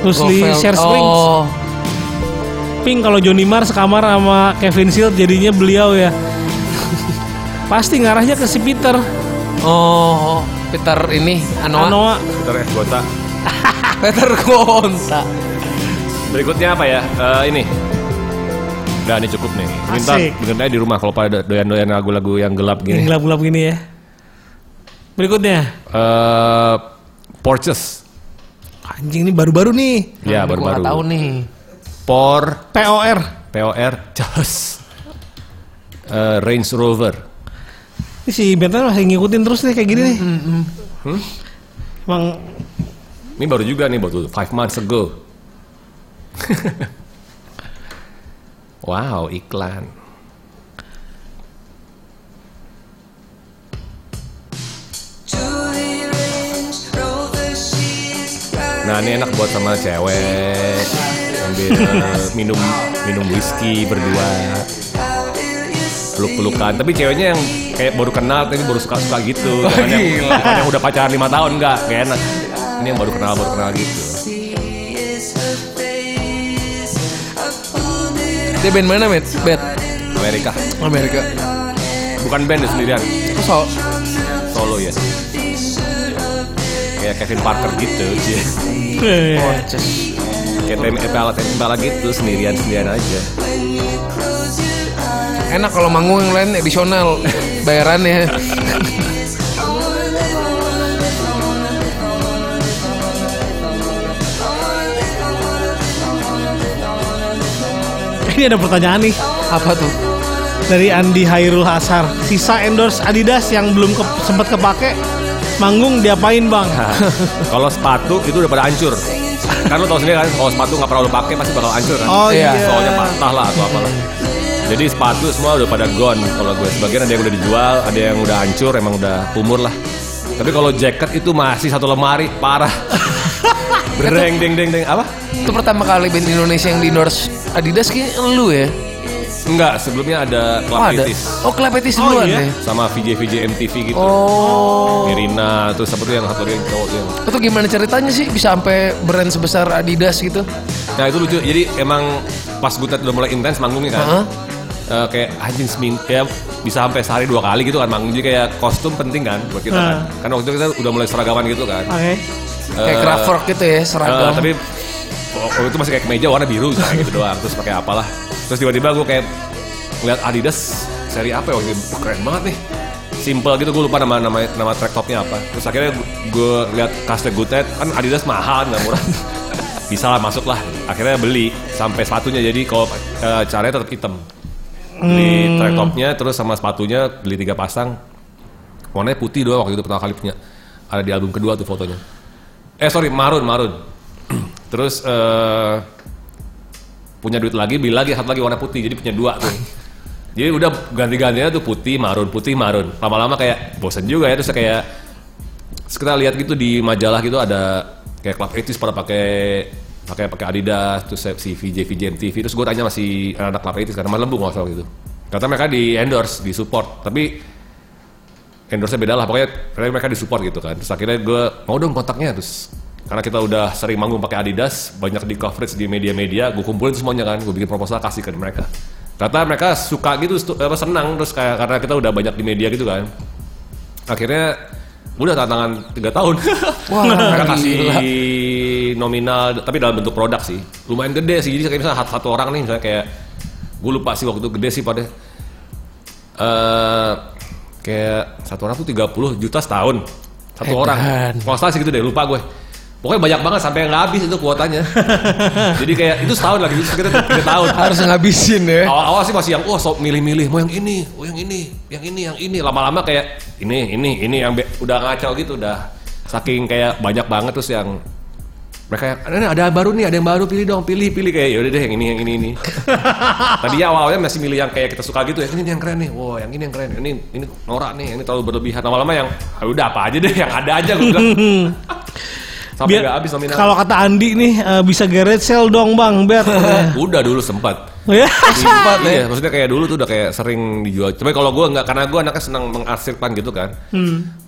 [SPEAKER 2] Rusli
[SPEAKER 1] Govel.
[SPEAKER 2] Share Springs.
[SPEAKER 1] Oh,
[SPEAKER 2] Pink kalau Johnny Marr sekamar sama Kevin Shield jadinya beliau ya. Pasti ngarahnya ke si Peter. Ah,
[SPEAKER 1] oh, oh. Peter ini Anoa.
[SPEAKER 2] Anoa.
[SPEAKER 3] Bentar ya, Gota.
[SPEAKER 1] Peter Gonta.
[SPEAKER 3] Berikutnya apa ya? Eh, ini. Udah ini cukup nih. Minta
[SPEAKER 2] Asik.
[SPEAKER 3] dengerin aja di rumah kalau pada doyan-doyan lagu-lagu yang gelap
[SPEAKER 2] Yang
[SPEAKER 3] gini.
[SPEAKER 2] gelap-gelap gini ya. Berikutnya.
[SPEAKER 3] Eh, Porches.
[SPEAKER 2] Anjing ini baru-baru nih.
[SPEAKER 3] Ya
[SPEAKER 1] Nah, Gua nggak tahu
[SPEAKER 3] baru-baru.
[SPEAKER 1] nih.
[SPEAKER 3] Por,
[SPEAKER 2] POR.
[SPEAKER 3] POR, Jos. Eh, Range Rover.
[SPEAKER 2] Ini si Bentan masih ngikutin terus nih kayak gini nih. Hmm? Emang
[SPEAKER 3] Ini baru juga nih baru 5 months ago. wow, iklan. Nah, ini enak buat sama cewek sambil eh, minum minum whisky berdua. Peluk-pelukan, tapi ceweknya yang kayak baru kenal tapi baru suka-suka gitu. Jangan yang, jangan yang udah pacaran lima tahun enggak, enggak enak. Ini yang baru kenal baru kenal gitu.
[SPEAKER 1] Dia band mana, Met? Band
[SPEAKER 3] Amerika.
[SPEAKER 1] Amerika.
[SPEAKER 3] Bukan band ya, sendirian,
[SPEAKER 1] So,
[SPEAKER 3] solo ya. Kayak Kevin Parker gitu, dia.
[SPEAKER 2] eh,
[SPEAKER 3] kayak tem Epala Epala gitu sendirian sendirian aja.
[SPEAKER 1] enak kalau manggung yang lain edisional bayarannya.
[SPEAKER 2] ini ada pertanyaan nih
[SPEAKER 1] Apa tuh?
[SPEAKER 2] dari Andi Hairul Hasar. Sisa endorse Adidas yang belum ke, sempat kepake manggung diapain bang?
[SPEAKER 3] Kalau sepatu itu udah pada hancur. Kan lo tau sendiri kan, kalau sepatu nggak pernah lo pakai pasti bakal hancur kan.
[SPEAKER 2] Oh
[SPEAKER 1] Iya.
[SPEAKER 2] iya.
[SPEAKER 3] Soalnya patah lah atau apalah. Jadi sepatu semua udah pada gone kalau gue. Sebagian ada yang udah dijual, ada yang udah hancur, emang udah umur lah. Tapi kalau jaket itu masih satu lemari, parah. Berdeng, deng, deng, deng. Apa?
[SPEAKER 1] Itu pertama kali band Indonesia yang di endorse Adidas kayaknya lu ya.
[SPEAKER 3] Enggak, sebelumnya ada Club
[SPEAKER 1] Oh, ada.
[SPEAKER 3] Etis.
[SPEAKER 1] Oh, Klepetis duluan
[SPEAKER 2] iya.
[SPEAKER 1] ya.
[SPEAKER 3] Sama VJ-VJ MTV gitu.
[SPEAKER 1] Oh.
[SPEAKER 3] Irina, terus apa tuh yang satu lagi yang cowok yang
[SPEAKER 1] Itu gimana ceritanya sih bisa sampai brand sebesar Adidas gitu?
[SPEAKER 3] Nah itu lucu. Jadi emang pas Gutet udah mulai intens manggungnya kan.
[SPEAKER 1] Heeh.
[SPEAKER 3] Eh, kayak anjing seminggu ya bisa sampai sehari dua kali gitu kan manggung jadi kayak kostum penting kan buat kita kan
[SPEAKER 2] Heeh.
[SPEAKER 3] kan waktu itu kita udah mulai seragaman gitu kan
[SPEAKER 2] Oke.
[SPEAKER 1] Kayak
[SPEAKER 3] Eh,
[SPEAKER 1] Kraftwerk gitu ya, seragam.
[SPEAKER 3] Eh, tapi waktu itu masih kayak kemeja warna biru misalnya kayak gitu doang terus pakai apalah terus tiba-tiba gue kayak ngeliat Adidas seri apa ya waktu itu Wah, keren banget nih simple gitu gue lupa nama nama nama track topnya apa terus akhirnya gue lihat kasnya Gutet kan Adidas mahal nggak murah bisa lah masuk lah akhirnya beli sampai sepatunya jadi kalau eh, caranya tetap hitam beli track topnya terus sama sepatunya beli tiga pasang warnanya putih doang waktu itu pertama kali punya ada di album kedua tuh fotonya eh sorry marun marun terus eh punya duit lagi beli lagi satu lagi warna putih jadi punya dua tuh jadi udah ganti-gantinya tuh putih marun putih marun lama-lama kayak bosen juga ya terus kayak terus kita lihat gitu di majalah gitu ada kayak klub etis pada pakai pakai pakai Adidas terus saya- si VJ VJ MTV terus gue tanya masih anak klub etis karena malam lembu nggak salah gitu kata mereka di endorse di support tapi endorse beda lah pokoknya pokoknya mereka di support gitu kan terus akhirnya gue mau dong kontaknya terus karena kita udah sering manggung pakai Adidas banyak di coverage di media-media gue kumpulin semuanya kan gue bikin proposal kasih ke mereka ternyata mereka suka gitu stu- apa, senang terus kayak karena kita udah banyak di media gitu kan akhirnya udah tantangan tiga tahun
[SPEAKER 1] Wah,
[SPEAKER 3] mereka
[SPEAKER 1] gila.
[SPEAKER 3] kasih nominal tapi dalam bentuk produk sih lumayan gede sih jadi kayak misalnya satu orang nih misalnya kayak gue lupa sih waktu itu gede sih pada eh kayak satu orang tuh 30 juta setahun satu orang
[SPEAKER 1] Edan.
[SPEAKER 3] kalau nggak salah segitu deh gitu lupa gue Pokoknya banyak banget sampai nggak habis itu kuotanya. Jadi kayak itu setahun lagi itu kita tiga tahun.
[SPEAKER 1] Harus ngabisin ya.
[SPEAKER 3] Eh. Awal-awal sih masih yang wah sok milih-milih mau yang ini, oh yang ini, yang ini, yang ini. Lama-lama kayak ini, ini, ini yang be- udah ngacau gitu udah saking kayak banyak banget terus yang mereka yang ada, ada yang baru nih, ada yang baru pilih dong, pilih, pilih kayak yaudah deh yang ini, yang ini, ini. Tadinya awalnya masih milih yang kayak kita suka gitu, yang ini nih yang keren nih, wow yang ini yang keren, ini ini norak nih, yang ini terlalu berlebihan. Lama-lama yang ah, udah apa aja deh, yang ada aja gue bilang. Sampai
[SPEAKER 2] Biar
[SPEAKER 3] nggak habis nominal.
[SPEAKER 2] kalau kata Andi nih eh, bisa garage sale dong bang, Eh, bet.
[SPEAKER 3] udah dulu sempat.
[SPEAKER 2] Ya.
[SPEAKER 3] Sempat ya. maksudnya kayak dulu tuh udah kayak sering dijual. Tapi kalau gue nggak, karena gue anaknya senang mengarsipkan gitu kan.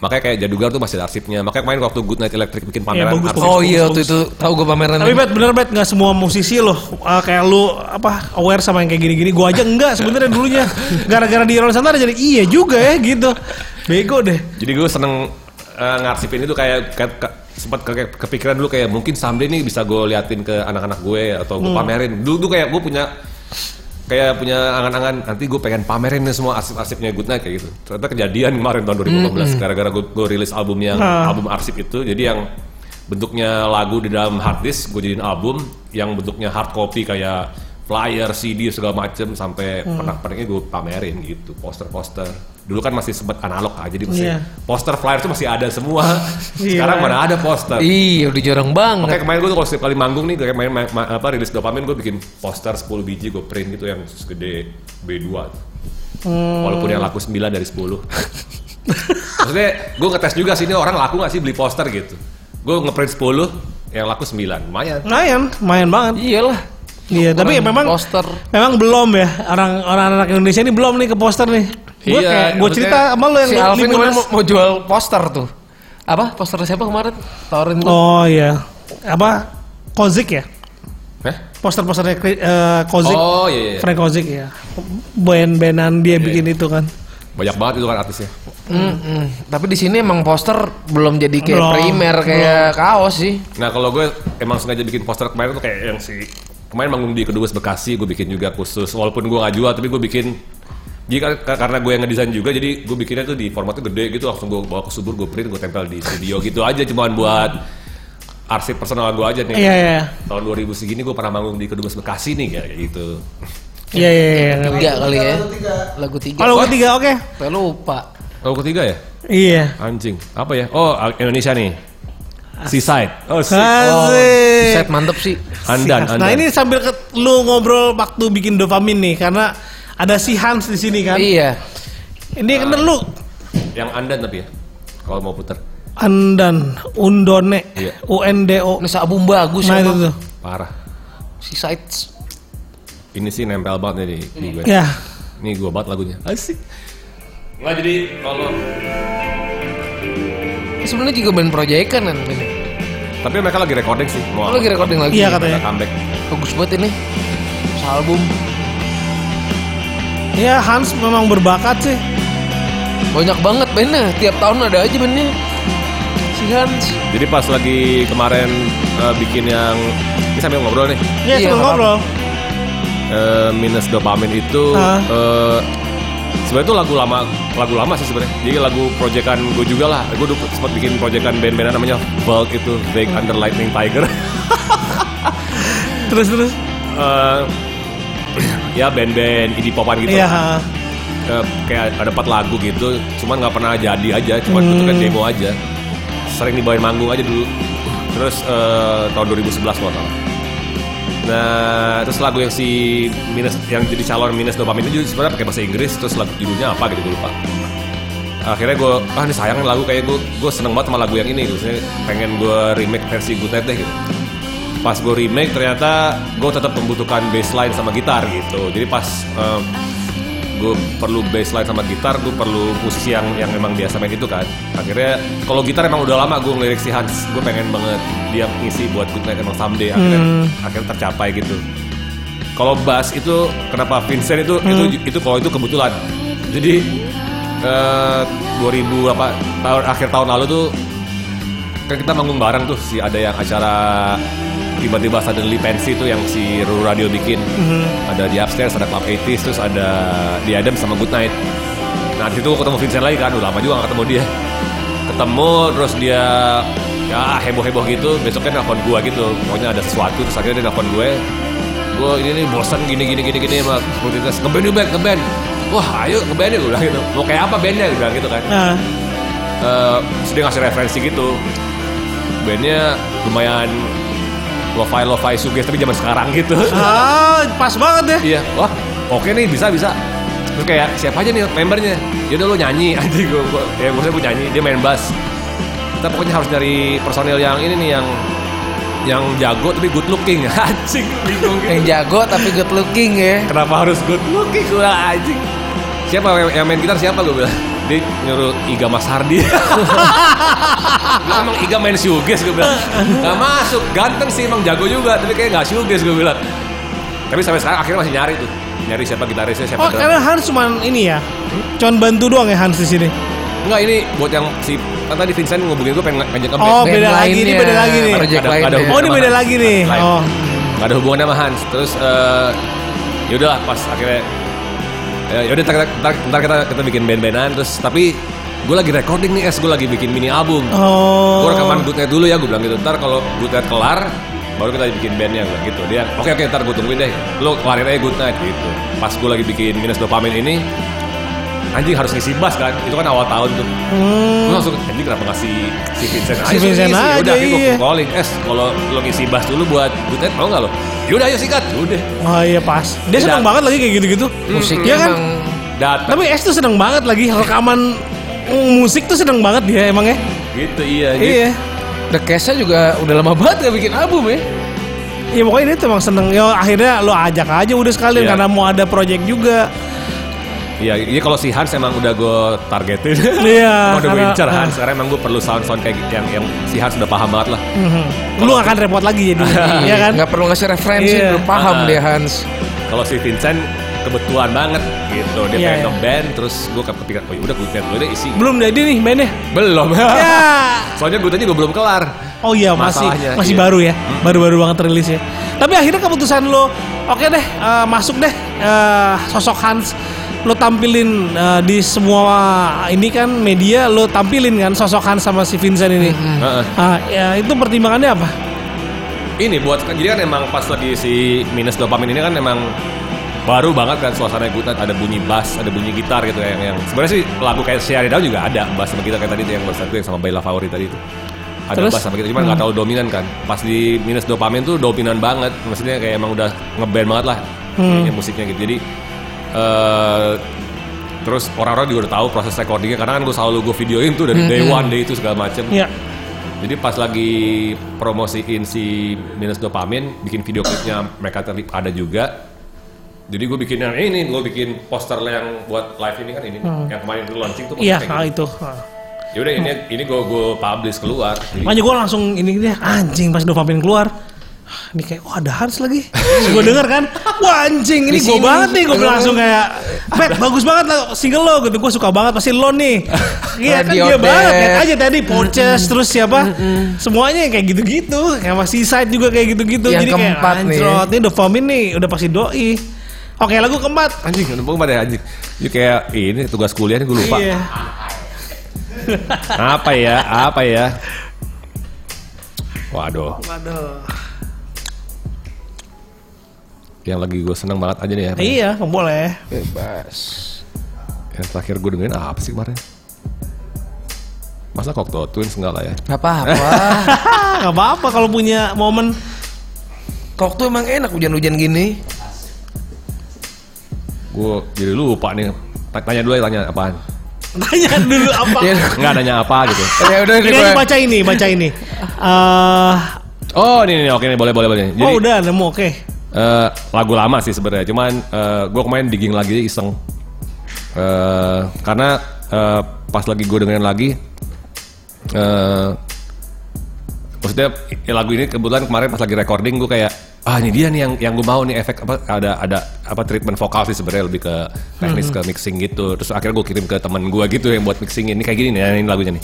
[SPEAKER 3] Makanya kayak Jadugar tuh masih ada arsipnya. Makanya kemarin waktu Good Night Electric bikin pameran
[SPEAKER 2] bagus,
[SPEAKER 3] arsip.
[SPEAKER 1] Oh iya waktu itu tahu gue pameran.
[SPEAKER 2] Tapi bet bener bet nggak semua musisi loh eh, kayak lu apa aware sama yang kayak gini-gini. Gua aja enggak sebenarnya dulunya. Gara-gara di Rolling Santana jadi iya juga ya gitu. Bego deh.
[SPEAKER 3] Jadi gue seneng eh, ngarsipin itu kayak, kayak ke- sempat ke, kayak kepikiran dulu kayak mungkin someday nih bisa gue liatin ke anak-anak gue atau gue pamerin. Dulu tuh kayak gue punya kayak punya angan-angan nanti gue pengen pamerin nih semua arsip-arsipnya Good Night kayak gitu. Ternyata kejadian kemarin tahun 2015 gara-gara gue, gue rilis album yang
[SPEAKER 2] Ah.
[SPEAKER 3] album arsip itu. Jadi yang bentuknya lagu di dalam hard disk gue jadiin album yang bentuknya hard copy kayak flyer, CD segala macem sampai
[SPEAKER 2] Hmm.
[SPEAKER 3] pernak-perniknya gue pamerin gitu, poster-poster. Dulu kan masih sempet analog aja jadi masih
[SPEAKER 2] Iya.
[SPEAKER 3] poster flyer tuh masih ada semua.
[SPEAKER 2] Iya.
[SPEAKER 3] Sekarang mana ada poster.
[SPEAKER 1] Iya udah jarang
[SPEAKER 3] Makanya
[SPEAKER 1] banget.
[SPEAKER 3] Eh, kemarin gue tuh kalau setiap kali manggung nih kayak main, main- ma- apa rilis dopamin gue bikin poster 10 biji gue print gitu yang segede B2. Walaupun yang laku 9 dari 10. Maksudnya gue ngetes juga sih ini orang laku gak sih beli poster gitu. Gue ngeprint 10 yang laku 9. Lumayan.
[SPEAKER 2] Main, main banget.
[SPEAKER 1] Iyalah.
[SPEAKER 2] Iya, tapi ya
[SPEAKER 1] Orang
[SPEAKER 2] memang
[SPEAKER 1] poster.
[SPEAKER 2] Memang belum ya orang orang anak Indonesia ini belum nih ke poster nih. Gue
[SPEAKER 3] Iya,
[SPEAKER 2] kayak gue
[SPEAKER 3] maksudnya
[SPEAKER 2] cerita sama lo yang
[SPEAKER 1] si
[SPEAKER 2] li-
[SPEAKER 1] Alvin
[SPEAKER 2] liburan.
[SPEAKER 1] kemarin mau, mau jual poster tuh. Apa poster siapa kemarin? Tawarin gue.
[SPEAKER 2] Oh iya. Apa Kozik ya?
[SPEAKER 3] Hah?
[SPEAKER 2] Poster-posternya Kri- eh, Kozik.
[SPEAKER 3] Oh iya, iya, iya.
[SPEAKER 2] Frank Kozik ya. Band-bandan dia bikin itu kan.
[SPEAKER 3] Banyak banget itu kan artisnya.
[SPEAKER 1] Mm-mm. Tapi di sini emang poster belum jadi kayak
[SPEAKER 2] Belum,
[SPEAKER 1] primer kayak kaos sih.
[SPEAKER 3] Nah kalau gue emang sengaja bikin poster kemarin tuh kayak yang si kemarin manggung di kedubes Bekasi gue bikin juga khusus walaupun gue nggak jual tapi gue bikin jadi kar- kar- karena gue yang ngedesain juga jadi gue bikinnya tuh di formatnya gede gitu langsung gue bawa ke subur gue print gue tempel di studio gitu aja cuman buat arsip personal gue aja nih
[SPEAKER 2] Iya iya.
[SPEAKER 3] tahun 2000 segini gue pernah manggung di kedubes Bekasi nih kayak gitu
[SPEAKER 2] Iya iya iya.
[SPEAKER 1] Tiga kali ya.
[SPEAKER 5] Lagu tiga.
[SPEAKER 1] Lagu tiga.
[SPEAKER 2] Kalau ketiga oke.
[SPEAKER 1] Sampai lupa.
[SPEAKER 3] oh ketiga ya
[SPEAKER 2] Iya.
[SPEAKER 3] anjing apa ya oh Al- Indonesia nih Seaside oh si
[SPEAKER 2] Asik.
[SPEAKER 1] Set mantep sih.
[SPEAKER 2] Sihans.
[SPEAKER 3] Andan, Andan.
[SPEAKER 2] Nah ini sambil ke, lu ngobrol waktu bikin dopamin nih karena ada si Hans di sini kan.
[SPEAKER 1] Iya.
[SPEAKER 2] Ini kan lu
[SPEAKER 3] yang Andan tapi ya kalau mau puter
[SPEAKER 2] Andan Undone
[SPEAKER 3] Iya.
[SPEAKER 2] UNDO.
[SPEAKER 1] Nusa album bagus
[SPEAKER 2] Nah itu
[SPEAKER 1] emang.
[SPEAKER 2] tuh.
[SPEAKER 3] parah
[SPEAKER 1] Si Sides.
[SPEAKER 3] ini sih nempel banget nih di, di gue
[SPEAKER 2] Ya.
[SPEAKER 3] Ini gue banget lagunya. Asik. Nggak jadi kalau
[SPEAKER 1] Eh, Sebenarnya juga band proyekan kan. ini.
[SPEAKER 3] tapi mereka lagi recording sih.
[SPEAKER 1] Oh,
[SPEAKER 3] Mau
[SPEAKER 1] lagi recording lagi.
[SPEAKER 2] Iya
[SPEAKER 3] Mereka
[SPEAKER 2] katanya.
[SPEAKER 3] comeback.
[SPEAKER 1] Bagus banget ini. Album.
[SPEAKER 2] Ya Hans memang berbakat sih.
[SPEAKER 1] Banyak banget bandnya. Tiap tahun ada aja bandnya. Si Hans.
[SPEAKER 3] Jadi pas lagi kemarin eh, bikin yang ini sambil ngobrol nih
[SPEAKER 2] Ya
[SPEAKER 1] Iya,
[SPEAKER 2] sambil
[SPEAKER 1] nggak
[SPEAKER 2] ngobrol.
[SPEAKER 3] eh, minus dopamin itu
[SPEAKER 2] Ah.
[SPEAKER 3] eh, sebenarnya itu lagu lama lagu lama sih sebenarnya. Jadi lagu proyekan gue juga lah. Gue dulu sempat bikin proyekan band-bandan namanya Bulk itu Vague Under Lightning Tiger.
[SPEAKER 2] Terus terus.
[SPEAKER 3] Eh, ya band-band indie popan gitu.
[SPEAKER 2] Iya.
[SPEAKER 3] lah. Eh, kayak ada empat lagu gitu cuman nggak pernah jadi aja cuman bentuknya demo aja sering dibawain manggung aja dulu terus eh, tahun 2011 kalau nggak salah nah terus lagu yang si minus yang jadi calon minus dopamin itu juga sebenarnya pakai bahasa Inggris terus lagu judulnya apa gitu gue lupa akhirnya gue ah ini sayang lagu kayak gue gue seneng banget sama lagu yang ini gitu Maksudnya pengen gue remake versi Good Night deh gitu pas gue remake ternyata gue tetap membutuhkan bassline sama gitar gitu jadi pas gue perlu bassline sama gitar gue perlu musisi yang yang memang biasa main itu kan akhirnya kalau gitar emang udah lama gue ngelirik si Hans gue pengen banget dia ngisi buat Good Night emang someday akhirnya akhirnya tercapai gitu kalau bass itu kenapa Vincent itu itu itu kalau itu kebetulan jadi eh, 2000 apa tahun akhir tahun lalu tuh kan kita manggung bareng tuh si ada yang acara tiba-tiba suddenly pensi tuh yang si Ruru Radio bikin ada di upstairs ada club 80s terus ada di Adam sama Good Night nah di situ gua ketemu Vincent lagi kan udah lama juga gak ketemu dia ketemu terus dia ya ya heboh-heboh gitu besoknya nelfon gua gitu pokoknya ada sesuatu terus akhirnya dia nelfon gue gue ini nih bosan gini gini gini gini sama komunitas ke band yuk, band ke band wah ayo ke band ya gue bilang gitu mau kayak apa bandnya gue bilang gitu kan
[SPEAKER 2] Nah,
[SPEAKER 3] Eh, terus dia ngasih referensi gitu bandnya lumayan lo-fi lo-fi suges tapi zaman sekarang gitu
[SPEAKER 2] ah, pas banget ya.
[SPEAKER 3] iya wah oke nih bisa bisa terus kayak siapa aja nih membernya yaudah lo nyanyi nanti gue ya maksudnya gue nyanyi dia main bass kita pokoknya harus dari personil yang ini nih yang yang jago tapi good looking anjing bingung gitu
[SPEAKER 1] Yang jago tapi good looking ya.
[SPEAKER 3] kenapa harus good looking gue anjing siapa yang- yang main gitar siapa gue bilang dia nyuruh Iga Mas Hardi Gua emang Iga main shoegaze gue bilang gak masuk ganteng sih emang jago juga tapi kayak gak shoegaze gue bilang tapi sampai sekarang akhirnya masih nyari tuh nyari siapa gitarisnya siapa
[SPEAKER 2] Oh,
[SPEAKER 3] drum.
[SPEAKER 2] karena Hans cuman ini ya. Cuman bantu doang ya Hans di sini.
[SPEAKER 3] enggak ini buat yang si kan tadi Vincent ngubungin gue pengen ngajak ke
[SPEAKER 2] Oh,
[SPEAKER 3] band.
[SPEAKER 2] beda
[SPEAKER 1] Band
[SPEAKER 2] lagi, ini
[SPEAKER 1] lainnya,
[SPEAKER 2] beda lagi nih.
[SPEAKER 1] Project
[SPEAKER 3] Ada- ada
[SPEAKER 1] lainnya.
[SPEAKER 3] hubungan.
[SPEAKER 2] Oh, ini beda lagi nih.
[SPEAKER 3] Lain.
[SPEAKER 2] Oh.
[SPEAKER 3] Gak ada hubungannya sama Hans. Terus eh yaudahlah pas akhirnya eh, yaudah ntar, kita- ntar, ntar kita kita bikin band-bandan terus tapi gue lagi recording nih es gue lagi bikin mini album.
[SPEAKER 2] Oh.
[SPEAKER 3] Gue rekaman good night dulu ya gue bilang gitu. Ntar kalau good night kelar baru kita bikin bandnya gue gitu. Dia oke oke ntar gue tungguin deh. Lo kelarin aja good night gitu. Pas gue lagi bikin minus dopamin ini anjing harus ngisi bass kan itu kan awal tahun tuh gue langsung anjing kenapa ngasih si Vincent aja
[SPEAKER 2] Hmm. Si Vincent
[SPEAKER 3] ngisi?"
[SPEAKER 2] aja,
[SPEAKER 3] udah akhirnya
[SPEAKER 2] iya.
[SPEAKER 3] gue calling es kalau lo ngisi bass dulu buat good night mau nggak lo yaudah ayo sikat Ya udah
[SPEAKER 2] Oh iya pas. Dia seneng
[SPEAKER 3] Tidak.
[SPEAKER 2] banget lagi kayak gitu-gitu.
[SPEAKER 3] Hmm,
[SPEAKER 1] Musiknya
[SPEAKER 2] Iya kan?
[SPEAKER 1] emang
[SPEAKER 3] datang
[SPEAKER 2] Tapi S tuh seneng banget lagi rekaman mm, musik tuh seneng banget dia emang ya.
[SPEAKER 3] gitu iya anjing.
[SPEAKER 2] Iya.
[SPEAKER 1] The Case-nya juga udah lama banget gak bikin album ya.
[SPEAKER 2] Ya pokoknya dia tuh emang seneng. Ya akhirnya lo ajak aja udah sekalian
[SPEAKER 3] Iya.
[SPEAKER 2] karena mau ada project juga.
[SPEAKER 3] Iya, iya kalau si Hans emang udah gue targetin.
[SPEAKER 2] Iya,
[SPEAKER 3] Emang udah gue
[SPEAKER 2] karena-
[SPEAKER 3] incer Hans.
[SPEAKER 2] ah.
[SPEAKER 3] Karena emang gue perlu sound-sound kayak gitu, yang, yang si Hans udah paham banget lah.
[SPEAKER 2] Lu gak akan repot lagi jadi. Iya kan?
[SPEAKER 1] Gak Ah. perlu ngasih referensi,
[SPEAKER 2] Iya.
[SPEAKER 1] udah paham
[SPEAKER 3] Ah.
[SPEAKER 1] dia Hans.
[SPEAKER 3] Kalau si Vincent kebetulan banget gitu. Dia
[SPEAKER 2] Iya,
[SPEAKER 3] pengen
[SPEAKER 2] iya.
[SPEAKER 3] nge-band, terus gue kepikiran, oh udah gue band dulu deh isi.
[SPEAKER 2] Belum jadi nih mainnya.
[SPEAKER 3] Belum.
[SPEAKER 2] Ya.
[SPEAKER 3] Soalnya gue juga belum kelar.
[SPEAKER 2] Oh iya masih
[SPEAKER 3] Masalahnya,
[SPEAKER 2] masih
[SPEAKER 3] iya.
[SPEAKER 2] baru ya. Baru-baru banget rilis ya. Tapi akhirnya keputusan lo oke deh eh, masuk deh eh, sosok Hans lo tampilin eh, di semua ini kan media lo tampilin kan sosok Hans sama si Vincent ini.
[SPEAKER 3] Heeh.
[SPEAKER 2] Ah, ya, itu pertimbangannya apa?
[SPEAKER 3] Ini buat, jadi kan emang pas lagi si minus dopamin ini kan emang baru banget kan suasana good night ada bunyi bass ada bunyi gitar gitu yang yang sebenarnya sih lagu kayak Share It Down juga ada bass sama gitar kayak tadi itu yang barusan itu yang sama Bella Favorit tadi itu ada
[SPEAKER 2] Terus?
[SPEAKER 3] bass sama gitar cuman nggak terlalu dominan kan pas di minus dopamin tuh dominan banget maksudnya kayak emang udah ngeband banget lah kayaknya musiknya gitu jadi eh terus orang-orang juga udah tahu proses recordingnya karena kan gue selalu gue videoin tuh dari day one day itu segala macem
[SPEAKER 2] Ya.
[SPEAKER 3] jadi pas lagi promosiin si minus dopamin, bikin video klipnya mereka tadi ada juga. Jadi gue bikin yang ini, gue bikin poster yang buat live ini kan ini, yang kemarin dulu launching tuh.
[SPEAKER 2] Hmm. Iya, ah,
[SPEAKER 3] posternya gitu.
[SPEAKER 2] itu. Ah.
[SPEAKER 3] Yaudah ini ini gue gue publish keluar. Jadi,
[SPEAKER 2] Makanya gue langsung ini dia anjing pas dopamin keluar. Ah, Ini kayak wah ada Hans lagi. Terus gue denger kan, wah anjing ini
[SPEAKER 1] Di
[SPEAKER 2] gue
[SPEAKER 1] sini.
[SPEAKER 2] banget nih. Gue langsung kayak, Bet bagus banget lah single lo gitu. Gue suka banget pasti lo nih. Iya kan
[SPEAKER 1] Radio
[SPEAKER 2] dia banget.
[SPEAKER 1] Death.
[SPEAKER 2] Lihat aja tadi Porches terus siapa, semuanya kayak gitu-gitu. Kayak masih side juga kayak gitu-gitu.
[SPEAKER 1] Yang
[SPEAKER 2] Jadi kayak
[SPEAKER 1] keempat nih.
[SPEAKER 2] anjrot, ini dopamin nih udah pasti doi. Oke lagu keempat.
[SPEAKER 3] anjing, nembung pada anjing. Jadi kayak ini tugas kuliah gue lupa.
[SPEAKER 2] Iya.
[SPEAKER 3] Apa ya? Apa ya? Waduh,
[SPEAKER 2] Waduh.
[SPEAKER 3] yang lagi gue seneng banget aja nih ya.
[SPEAKER 2] Iya, boleh.
[SPEAKER 1] Bebas.
[SPEAKER 3] Yang terakhir gue dengerin apa sih kemarin? Masa Kokto Twins enggak lah ya?
[SPEAKER 1] Gak apa-apa.
[SPEAKER 2] Ah, gak apa-apa kalau punya momen
[SPEAKER 1] Kok tuh emang enak hujan-hujan gini.
[SPEAKER 3] Gue jadi lupa nih. Ta- Tanya dulu ya tanya apaan.
[SPEAKER 2] tanya dulu apa.
[SPEAKER 1] Ya,
[SPEAKER 3] Enggak nanya apa gitu.
[SPEAKER 1] ya udah
[SPEAKER 2] Ini
[SPEAKER 1] nih
[SPEAKER 2] aja
[SPEAKER 1] gue.
[SPEAKER 2] baca ini, baca ini. Eh,
[SPEAKER 3] Oh, ini nih oke nih boleh boleh boleh. Jadi
[SPEAKER 2] oh udah nemu oke.
[SPEAKER 3] eh, lagu lama sih sebenarnya. Cuman gue kemarin digging lagi iseng. Eh, karena eh, pas lagi gue dengerin lagi eh maksudnya i- lagu ini kebetulan kemarin pas lagi recording gue kayak ah ini dia nih yang yang gue mau nih efek apa ada ada apa treatment vokal sih sebenarnya lebih ke teknis ke mixing gitu terus akhirnya gue kirim ke teman gue gitu yang buat mixing ini kayak gini nih ini lagunya nih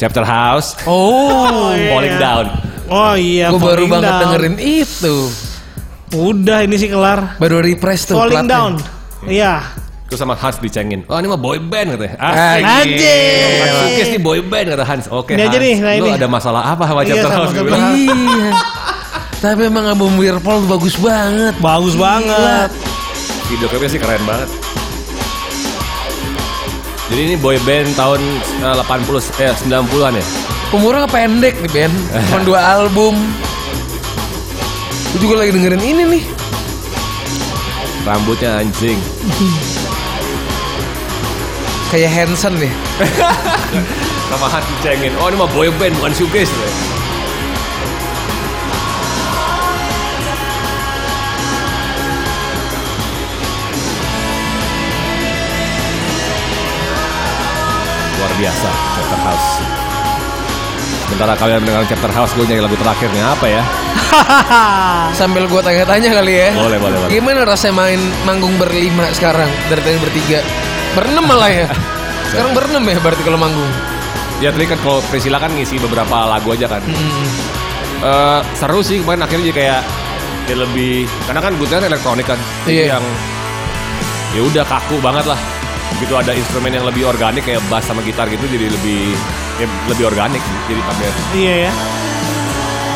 [SPEAKER 3] Chapter House
[SPEAKER 1] Oh,
[SPEAKER 3] Falling Down
[SPEAKER 2] iya. Oh iya.
[SPEAKER 1] gue baru
[SPEAKER 2] Falling
[SPEAKER 1] banget
[SPEAKER 2] Down.
[SPEAKER 1] dengerin itu.
[SPEAKER 2] Udah ini sih kelar.
[SPEAKER 1] Baru refresh tuh.
[SPEAKER 2] falling
[SPEAKER 1] platnya.
[SPEAKER 2] down. Iya.
[SPEAKER 3] Terus sama Hans dicengin. Oh ini mah boy band katanya. Asik.
[SPEAKER 1] Ah,
[SPEAKER 2] Anjir.
[SPEAKER 3] Mas Sukses nih boy band kata Hans. Oke
[SPEAKER 2] Ini
[SPEAKER 3] Hans,
[SPEAKER 2] aja nih, nah
[SPEAKER 3] lu
[SPEAKER 2] ini.
[SPEAKER 3] ada masalah apa sama
[SPEAKER 2] Iya,
[SPEAKER 3] Chapter
[SPEAKER 2] sama
[SPEAKER 3] House? Gue
[SPEAKER 2] Chapter
[SPEAKER 3] bilang,
[SPEAKER 2] House.
[SPEAKER 1] Iya. Tapi emang album Weirpol bagus banget.
[SPEAKER 2] Bagus banget.
[SPEAKER 3] video klipnya sih keren banget. Jadi ini boy band tahun eh, 80 eh 90-an ya.
[SPEAKER 1] Umurnya pendek nih Ben, cuma dua album. Gue juga lagi dengerin ini nih.
[SPEAKER 3] Rambutnya anjing.
[SPEAKER 1] Kayak Hanson nih.
[SPEAKER 3] Sama Hans dicengin. Oh ini mah boy band bukan showcase. Luar biasa Chapter House. Sementara kalian mendengarkan Chapter House, gue nyari lagu terakhirnya apa ya?
[SPEAKER 1] Sambil gue tanya-tanya kali ya.
[SPEAKER 3] Boleh, boleh, boleh.
[SPEAKER 1] Gimana rasanya main manggung berlima sekarang? Dari tadi bertiga. Berenam malah ya. Sekarang berenam ya berarti kalau manggung.
[SPEAKER 3] Ya tadi kan kalau Priscilla kan ngisi beberapa lagu aja kan. Eh, seru sih kemarin akhirnya jadi kayak ya lebih karena kan Good Night elektronik kan. Jadi
[SPEAKER 1] Iya.
[SPEAKER 3] yang ya udah kaku banget lah. Begitu ada instrumen yang lebih organik kayak bass sama gitar gitu jadi lebih ya, lebih organik sih. jadi tampil.
[SPEAKER 2] Iya ya.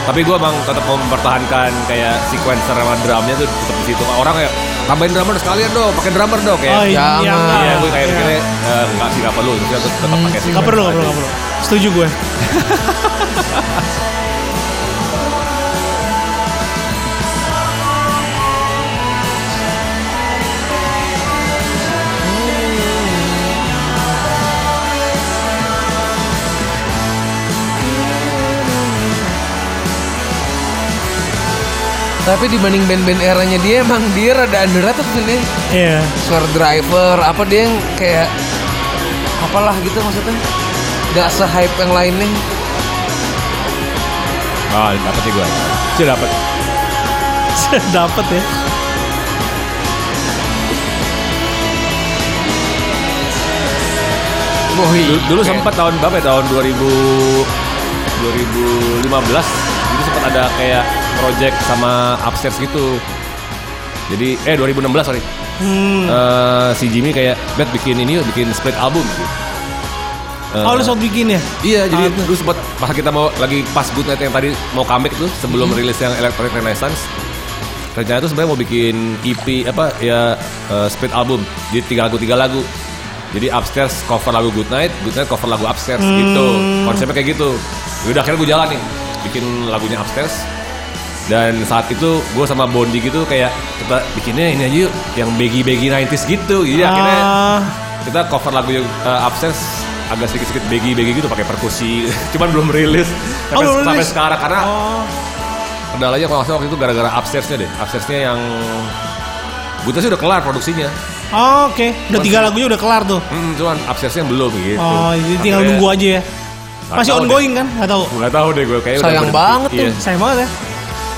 [SPEAKER 3] Tapi gue emang tetap mempertahankan kayak sequencer sama drumnya tuh tetap di situ. Orang kayak tambahin drummer sekalian dong, pakai drummer dong kayak.
[SPEAKER 2] Oh iya.
[SPEAKER 1] jangan.
[SPEAKER 3] Iya, gue kayak
[SPEAKER 2] Iya.
[SPEAKER 3] mikirnya eh, nggak sih nggak perlu, terus tetap pakai sequencer.
[SPEAKER 2] Gak perlu, gak perlu,
[SPEAKER 3] aja.
[SPEAKER 2] gak perlu. Setuju gue.
[SPEAKER 1] Tapi dibanding band-band eranya dia emang dia rada underrated nih.
[SPEAKER 2] Iya.
[SPEAKER 1] Suara driver apa dia yang kayak apalah gitu maksudnya. Gak se-hype yang lainnya.
[SPEAKER 3] Ah, dapat sih gue. Sih dapat.
[SPEAKER 2] Dapat ya.
[SPEAKER 1] Boy.
[SPEAKER 3] Dulu, dulu sempat tahun berapa ya? Tahun 2000 2015 itu sempat ada kayak project sama upstairs gitu. Jadi eh 2016 sorry. Eh, si Jimmy kayak bet bikin ini yuk, bikin split album gitu. Eh,
[SPEAKER 2] Oh lu sempat bikin ya?
[SPEAKER 3] Iya, jadi dulu sempat pas kita mau lagi pas Good Night yang tadi mau comeback tuh sebelum rilis yang Electronic Renaissance. Rencana tuh sebenarnya mau bikin EP apa ya eh, split album. Jadi tiga lagu tiga lagu. Jadi upstairs cover lagu Good Night, Good Night cover lagu upstairs gitu. Konsepnya kayak gitu. Udah akhirnya gue jalanin bikin lagunya upstairs. Dan saat itu gue sama Bondi gitu kayak kita bikinnya ini aja yuk yang begi-begi 90s gitu. Jadi akhirnya
[SPEAKER 2] Ah,
[SPEAKER 3] kita cover lagu yang uh, Upstairs agak sedikit-sedikit begi-begi gitu pakai perkusi cuman belum rilis sampai,
[SPEAKER 2] Oh, belum rilis.
[SPEAKER 3] sampai sekarang karena
[SPEAKER 2] oh,
[SPEAKER 3] kendalanya kalau nggak salah waktu itu gara-gara upstairsnya deh upstairsnya yang Buta sih udah kelar produksinya
[SPEAKER 2] Oh, oke. Udah tiga lagunya udah kelar tuh.
[SPEAKER 3] hmm, cuman upstairsnya belum gitu
[SPEAKER 2] Oh, jadi tinggal
[SPEAKER 3] Akhirnya-
[SPEAKER 2] nunggu aja ya.
[SPEAKER 3] Nggak
[SPEAKER 2] Masih
[SPEAKER 3] tahu deh.
[SPEAKER 2] ongoing kan? Gak tahu.
[SPEAKER 3] nggak tahu deh gue kayak
[SPEAKER 1] Sayang banget tuh.
[SPEAKER 2] Sayang banget ya.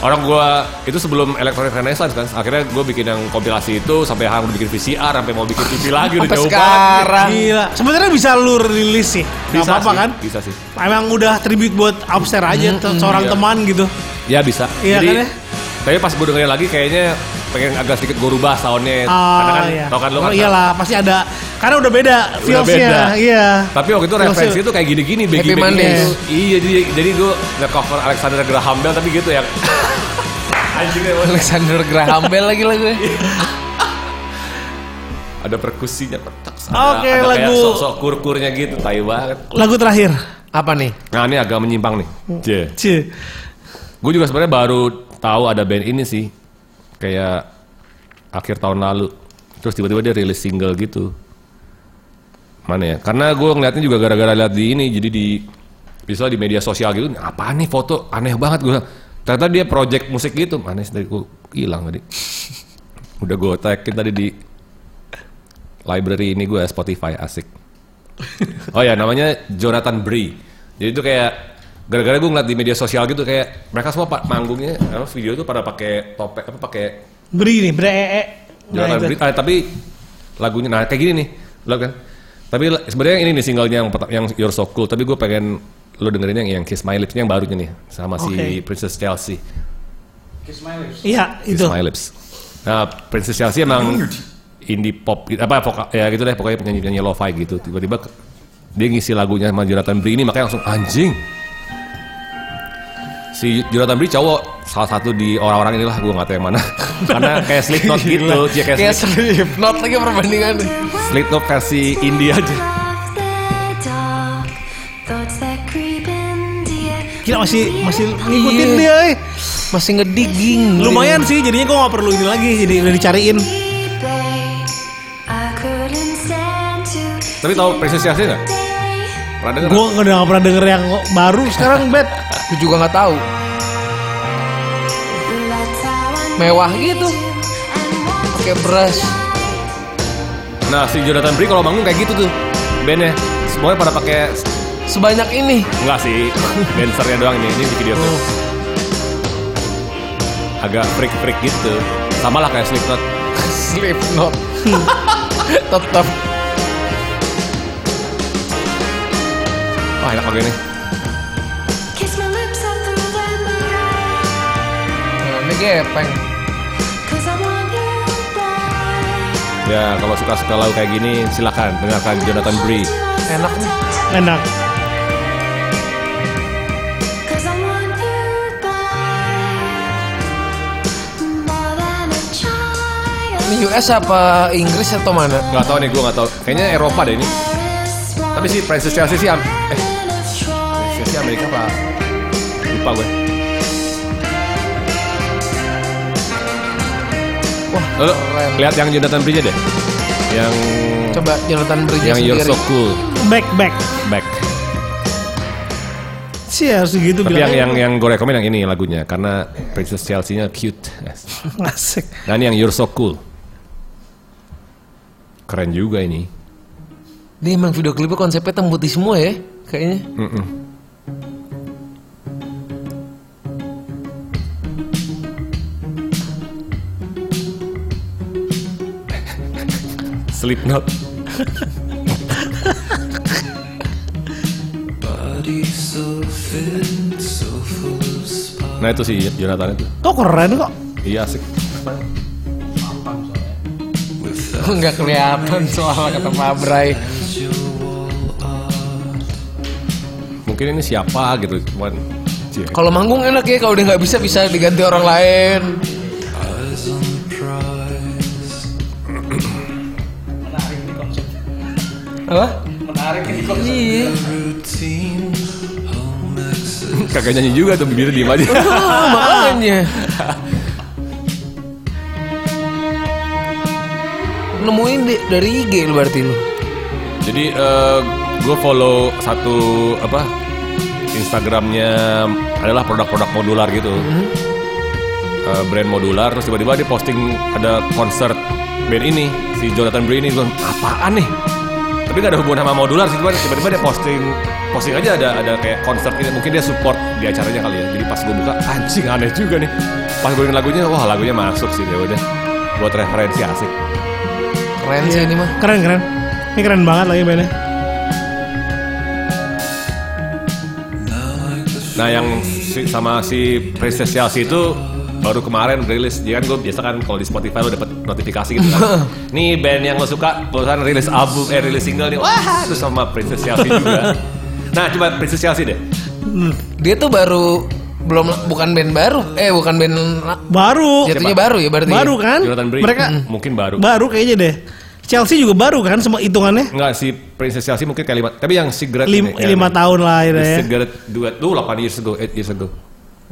[SPEAKER 3] orang gue itu sebelum Electronic Renaissance kan akhirnya gue bikin yang kompilasi itu sampai harus bikin VCR sampai mau bikin TV lagi udah
[SPEAKER 1] Sampai
[SPEAKER 3] jauh banget Iya.
[SPEAKER 1] sekarang.
[SPEAKER 2] Gila. Sebenarnya bisa lu rilis sih. Gak apa-apa
[SPEAKER 3] sih,
[SPEAKER 2] kan?
[SPEAKER 3] bisa sih
[SPEAKER 2] Emang udah tribute buat upstairs aja te- seorang
[SPEAKER 3] iya.
[SPEAKER 2] teman gitu.
[SPEAKER 3] Ya bisa.
[SPEAKER 2] Iya
[SPEAKER 3] Jadi,
[SPEAKER 2] kan ya?
[SPEAKER 3] Tapi pas gue dengerin lagi kayaknya pengen agak sedikit gue rubah soundnya. Karena
[SPEAKER 2] Ah,
[SPEAKER 3] kan,
[SPEAKER 2] iya.
[SPEAKER 3] tau kan lo kan.
[SPEAKER 2] Oh, iyalah, pasti ada. Karena udah beda
[SPEAKER 3] Udah beda.
[SPEAKER 2] feels-nya. Iya.
[SPEAKER 3] Tapi waktu itu
[SPEAKER 2] Feels-nya-
[SPEAKER 3] referensi itu kayak gini-gini.
[SPEAKER 1] Happy
[SPEAKER 3] Begi-begi
[SPEAKER 1] Mondays.
[SPEAKER 3] gitu. Iya jadi, jadi gue nge-cover Alexander Graham Bell tapi gitu yang. Anjing ya. Bos.
[SPEAKER 1] Alexander Graham Bell lagi lagu.
[SPEAKER 3] Iya, Ada perkusinya. petak, ada-
[SPEAKER 2] Oke,
[SPEAKER 3] ada
[SPEAKER 2] lagu-
[SPEAKER 3] kayak sok-sok kur-kurnya gitu. Tai banget.
[SPEAKER 2] Lagu terakhir.
[SPEAKER 1] Apa nih?
[SPEAKER 3] Nah ini agak menyimpang nih.
[SPEAKER 2] Hmm.
[SPEAKER 3] Cie.
[SPEAKER 2] Cie.
[SPEAKER 3] Gue juga sebenarnya baru tahu ada band ini sih. Kayak akhir tahun lalu. Terus tiba-tiba dia rilis single gitu. Mana ya? Karena gue ngeliatnya juga gara-gara lihat di ini. Jadi di misalnya di media sosial gitu, apa nih foto aneh banget gue. Ternyata dia project musik gitu. Aneh dari gue hilang tadi. Udah gue tagin tadi di library ini gue Spotify asik. Oh ya namanya Jonathan Bree. Jadi itu kayak gara-gara gue ngeliat di media sosial gitu kayak mereka semua pak manggungnya apa video itu pada pakai topeng apa pakai
[SPEAKER 2] Beri nih, bre e e.
[SPEAKER 3] Jonathan Bree. Ah, tapi lagunya nah kayak gini nih lo kan. Tapi la- sebenarnya ini nih singlenya yang perta- yang You're So Cool. Tapi gue pengen lo dengerin yang yang Kiss My Lips yang barunya nih sama si
[SPEAKER 2] Oke.
[SPEAKER 3] Princess Chelsea.
[SPEAKER 5] Kiss my lips.
[SPEAKER 2] Iya,
[SPEAKER 3] Kiss
[SPEAKER 2] itu.
[SPEAKER 3] My Lips. Nah Princess Chelsea emang indie pop gitu, apa voka- ya gitu deh pokoknya penyanyi penyanyi lo-fi gitu tiba-tiba ke- dia ngisi lagunya sama Jonathan Bri ini makanya langsung anjing si Jonathan Bri cowok salah satu di orang-orang inilah gue nggak tahu yang mana karena kayak Slipknot gitu dia kayak
[SPEAKER 1] Kayak
[SPEAKER 3] Slip-
[SPEAKER 1] sleep not lagi perbandingan.
[SPEAKER 3] Slipknot versi India aja
[SPEAKER 2] Gila masih masih
[SPEAKER 3] Iya.
[SPEAKER 1] Ngikutin
[SPEAKER 2] ngikutin
[SPEAKER 1] dia,
[SPEAKER 2] dia.
[SPEAKER 1] eh. masih ngedigging.
[SPEAKER 2] Lumayan sih jadinya gue gak perlu ini lagi jadi udah dicariin.
[SPEAKER 3] tapi tahu Princess Yassin nggak pernah denger
[SPEAKER 2] Gue udah gak pernah denger yang baru sekarang bet.
[SPEAKER 1] Gue juga nggak tahu. Mewah gitu. Pakai beras.
[SPEAKER 3] nah si Jonathan Bri kalau manggung kayak gitu tuh bandnya semuanya pada pakai
[SPEAKER 1] Sebanyak ini.
[SPEAKER 3] enggak sih dancernya doang ini ini di video tuh agak freak-freak gitu sama lah kayak Slipknot
[SPEAKER 1] Sleep not. Tetap.
[SPEAKER 3] wah enak banget ini
[SPEAKER 1] Ini gepeng.
[SPEAKER 3] ya kalau suka-suka lagu kayak gini silakan dengarkan Jonathan Bri
[SPEAKER 1] Enak nih.
[SPEAKER 2] Enak.
[SPEAKER 1] Ini US apa Inggris atau mana?
[SPEAKER 3] nggak tahu nih gue nggak tahu kayaknya Eropa deh ini tapi si Princess Chelsea sih am- eh Princess Chelsea Amerika apa lupa gue
[SPEAKER 1] Wah,
[SPEAKER 3] Lo, lo
[SPEAKER 1] keren.
[SPEAKER 3] lihat yang Jonathan Bri deh yang
[SPEAKER 1] Coba Jonathan Bridges
[SPEAKER 3] yang You're
[SPEAKER 1] sendiri.
[SPEAKER 3] So Cool
[SPEAKER 2] Back back.
[SPEAKER 3] Back
[SPEAKER 2] Sih harus gitu
[SPEAKER 3] tapi yang yang
[SPEAKER 2] bilangnya.
[SPEAKER 3] yang gue rekomen yang ini lagunya karena Princess Chelsea-nya cute
[SPEAKER 2] Asik.
[SPEAKER 3] Dan yang You're So Cool. Keren juga ini.
[SPEAKER 1] Dia emang video klipnya konsepnya hitam putih semua ya, kayaknya.
[SPEAKER 3] Slipknot. nah itu sih Jonathan itu.
[SPEAKER 2] Kok keren kok.
[SPEAKER 3] Iya asik.
[SPEAKER 1] Nggak kelihatan soal kata Pak Bray.
[SPEAKER 3] Mungkin ini siapa gitu cuman Cie.
[SPEAKER 1] Kalau manggung enak ya, kalau dia nggak bisa bisa diganti orang lain. Apa? Menarik Iya.
[SPEAKER 3] Kagak nyanyi juga tuh bibirnya diem aja.
[SPEAKER 1] Ah, makanya. Nemuin di- dari IG lu berarti lu.
[SPEAKER 3] Jadi gue follow satu apa Instagramnya adalah produk-produk modular gitu, Eh, brand modular. Terus tiba-tiba dia posting ada konser band ini si Jonathan Bri ini gue apaan nih? Tapi gak ada hubungan sama modular sih, cuman tiba-tiba dia posting posting aja ada ada kayak konser ini mungkin dia support di acaranya kali ya. Jadi pas gue buka anjing aneh juga nih. Pas gue dengerin lagunya wah lagunya masuk sih ya udah buat referensi asik.
[SPEAKER 1] Keren sih ini mah.
[SPEAKER 2] Keren keren. Ini keren banget lagi bandnya.
[SPEAKER 3] Nah yang si- sama si Princess Chelsea itu baru kemarin rilis Jadi kan gue biasa kan kalau di Spotify lo dapet notifikasi gitu kan Nih band yang lo suka barusan rilis album, eh rilis single nih Wah itu sama Princess Chelsea juga Nah coba Princess Chelsea deh
[SPEAKER 1] Dia tuh baru belum bukan band baru. Eh, bukan band
[SPEAKER 2] Baru.
[SPEAKER 1] jatuhnya baru ya berarti. ya?
[SPEAKER 2] Oh, Baru kan?
[SPEAKER 3] Jonathan Bri
[SPEAKER 2] Mereka
[SPEAKER 3] mungkin baru
[SPEAKER 2] baru kayaknya deh. Chelsea juga baru kan semua hitungannya.
[SPEAKER 3] Enggak si Princess Chelsea mungkin kayak lima Tapi yang Cigarette
[SPEAKER 2] Lim,
[SPEAKER 3] ini, kayak
[SPEAKER 2] lima tahun lah ya.
[SPEAKER 3] The
[SPEAKER 2] ya.
[SPEAKER 3] Cigarette duet tuh 8 years ago, 8 years ago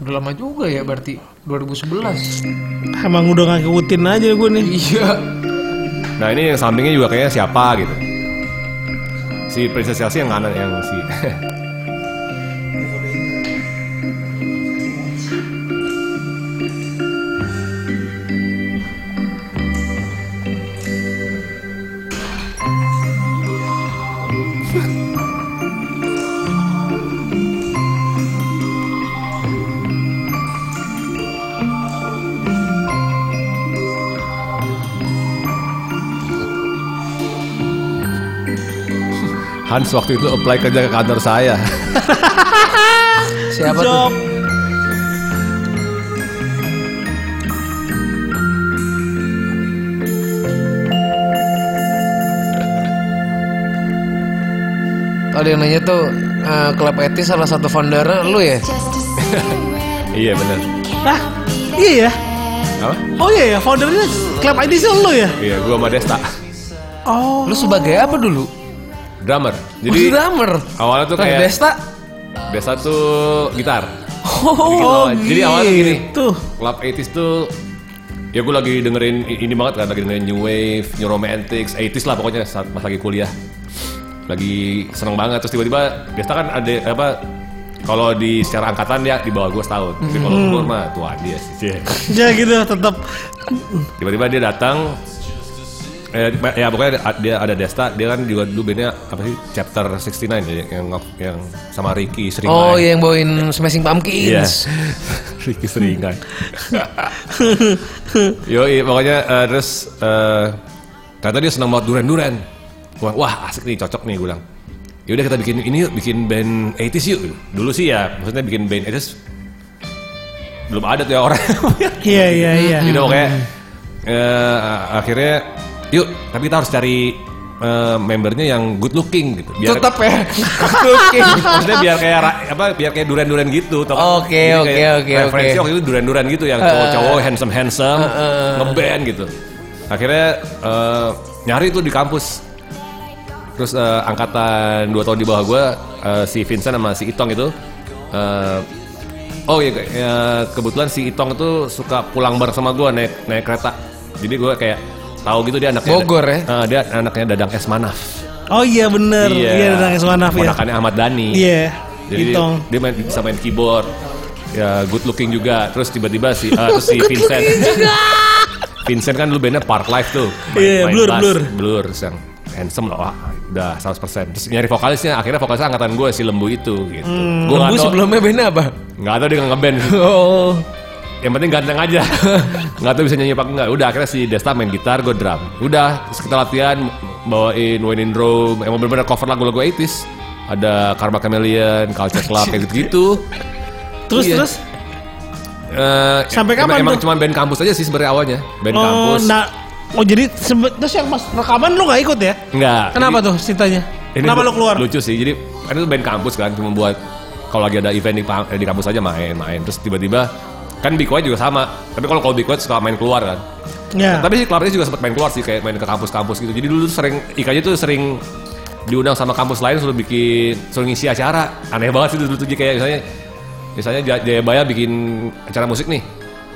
[SPEAKER 1] Udah lama juga ya berarti 2011.
[SPEAKER 2] Emang udah gak ngikutin aja gue nih.
[SPEAKER 1] Iya.
[SPEAKER 3] Nah ini yang sampingnya juga kayaknya siapa gitu Si Princess Chelsea yang kanan yang si Hans waktu itu apply kerja ke kantor saya
[SPEAKER 1] Siapa tuh?
[SPEAKER 2] Job.
[SPEAKER 1] ada yang nanya tuh eh, Club Etis salah satu foundernya lu ya?
[SPEAKER 3] Iya benar.
[SPEAKER 2] Hah? Iya ya?
[SPEAKER 3] Apa?
[SPEAKER 2] Oh iya ya, foundernya klub ID sih lo ya?
[SPEAKER 3] Iya, gua sama Desta.
[SPEAKER 2] Oh.
[SPEAKER 1] Lu sebagai apa dulu?
[SPEAKER 3] Drummer.
[SPEAKER 1] Jadi
[SPEAKER 3] Jadi
[SPEAKER 1] Oh, drummer.
[SPEAKER 3] awalnya tuh
[SPEAKER 1] Kang
[SPEAKER 3] kayak-
[SPEAKER 1] Desta.
[SPEAKER 3] Desta tuh gitar.
[SPEAKER 1] Oh,
[SPEAKER 3] Jadi awalnya gini.
[SPEAKER 2] Tuh.
[SPEAKER 3] Club 80s tuh ya gue lagi dengerin i- ini banget kan lagi dengerin new wave, new romantics, 80s lah pokoknya saat pas lagi kuliah. Lagi seneng banget terus tiba-tiba Desta kan ada apa kalau di secara angkatan dia di bawah gue setahun. Tapi
[SPEAKER 1] Mm-hmm.
[SPEAKER 3] kalau umur mah tuaan dia sih.
[SPEAKER 2] Ya gitu tetap.
[SPEAKER 3] Tiba-tiba dia datang Eh, ya pokoknya ada- dia ada Desta, dia kan juga dulu bandnya apa sih chapter 69 ya, yang yang sama Ricky sering
[SPEAKER 1] Oh,
[SPEAKER 3] main.
[SPEAKER 1] iya yang bawain Smashing
[SPEAKER 3] Iya.
[SPEAKER 1] Pumpkins.
[SPEAKER 3] Ricky Seringan. Yo, makanya eh, terus eh, ternyata dia senang banget duren-duren. Wah, wah, asik nih, cocok nih gue bilang. Yaudah kita bikin ini yuk, bikin band 80s yuk. Dulu sih ya, maksudnya bikin band 80s belum ada tuh ya orang.
[SPEAKER 2] Iya iya iya.
[SPEAKER 1] Hmm.
[SPEAKER 3] Jadi pokoknya eh, akhirnya yuk, tapi kita harus cari eh, membernya yang good looking gitu. Biar-
[SPEAKER 1] Tetap ya. Oke.
[SPEAKER 3] Maksudnya biar kayak ra- apa biar kayak duren-duren gitu. tau kan?
[SPEAKER 1] Oke,
[SPEAKER 3] Jadi
[SPEAKER 1] oke,
[SPEAKER 3] kayak
[SPEAKER 1] oke,
[SPEAKER 3] Referensi
[SPEAKER 1] oke.
[SPEAKER 3] waktu itu duren-duren gitu yang cowok-cowok handsome-handsome, ngeband gitu. Akhirnya eh, nyari tuh di kampus. Terus eh, angkatan dua tahun di bawah gue si Vincent sama si Itong itu eh, Oh iya, ke- ya, kebetulan si Itong itu suka pulang bareng sama gue naik naik kereta. Jadi gue kayak tahu gitu dia anaknya
[SPEAKER 1] Bogor ya?
[SPEAKER 3] Eh, dia anaknya Dadang S Manaf.
[SPEAKER 2] Oh iya bener. Iya tentang Esmanaf ya.
[SPEAKER 3] Ponakannya Ahmad Dhani.
[SPEAKER 2] Iya.
[SPEAKER 3] Jadi
[SPEAKER 2] Itong.
[SPEAKER 3] dia main, bisa main keyboard. Ya good looking juga. Terus tiba-tiba si ah, terus si Vincent. Vincent kan dulu bandnya Park Life tuh.
[SPEAKER 2] Iya, Blur, Blur.
[SPEAKER 3] Blur. Terus yang handsome lah. Wah, udah 100%. Terus nyari vokalisnya. Akhirnya vokalisnya angkatan gue si Lembu itu gitu.
[SPEAKER 2] Hmm,
[SPEAKER 3] gue
[SPEAKER 1] Lembu sebelumnya bandnya apa?
[SPEAKER 3] Gak tau dia ngeband.
[SPEAKER 1] Oh.
[SPEAKER 3] Yang penting ganteng aja. Gak tau bisa nyanyi apa enggak. Udah akhirnya si Desta main gitar, gue drum. Udah, terus kita latihan bawain Wayne in Rome. Emang bener-bener cover lagu-lagu 80s. Ada Karma Chameleon, Culture Club, kayak gitu-gitu.
[SPEAKER 2] Terus
[SPEAKER 3] Iya.
[SPEAKER 2] terus.
[SPEAKER 3] Eh,
[SPEAKER 2] Sampai
[SPEAKER 3] emang-
[SPEAKER 2] kapan
[SPEAKER 3] Emang
[SPEAKER 2] tuh?
[SPEAKER 3] cuma band kampus aja sih sebenarnya awalnya. Band
[SPEAKER 2] Oh,
[SPEAKER 3] kampus.
[SPEAKER 2] nah, oh jadi sempet- terus yang pas rekaman lu gak ikut ya?
[SPEAKER 3] Enggak.
[SPEAKER 2] Kenapa tuh ceritanya? Kenapa lu keluar? Ya.
[SPEAKER 3] Lucu sih. Jadi kan itu band kampus kan cuma buat kalau lagi ada event di, pa- eh, di kampus aja main-main. Terus tiba-tiba kan Big White juga sama. Tapi kalau kalau Big White suka main keluar kan.
[SPEAKER 1] Iya.
[SPEAKER 2] Ya.
[SPEAKER 3] Tapi sih Clarence juga sempat main keluar sih kayak main ke kampus-kampus gitu. Jadi dulu tuh sering IKJ tuh sering diundang sama kampus lain suruh bikin suruh ngisi acara. Aneh banget sih dulu tuh Ji. kayak misalnya misalnya Jaya- Jayabaya bikin acara musik nih.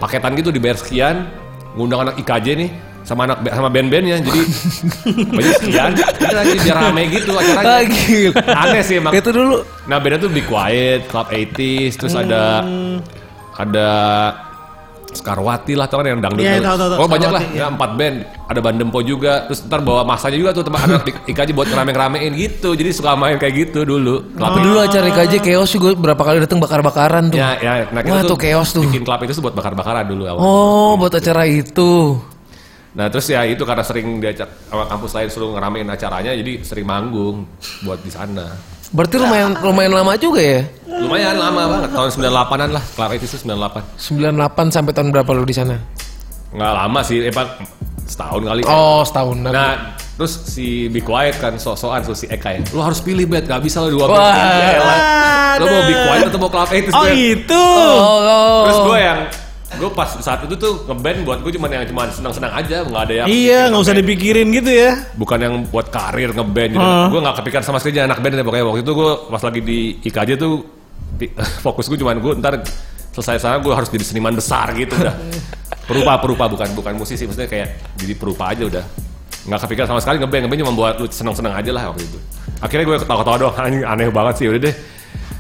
[SPEAKER 3] Paketan gitu dibayar sekian, ngundang anak IKJ nih sama anak sama band-bandnya. Jadi banyak sekian, udah, jadi biar rame gitu acaranya.
[SPEAKER 1] Lagi.
[SPEAKER 3] Aneh sih emang.
[SPEAKER 1] Ah, Itu dulu
[SPEAKER 3] Nah beda tuh Be Quiet, Club 80s, terus ada ada Skarwati lah tau kan yang dangdut.
[SPEAKER 2] Iya, tahu,
[SPEAKER 3] tuh.
[SPEAKER 2] tahu, tahu.
[SPEAKER 3] Oh banyak lah,
[SPEAKER 2] Skarwati,
[SPEAKER 3] ya, empat band. Ada Bandempo juga, terus ntar bawa masanya juga tuh teman anak IKJ buat ngerame-ngeramein gitu. Jadi suka main kayak gitu dulu. Club
[SPEAKER 1] Tapi dulu acara IKJ chaos juga berapa kali datang bakar-bakaran tuh.
[SPEAKER 3] Ya, ya, nah,
[SPEAKER 1] Wah,
[SPEAKER 3] kita
[SPEAKER 1] tuh chaos tuh.
[SPEAKER 3] Bikin club itu tuh buat bakar-bakaran dulu awal.
[SPEAKER 1] Oh, buat acara itu.
[SPEAKER 3] Nah terus ya itu karena sering diajak sama kampus lain suruh ngeramein acaranya, jadi sering manggung buat di sana.
[SPEAKER 1] Berarti lumayan lumayan lama juga ya?
[SPEAKER 3] Lumayan lama banget, tahun 98-an lah, Club 80s itu 98.
[SPEAKER 1] 98 sampai tahun berapa lu di sana?
[SPEAKER 3] Nggak lama sih, eh, Pak, setahun kali.
[SPEAKER 1] Oh, setahun.
[SPEAKER 3] Iya. Nah, terus si Be Quiet kan sok-sokan terus si Eka ya. Lu harus pilih bet, gak bisa lu dua
[SPEAKER 1] Wah.
[SPEAKER 3] band. Ya elah. Lu mau Be Quiet atau mau Club 80s
[SPEAKER 2] Oh
[SPEAKER 3] Ben?
[SPEAKER 2] itu.
[SPEAKER 1] oh, oh.
[SPEAKER 3] Terus gue yang gue pas saat itu tuh ngeband buat gue cuman yang cuman senang-senang aja, nggak ada yang
[SPEAKER 2] Iya, nggak usah dipikirin gitu ya.
[SPEAKER 3] bukan yang buat karir ngeband gitu.
[SPEAKER 2] Heeh.
[SPEAKER 3] Gue nggak kepikiran sama sekali jadi anak band deh pokoknya waktu itu gue pas lagi di IKJ tuh di- fokus gue cuman gue ntar selesai sana gue harus jadi seniman besar gitu udah. Perupa perupa bukan bukan musisi maksudnya kayak jadi perupa aja udah. Nggak kepikiran sama sekali ngeband ngeband cuma buat lu seneng-seneng aja lah waktu itu. Akhirnya gue ketawa-ketawa doang anjing aneh banget sih Ya udah deh.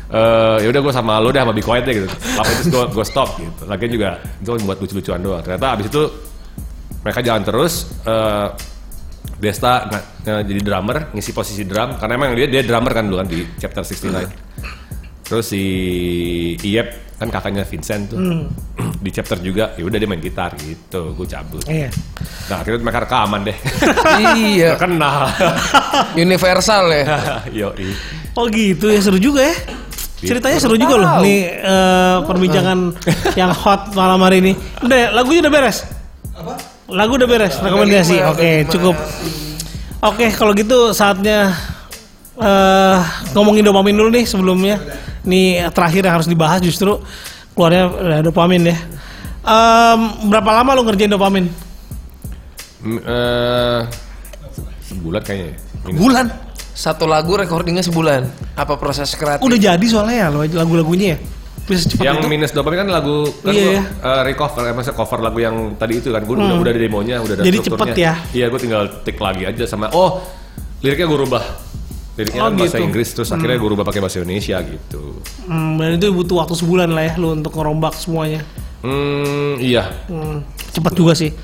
[SPEAKER 3] Eh ya udah gue sama lo deh sama Be Quiet deh gitu. Tapi itu gue gue stop gitu. Lagian juga itu kan buat lucu-lucuan doang. Ternyata abis itu mereka jalan terus. eh Desta nah, eh, jadi drummer, ngisi posisi drum karena emang dia dia drummer kan dulu kan di chapter 69. Terus si Iyep kan kakaknya Vincent tuh di chapter juga, ya udah dia main gitar gitu, gue cabut.
[SPEAKER 2] Iya.
[SPEAKER 3] Nah akhirnya mereka rekaman deh,
[SPEAKER 1] iya,
[SPEAKER 3] terkenal.
[SPEAKER 1] universal ya.
[SPEAKER 3] Yo,
[SPEAKER 2] Oh gitu ya seru juga ya. Ceritanya seru juga loh. Nih eh, perbincangan yang hot malam hari ini. Udah ya, lagunya udah beres. Lagu udah beres rekomendasi. Oke cukup. Oke kalau gitu saatnya eh ngomongin dopamin dulu nih sebelumnya. Nih terakhir yang harus dibahas justru keluarnya eh, dopamin ya. Em, berapa lama lu ngerjain dopamin?
[SPEAKER 3] Mm, eh, sebulan kayaknya ya. Ini.
[SPEAKER 2] Bulan.
[SPEAKER 1] Satu lagu recordingnya sebulan. Apa proses kreatif?
[SPEAKER 2] Udah jadi soalnya ya lo- lagu-lagunya ya. Bisa cepat
[SPEAKER 3] Yang
[SPEAKER 2] itu.
[SPEAKER 3] minus dopamin kan lagu kan
[SPEAKER 2] Iya,
[SPEAKER 3] gua,
[SPEAKER 2] iya. Hmm.
[SPEAKER 3] eh, recover eh, maksudnya cover lagu yang tadi itu kan gue udah, udah ada demonya udah ada
[SPEAKER 2] Jadi
[SPEAKER 3] strukturnya.
[SPEAKER 2] cepet ya?
[SPEAKER 3] Iya gue tinggal tik lagi aja sama oh liriknya gue rubah liriknya
[SPEAKER 2] Oh,
[SPEAKER 3] kan bahasa
[SPEAKER 2] gitu.
[SPEAKER 3] Inggris terus akhirnya gue rubah pakai bahasa Indonesia gitu.
[SPEAKER 2] Hmm, dan itu butuh waktu sebulan lah ya lu untuk ngerombak semuanya.
[SPEAKER 3] Hmm iya
[SPEAKER 2] Hmm, cepat juga sih.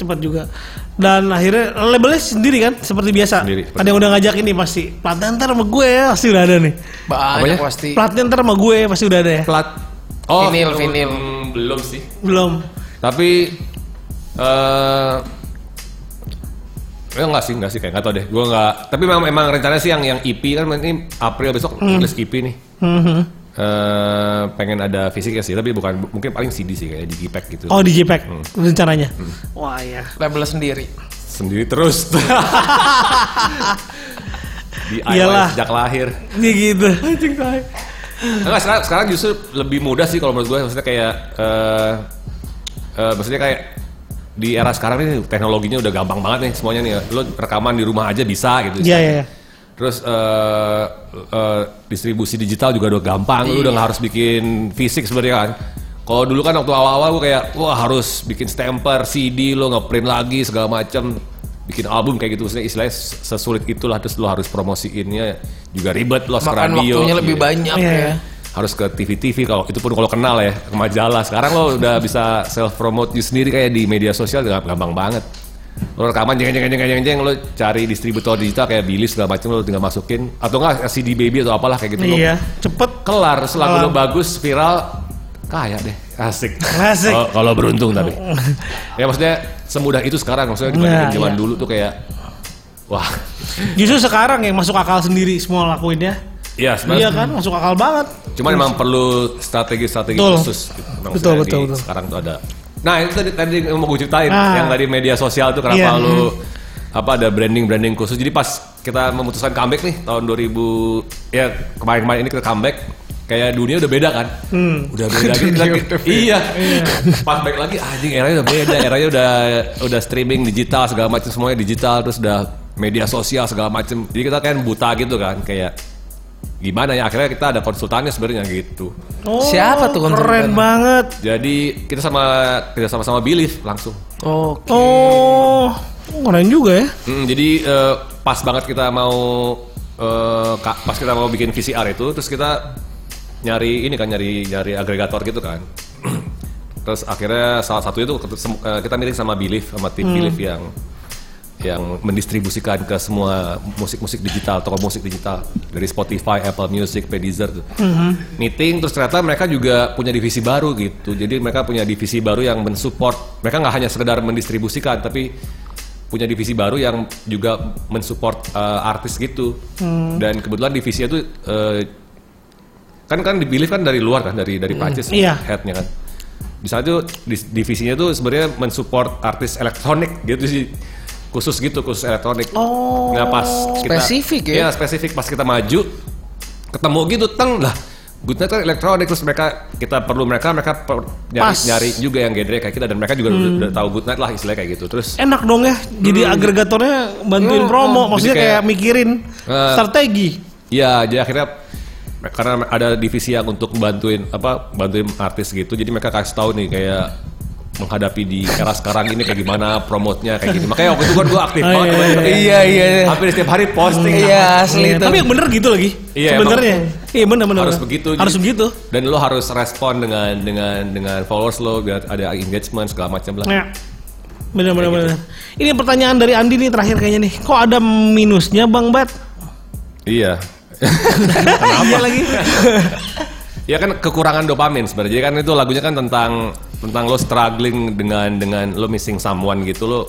[SPEAKER 2] Cepat juga. Dan akhirnya labelnya sendiri kan seperti biasa.
[SPEAKER 3] Sendiri,
[SPEAKER 2] Ada yang udah ngajakin nih pasti. Platnya ntar sama gue ya pasti udah ada nih.
[SPEAKER 1] Banyak
[SPEAKER 3] Apanya?
[SPEAKER 1] pasti.
[SPEAKER 2] Platnya ntar sama gue pasti udah ada ya.
[SPEAKER 3] plat
[SPEAKER 1] Vinil,
[SPEAKER 3] mm,
[SPEAKER 1] vinil.
[SPEAKER 3] belum sih
[SPEAKER 2] Belum.
[SPEAKER 3] tapi eh ya enggak sih enggak sih kayak enggak tau deh gue enggak tapi memang emang rencananya sih yang yang EP kan ini April besok
[SPEAKER 2] Hmm.
[SPEAKER 3] rilis EP nih
[SPEAKER 2] Mhm.
[SPEAKER 3] eh pengen ada fisiknya sih tapi bukan mungkin paling CD sih kayak digipack gitu
[SPEAKER 2] Oh di JPEG rencananya.
[SPEAKER 3] Hmm.
[SPEAKER 2] Wah ya.
[SPEAKER 1] Label sendiri.
[SPEAKER 3] sendiri terus di E
[SPEAKER 2] Iyalah.
[SPEAKER 3] sejak lahir
[SPEAKER 2] Ini gitu.
[SPEAKER 3] Enggak, sekarang, sekarang justru lebih mudah sih kalau menurut gue maksudnya kayak eh eh, maksudnya kayak di era sekarang ini teknologinya udah gampang banget nih semuanya nih lo rekaman di rumah aja bisa gitu
[SPEAKER 2] Iya iya. iya.
[SPEAKER 3] terus eh eh, distribusi digital juga udah gampang lu udah nggak harus bikin fisik sebenarnya kan kalau dulu kan waktu awal-awal gue kayak wah harus bikin stamper CD lo ngeprint lagi segala macem bikin album kayak gitu maksudnya istilahnya sesulit itulah terus lo harus promosiinnya juga ribet lo harus ke
[SPEAKER 1] Makan
[SPEAKER 3] radio
[SPEAKER 1] waktunya lebih
[SPEAKER 3] iya
[SPEAKER 1] banyak
[SPEAKER 2] Iya,
[SPEAKER 1] ya.
[SPEAKER 2] iya.
[SPEAKER 3] harus ke TV-TV kalau itu pun kalau kenal ya ke majalah sekarang lo udah bisa self promote you sendiri kayak di media sosial dengan gampang banget lo rekaman jeng jeng jeng jeng jeng, jeng lo cari distributor digital kayak bilis segala macam lo tinggal masukin atau enggak CD baby atau apalah kayak gitu lo
[SPEAKER 2] Iya. Cepet.
[SPEAKER 3] kelar selalu
[SPEAKER 2] Kelar.
[SPEAKER 3] lo bagus viral kaya deh asik
[SPEAKER 2] Asik.
[SPEAKER 3] Kalau- kalau beruntung tapi ya maksudnya semudah itu sekarang maksudnya dibandingin
[SPEAKER 2] Nah,
[SPEAKER 3] zaman
[SPEAKER 2] iya.
[SPEAKER 3] dulu tuh kayak wah
[SPEAKER 2] Justru sekarang yang masuk akal sendiri semua lakuinnya.
[SPEAKER 3] Iya,
[SPEAKER 2] Iya
[SPEAKER 3] sebenarnya
[SPEAKER 2] kan masuk akal banget.
[SPEAKER 3] Cuman emang perlu strategi-strategi
[SPEAKER 2] Betul.
[SPEAKER 3] khusus. gitu. Emang
[SPEAKER 2] Betul, betul,
[SPEAKER 3] maksudnya di-
[SPEAKER 2] betul.
[SPEAKER 3] Sekarang tuh ada. Nah itu tadi, tadi yang mau gue ceritain.
[SPEAKER 2] Ah.
[SPEAKER 3] Yang tadi media sosial tuh kenapa
[SPEAKER 2] Iya,
[SPEAKER 3] lu apa ada branding-branding khusus. Jadi pas kita memutuskan comeback nih tahun 2000 ya kemarin-kemarin ini kita comeback kayak dunia udah beda kan. Udah beda gitu. iya. Pas back lagi anjing eranya udah beda. Eranya udah udah streaming digital segala macam semuanya digital terus udah media sosial segala macam. Jadi kita kan buta gitu kan kayak gimana ya akhirnya kita ada konsultannya sebenarnya gitu.
[SPEAKER 2] Oh,
[SPEAKER 1] Siapa tuh konsultan?
[SPEAKER 2] Keren banget.
[SPEAKER 3] Jadi kita sama kerja sama sama Belief langsung.
[SPEAKER 1] Oke.
[SPEAKER 2] Oh, keren juga ya.
[SPEAKER 3] Hmm, jadi eh, pas banget kita mau eh, ka- pas kita mau bikin VCR itu, terus kita nyari ini kan nyari nyari agregator gitu kan. terus akhirnya salah satu itu eh, kita miring sama Belief sama tim Belief yang yang mendistribusikan ke semua musik-musik digital, toko musik digital dari Spotify, Apple Music, P Deezer tuh. Meeting terus ternyata mereka juga punya divisi baru gitu. Jadi mereka punya divisi baru yang mensupport. Mereka nggak hanya sekedar mendistribusikan tapi punya divisi baru yang juga mensupport uh, artis gitu. Dan kebetulan divisi itu uh, kan kan dipilih kan dari luar kan dari dari Prancis
[SPEAKER 2] iya.
[SPEAKER 3] headnya kan di sana tuh dis- divisinya tuh sebenarnya mensupport artis elektronik gitu sih khusus gitu khusus elektronik
[SPEAKER 2] Oh,
[SPEAKER 3] nah pas kita
[SPEAKER 1] spesifik ya?
[SPEAKER 3] Iya, spesifik pas kita maju ketemu gitu teng lah Goodnight kan elektronik terus mereka kita perlu mereka mereka per- nyari
[SPEAKER 2] Pas.
[SPEAKER 3] nyari juga yang genre kayak kita dan mereka juga udah, udah tahu Goodnight lah istilahnya kayak gitu terus
[SPEAKER 2] Enak dong ya. Jadi agregatornya bantuin promo, maksudnya
[SPEAKER 3] Hmm. Jadi
[SPEAKER 2] kayak,
[SPEAKER 3] kayak-
[SPEAKER 2] mikirin
[SPEAKER 3] Eh.
[SPEAKER 2] strategi.
[SPEAKER 3] Ya, jadi akhirnya karena ada divisi yang untuk bantuin apa bantuin artis gitu, jadi mereka kasih tahu nih kayak menghadapi di era sekarang ini kayak gimana promotnya kayak gitu. Makanya waktu itu kan gue aktif
[SPEAKER 2] Oh,
[SPEAKER 3] banget.
[SPEAKER 2] iya,
[SPEAKER 3] kemarin.
[SPEAKER 1] Iya iya.
[SPEAKER 3] Hampir setiap hari posting. kan.
[SPEAKER 1] Iya asli
[SPEAKER 2] Iya,
[SPEAKER 1] itu.
[SPEAKER 2] tapi yang bener gitu lagi.
[SPEAKER 3] Iya,
[SPEAKER 2] Sebenarnya. Iya bener bener.
[SPEAKER 3] Harus
[SPEAKER 2] bener.
[SPEAKER 3] begitu,
[SPEAKER 2] Harus
[SPEAKER 3] jadi-
[SPEAKER 2] begitu.
[SPEAKER 3] Dan lo harus respon dengan dengan dengan followers lo biar ada engagement segala macam
[SPEAKER 1] Iya.
[SPEAKER 3] lah.
[SPEAKER 2] Ya. Bener bener
[SPEAKER 3] gitu.
[SPEAKER 2] bener. Ini pertanyaan dari Andi nih terakhir kayaknya nih. Kok ada minusnya Bang Bat?
[SPEAKER 3] Iya.
[SPEAKER 2] iya lagi.
[SPEAKER 3] Ya kan kekurangan dopamin sebenarnya. Jadi kan itu lagunya kan tentang tentang lo struggling dengan dengan lo missing someone gitu lo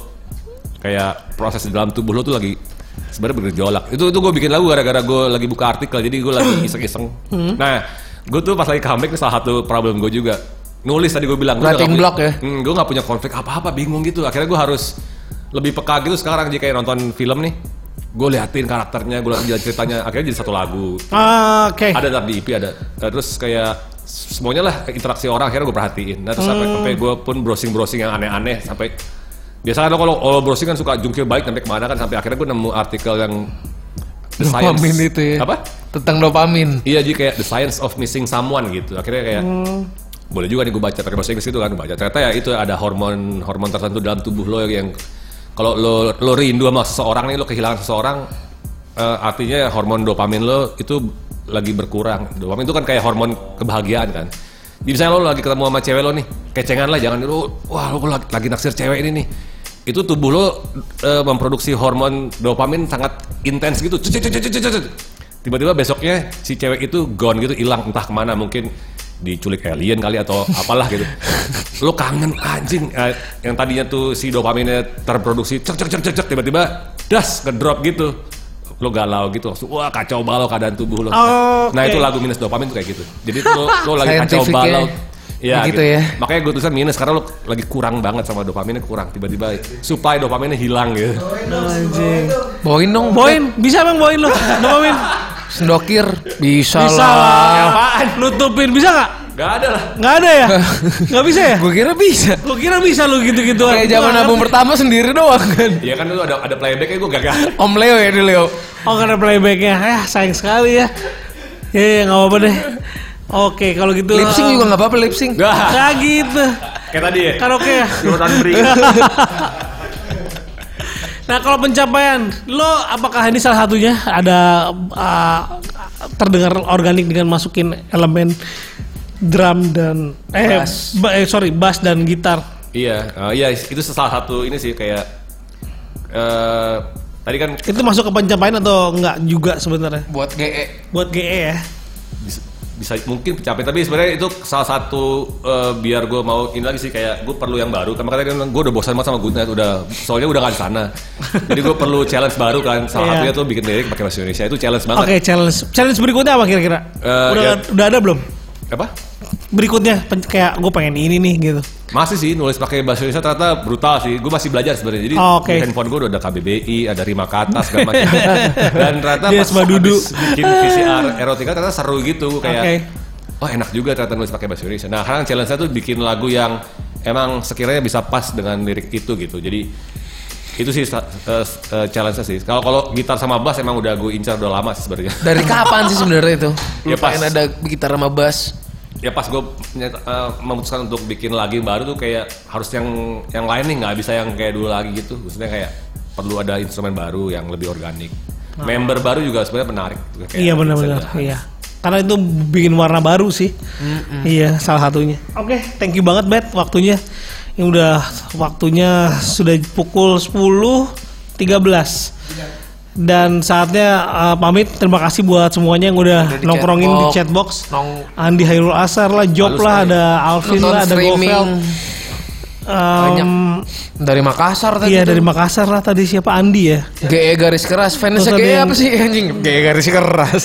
[SPEAKER 3] kayak proses di dalam tubuh lo tuh lagi sebenarnya bergejolak. Itu itu gue bikin lagu gara-gara gue lagi buka artikel. Jadi gue lagi iseng-iseng.
[SPEAKER 1] Hmm?
[SPEAKER 3] Nah, gue tuh pas lagi comeback nih salah satu problem gue juga nulis tadi gue bilang gua udah
[SPEAKER 1] Writing
[SPEAKER 3] nggak
[SPEAKER 1] block
[SPEAKER 3] punya-
[SPEAKER 1] ya?
[SPEAKER 3] Hmm, gue nggak punya konflik apa-apa, bingung gitu. Akhirnya gue harus lebih peka gitu sekarang jika kayak nonton film nih. gue liatin karakternya gue liatin jalan ceritanya akhirnya jadi satu lagu
[SPEAKER 2] Ah, Oke.
[SPEAKER 3] ada tetap di EP ada Nah, terus kayak semuanya lah interaksi orang akhirnya gue perhatiin nah terus sampai sampai gue pun browsing browsing yang aneh-aneh sampai biasanya lo kalau kalau browsing kan suka jungkir balik sampai kemana kan sampai akhirnya gue nemu artikel yang The Science-
[SPEAKER 1] Dopamin itu ya.
[SPEAKER 3] apa
[SPEAKER 1] Tentang dopamin.
[SPEAKER 3] iya jadi kayak the science of missing someone gitu akhirnya kayak boleh juga nih gue baca pakai bahasa Inggris gitu kan gue baca ternyata ya itu ada hormon hormon tertentu dalam tubuh lo yang kalau lo lo rindu sama seseorang nih lo kehilangan seseorang eh, artinya ya hormon dopamin lo itu lagi berkurang dopamin itu kan kayak hormon kebahagiaan kan jadi misalnya lo lagi ketemu sama cewek lo nih kecengan lah jangan lo wah lo lagi, lagi naksir cewek ini nih itu tubuh lo eh, memproduksi hormon dopamin sangat intens gitu Cet, cet, cet, cet, cet, cet tiba-tiba besoknya si cewek itu gone gitu hilang entah kemana mungkin diculik alien kali atau apalah gitu lo kangen anjing Eh, yang tadinya tuh si dopaminnya terproduksi cek cek cek cek cek, tiba-tiba das ngedrop gitu lo galau gitu langsung wah kacau balau keadaan tubuh lo
[SPEAKER 2] Oke.
[SPEAKER 3] nah itu lagu minus dopamin tuh kayak gitu jadi tuh lo, lo lagi kacau
[SPEAKER 1] Scientific
[SPEAKER 3] balau
[SPEAKER 1] ya.
[SPEAKER 3] Iya
[SPEAKER 1] Begitu ya.
[SPEAKER 3] Makanya gue tulisan minus karena lo lagi kurang banget sama dopaminnya kurang tiba-tiba supply dopaminnya hilang gitu.
[SPEAKER 2] Anjing.
[SPEAKER 1] Bawain dong.
[SPEAKER 2] Boin, bisa bang boin lu, dopamin.
[SPEAKER 1] Sendokir. Bisa,
[SPEAKER 2] Bisa
[SPEAKER 1] lah.
[SPEAKER 2] lah. Nutupin bisa nggak?
[SPEAKER 3] Gak ada lah.
[SPEAKER 2] Nggak ada ya? Nggak bisa ya?
[SPEAKER 1] Gue kira bisa.
[SPEAKER 2] Gue kira bisa lu gitu-gituan.
[SPEAKER 1] Kayak
[SPEAKER 2] Gua
[SPEAKER 1] zaman
[SPEAKER 2] nggak
[SPEAKER 1] album
[SPEAKER 2] ngerti.
[SPEAKER 1] pertama sendiri doang kan.
[SPEAKER 3] Ya kan itu ada ada playbacknya gue gagal.
[SPEAKER 1] Om Leo ya dulu Leo.
[SPEAKER 2] Oh karena playbacknya, ya sayang sekali ya. Ya ya, nggak apa-apa deh. Oke kalau gitu.
[SPEAKER 1] Lip sync juga nggak apa-apa lip sync.
[SPEAKER 3] Gak.
[SPEAKER 2] Nggak gitu.
[SPEAKER 3] Kayak tadi ya.
[SPEAKER 2] Karaoke ya.
[SPEAKER 3] Jordan Bree.
[SPEAKER 2] Nah kalau pencapaian, lo apakah ini salah satunya ada uh, terdengar organik dengan masukin elemen drum dan eh, ba- eh, sorry bass dan gitar?
[SPEAKER 3] iya, eh, iya itu salah satu ini sih kayak eh tadi kan
[SPEAKER 2] Itu masuk ke pencapaian atau enggak juga sebenarnya?
[SPEAKER 1] Buat E. GE.
[SPEAKER 2] Buat GE ya.
[SPEAKER 3] bisa, bisa- mungkin capek tapi sebenarnya itu salah satu eh, biar gue mau ini lagi sih kayak gue perlu yang baru karena tadi gue udah bosan banget sama Good Night udah soalnya udah kan sana jadi gue perlu challenge baru kan salah
[SPEAKER 2] Iya.
[SPEAKER 3] satunya tuh bikin lirik pakai bahasa Indonesia itu challenge banget
[SPEAKER 2] Oke challenge challenge berikutnya apa kira-kira?
[SPEAKER 3] Eh,
[SPEAKER 2] udah
[SPEAKER 3] ya.
[SPEAKER 2] udah ada belum?
[SPEAKER 3] apa
[SPEAKER 2] Berikutnya pen- kayak gue pengen ini nih gitu.
[SPEAKER 3] masih sih nulis pakai bahasa Indonesia ternyata brutal sih gue masih belajar sebenarnya jadi
[SPEAKER 2] Oh, oke.
[SPEAKER 3] di handphone gue udah ada KBBI ada rima kata segala macam dan ternyata
[SPEAKER 2] Dia
[SPEAKER 3] pas
[SPEAKER 2] sama
[SPEAKER 3] habis
[SPEAKER 2] Dudu.
[SPEAKER 3] bikin PCR erotika ternyata seru gitu kayak
[SPEAKER 2] Oke.
[SPEAKER 3] oh enak juga ternyata nulis pakai bahasa Indonesia nah sekarang challenge saya tuh bikin lagu yang emang sekiranya bisa pas dengan lirik itu gitu jadi itu sih sa- eh, eh, challenge saya sih kalau kalau gitar sama bass emang udah gue incar udah lama sih sebenarnya
[SPEAKER 1] Dari kapan sih sebenarnya itu? Iya,
[SPEAKER 3] Ya, pas.
[SPEAKER 1] Lupain ada gitar sama bass.
[SPEAKER 3] ya pas gue memutuskan untuk bikin lagi baru tuh kayak harus yang yang lain nih nggak bisa yang kayak dulu lagi gitu maksudnya kayak perlu ada instrumen baru yang lebih organik member baru juga sebenarnya menarik Kayak
[SPEAKER 2] Ah. iya benar-benar.
[SPEAKER 3] bisa
[SPEAKER 2] Iya. Karena itu bikin warna baru sih. Iya salah satunya. Oke thank you banget Bet waktunya. Ini udah waktunya sudah pukul 10.13 dan saatnya eh, pamit terima kasih buat semuanya yang udah,
[SPEAKER 1] Udah di
[SPEAKER 2] nongkrongin di
[SPEAKER 1] chatbox.
[SPEAKER 2] chatbox
[SPEAKER 1] Nong-
[SPEAKER 2] Andi Hairul Asar lah Job
[SPEAKER 3] Halus
[SPEAKER 2] lah
[SPEAKER 3] sekali.
[SPEAKER 2] ada Alvin
[SPEAKER 1] Nonton
[SPEAKER 2] lah ada Gofel
[SPEAKER 1] streaming. Banyak. Dari Makassar tadi.
[SPEAKER 2] Iya
[SPEAKER 1] tuh.
[SPEAKER 2] dari Makassar lah tadi siapa Andi ya
[SPEAKER 1] GE E garis keras. Fansnya
[SPEAKER 2] Terus ada
[SPEAKER 1] GE
[SPEAKER 2] yang-
[SPEAKER 1] apa sih anjing? GE garis keras.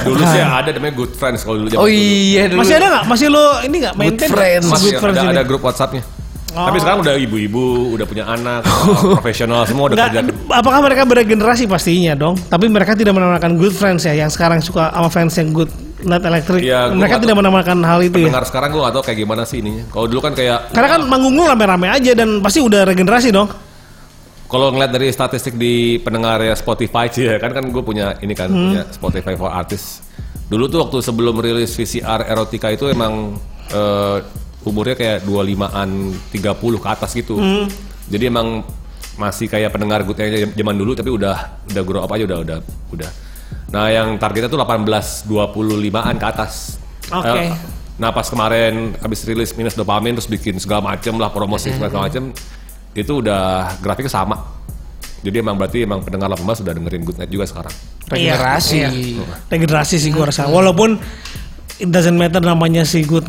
[SPEAKER 3] dulu sih
[SPEAKER 2] Ah.
[SPEAKER 3] ada namanya good friends kalau dulu zaman
[SPEAKER 1] Oh
[SPEAKER 3] dulu.
[SPEAKER 1] iya dulu.
[SPEAKER 2] Masih ada nggak? Masih lo ini nggak maintain? nggak?
[SPEAKER 1] friends.
[SPEAKER 2] Good
[SPEAKER 3] masih
[SPEAKER 2] friends
[SPEAKER 3] ada,
[SPEAKER 2] ini.
[SPEAKER 3] ada grup WhatsAppnya
[SPEAKER 2] Oh.
[SPEAKER 3] tapi sekarang udah ibu-ibu udah punya anak profesional semua udah
[SPEAKER 2] Nggak,
[SPEAKER 3] kerja
[SPEAKER 2] apakah mereka beda generasi pastinya dong? Tapi mereka tidak menamakan good friends ya, yang sekarang suka sama fans yang good not electric.
[SPEAKER 3] Iya, gua
[SPEAKER 2] mereka
[SPEAKER 3] nggak
[SPEAKER 2] tidak menamakan hal itu ya.
[SPEAKER 3] dengar sekarang gue gak tau kayak gimana sih ininya kalau dulu kan kayak
[SPEAKER 2] Karena kan manggung lu rame-rame aja dan pasti udah regenerasi dong.
[SPEAKER 3] Kalau ngeliat dari statistik di pendengar ya Spotify sih ya kan kan gue punya ini kan punya Spotify for Artists. Dulu tuh waktu sebelum rilis VCR Erotika itu emang eh, umurnya kayak 25-an 30 ke atas gitu. Jadi emang masih kayak pendengar gue zaman dulu tapi udah udah grow up aja udah udah udah. Nah, yang targetnya tuh 18 25-an ke atas.
[SPEAKER 2] Oke.
[SPEAKER 3] Eh, Nah pas kemarin habis rilis minus dopamin terus bikin segala macem lah promosi segala macem itu udah grafiknya sama. Jadi emang berarti emang pendengar 18 udah dengerin Good Night juga sekarang.
[SPEAKER 1] regenerasi.
[SPEAKER 2] Iya, iya. Regenerasi sih gua rasa. Walaupun it doesn't matter namanya si good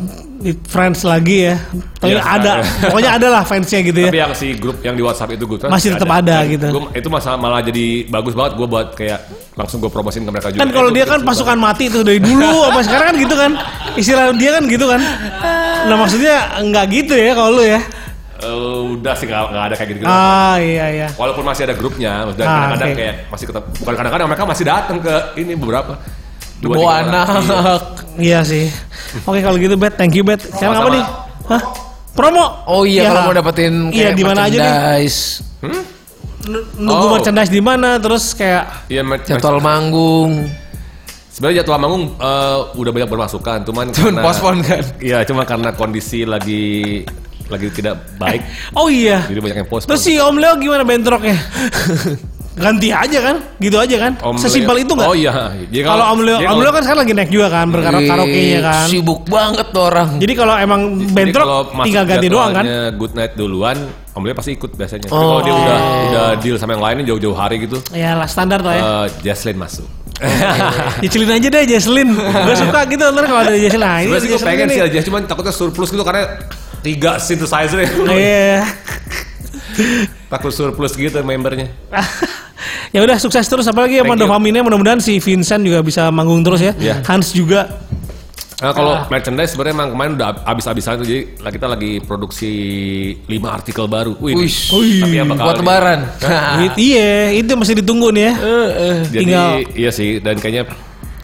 [SPEAKER 2] friends lagi ya. Tapi
[SPEAKER 3] Iya,
[SPEAKER 2] ada,
[SPEAKER 3] sekarang.
[SPEAKER 2] pokoknya ada lah fansnya gitu ya.
[SPEAKER 3] Tapi yang si grup yang di WhatsApp itu Good Night
[SPEAKER 2] Masih tetap ada
[SPEAKER 3] Dan
[SPEAKER 2] gitu.
[SPEAKER 3] gua- itu masalah malah jadi bagus banget gue buat kayak langsung gue promosiin ke mereka juga.
[SPEAKER 2] kan kalau
[SPEAKER 3] Eh,
[SPEAKER 2] dia
[SPEAKER 3] gua-
[SPEAKER 2] kan
[SPEAKER 3] gua-
[SPEAKER 2] pasukan mati tuh dari dulu apa sekarang kan gitu kan istilah dia kan gitu kan nah maksudnya nggak gitu ya kalau lu ya
[SPEAKER 3] eh, udah sih nggak nggak ada kayak gitu-gitu.
[SPEAKER 2] Ah iya iya.
[SPEAKER 3] Walaupun masih ada grupnya, maksudnya
[SPEAKER 2] Ah,
[SPEAKER 3] kadang-kadang
[SPEAKER 2] oke.
[SPEAKER 3] kayak masih ketemu. Bukan kadang-kadang mereka masih datang ke ini beberapa. Dua,
[SPEAKER 1] Bawa
[SPEAKER 3] tiga orang. Iya.
[SPEAKER 1] anak.
[SPEAKER 2] Iya sih. Oke kalau gitu bet, thank you bet. Sekarang apa
[SPEAKER 3] Sama-sama.
[SPEAKER 2] nih? Hah? Promo.
[SPEAKER 1] Oh iya
[SPEAKER 2] Ya.
[SPEAKER 1] kalau mau dapetin
[SPEAKER 2] Iya
[SPEAKER 1] kayak
[SPEAKER 2] di mana aja nih?
[SPEAKER 1] merchandise,
[SPEAKER 2] N- Nunggu
[SPEAKER 3] Oh.
[SPEAKER 2] merchandise di mana terus kayak
[SPEAKER 3] Iya, mer-
[SPEAKER 1] jadwal manggung,
[SPEAKER 3] Sebenarnya jadwal manggung eh, udah banyak bermasukan, cuman
[SPEAKER 1] cuman postpone kan.
[SPEAKER 3] Iya, cuma karena kondisi lagi lagi tidak baik,
[SPEAKER 2] Oh iya.
[SPEAKER 3] jadi banyak yang postpone.
[SPEAKER 2] Terus si Om Leo gimana bentroknya? Ganti aja kan? Gitu aja kan?
[SPEAKER 3] Om
[SPEAKER 2] Sesimpel
[SPEAKER 3] Leo-
[SPEAKER 2] itu enggak?
[SPEAKER 3] Oh iya. Jadi
[SPEAKER 2] Kalau Om Leo, Om
[SPEAKER 3] jadi kalau-
[SPEAKER 2] Leo kan sekarang lagi naik juga kan
[SPEAKER 1] Iya,
[SPEAKER 2] berkarok karaoke kan.
[SPEAKER 1] Sibuk banget tuh orang.
[SPEAKER 2] Jadi kalau emang
[SPEAKER 3] jadi kalau
[SPEAKER 2] bentrok
[SPEAKER 3] masuk
[SPEAKER 2] tinggal ganti doang kan? Oh.
[SPEAKER 3] jadwalnya Good night duluan, Om Leo pasti ikut biasanya. Tapi kalau dia udah udah deal sama yang lainnya jauh-jauh hari gitu,
[SPEAKER 2] Ya lah standar lah ya.
[SPEAKER 3] eh Jaslyn masuk. iya,
[SPEAKER 2] Dicilin aja deh Jesslyn. Gue suka gitu ntar kalau ada Jesslyn. Nah,
[SPEAKER 3] Sebenarnya sih gue
[SPEAKER 2] Jesslyn
[SPEAKER 3] pengen
[SPEAKER 2] ini.
[SPEAKER 3] sih aja, cuman takutnya surplus gitu karena tiga synthesizer ya.
[SPEAKER 2] Oh, Iya.
[SPEAKER 3] takut surplus gitu membernya.
[SPEAKER 2] ya udah sukses terus apalagi sama
[SPEAKER 3] Thank you.
[SPEAKER 2] dopaminnya mudah-mudahan si Vincent juga bisa manggung terus ya.
[SPEAKER 3] Iya.
[SPEAKER 2] Hans juga.
[SPEAKER 3] Nah, kalau
[SPEAKER 1] Ah.
[SPEAKER 3] merchandise sebenarnya emang kemarin udah habis-habisan tuh jadi kita lagi produksi 5 artikel baru. Wih,
[SPEAKER 1] Wih.
[SPEAKER 3] tapi yang Iya, bakal gitu.
[SPEAKER 1] buat lebaran. Ah. Nah,
[SPEAKER 2] It- Iya, itu masih ditunggu nih ya.
[SPEAKER 3] Jadi
[SPEAKER 2] Tinggal-
[SPEAKER 3] iya sih dan kayaknya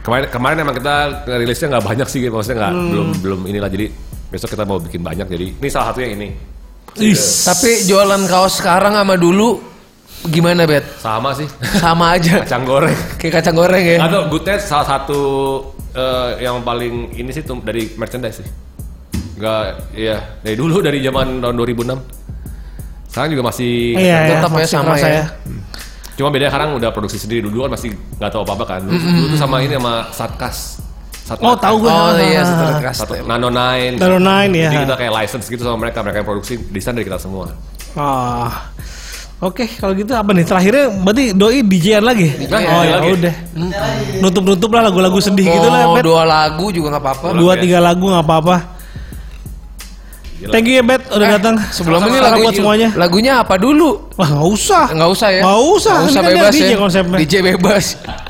[SPEAKER 3] kemarin kemarin emang kita rilisnya nggak banyak sih maksudnya nggak
[SPEAKER 1] Hmm.
[SPEAKER 3] belum belum inilah jadi besok kita mau bikin banyak jadi ini salah satunya ini Iya.
[SPEAKER 2] Is.
[SPEAKER 1] Tapi jualan kaos sekarang sama dulu gimana bet?
[SPEAKER 3] sama sih
[SPEAKER 1] Sama aja.
[SPEAKER 3] kacang goreng.
[SPEAKER 1] Kayak kacang goreng ya.
[SPEAKER 3] Atau Goodnet salah satu eh, yang paling ini sih tuh dari merchandise sih. Enggak, iya dari dulu dari zaman tahun 2006. Sekarang juga masih
[SPEAKER 2] Iya, ya,
[SPEAKER 1] tetap ya,
[SPEAKER 2] masih
[SPEAKER 1] sama
[SPEAKER 2] kerasa
[SPEAKER 1] ya.
[SPEAKER 3] Cuma bedanya sekarang udah produksi sendiri dulu kan masih nggak tahu apa-apa kan. Dulu, dulu tuh sama ini sama Satkas. Satkas.
[SPEAKER 2] Oh, tahu gue.
[SPEAKER 1] Oh iya, setelah
[SPEAKER 2] Nano
[SPEAKER 1] custom.
[SPEAKER 3] Nano Nine.
[SPEAKER 2] Nine
[SPEAKER 3] Jadi
[SPEAKER 2] ya.
[SPEAKER 3] kita kayak license gitu sama mereka, mereka yang produksi desain dari kita semua.
[SPEAKER 2] Ah. Oke, kalau gitu apa nih? Terakhirnya berarti doi DJ-an lagi. oh ya
[SPEAKER 3] lagi.
[SPEAKER 2] udah. Nutup-nutup lah lagu-lagu sedih
[SPEAKER 1] Mau
[SPEAKER 2] gitu lah. Bet.
[SPEAKER 1] Oh, dua lagu juga nggak apa-apa.
[SPEAKER 2] Dua
[SPEAKER 3] ya.
[SPEAKER 2] tiga lagu nggak apa-apa.
[SPEAKER 3] Gila.
[SPEAKER 2] Thank you ya Bet udah datang.
[SPEAKER 1] Eh, Sebelum ini
[SPEAKER 2] Salam
[SPEAKER 1] lagu
[SPEAKER 2] buat semuanya.
[SPEAKER 1] Lagunya apa dulu?
[SPEAKER 2] Wah nggak usah.
[SPEAKER 1] Nggak usah ya.
[SPEAKER 2] Nggak usah.
[SPEAKER 1] Nggak usah
[SPEAKER 2] Ini kan
[SPEAKER 1] bebas
[SPEAKER 2] dia
[SPEAKER 1] ya.
[SPEAKER 2] DJ konsepnya.
[SPEAKER 1] DJ bebas.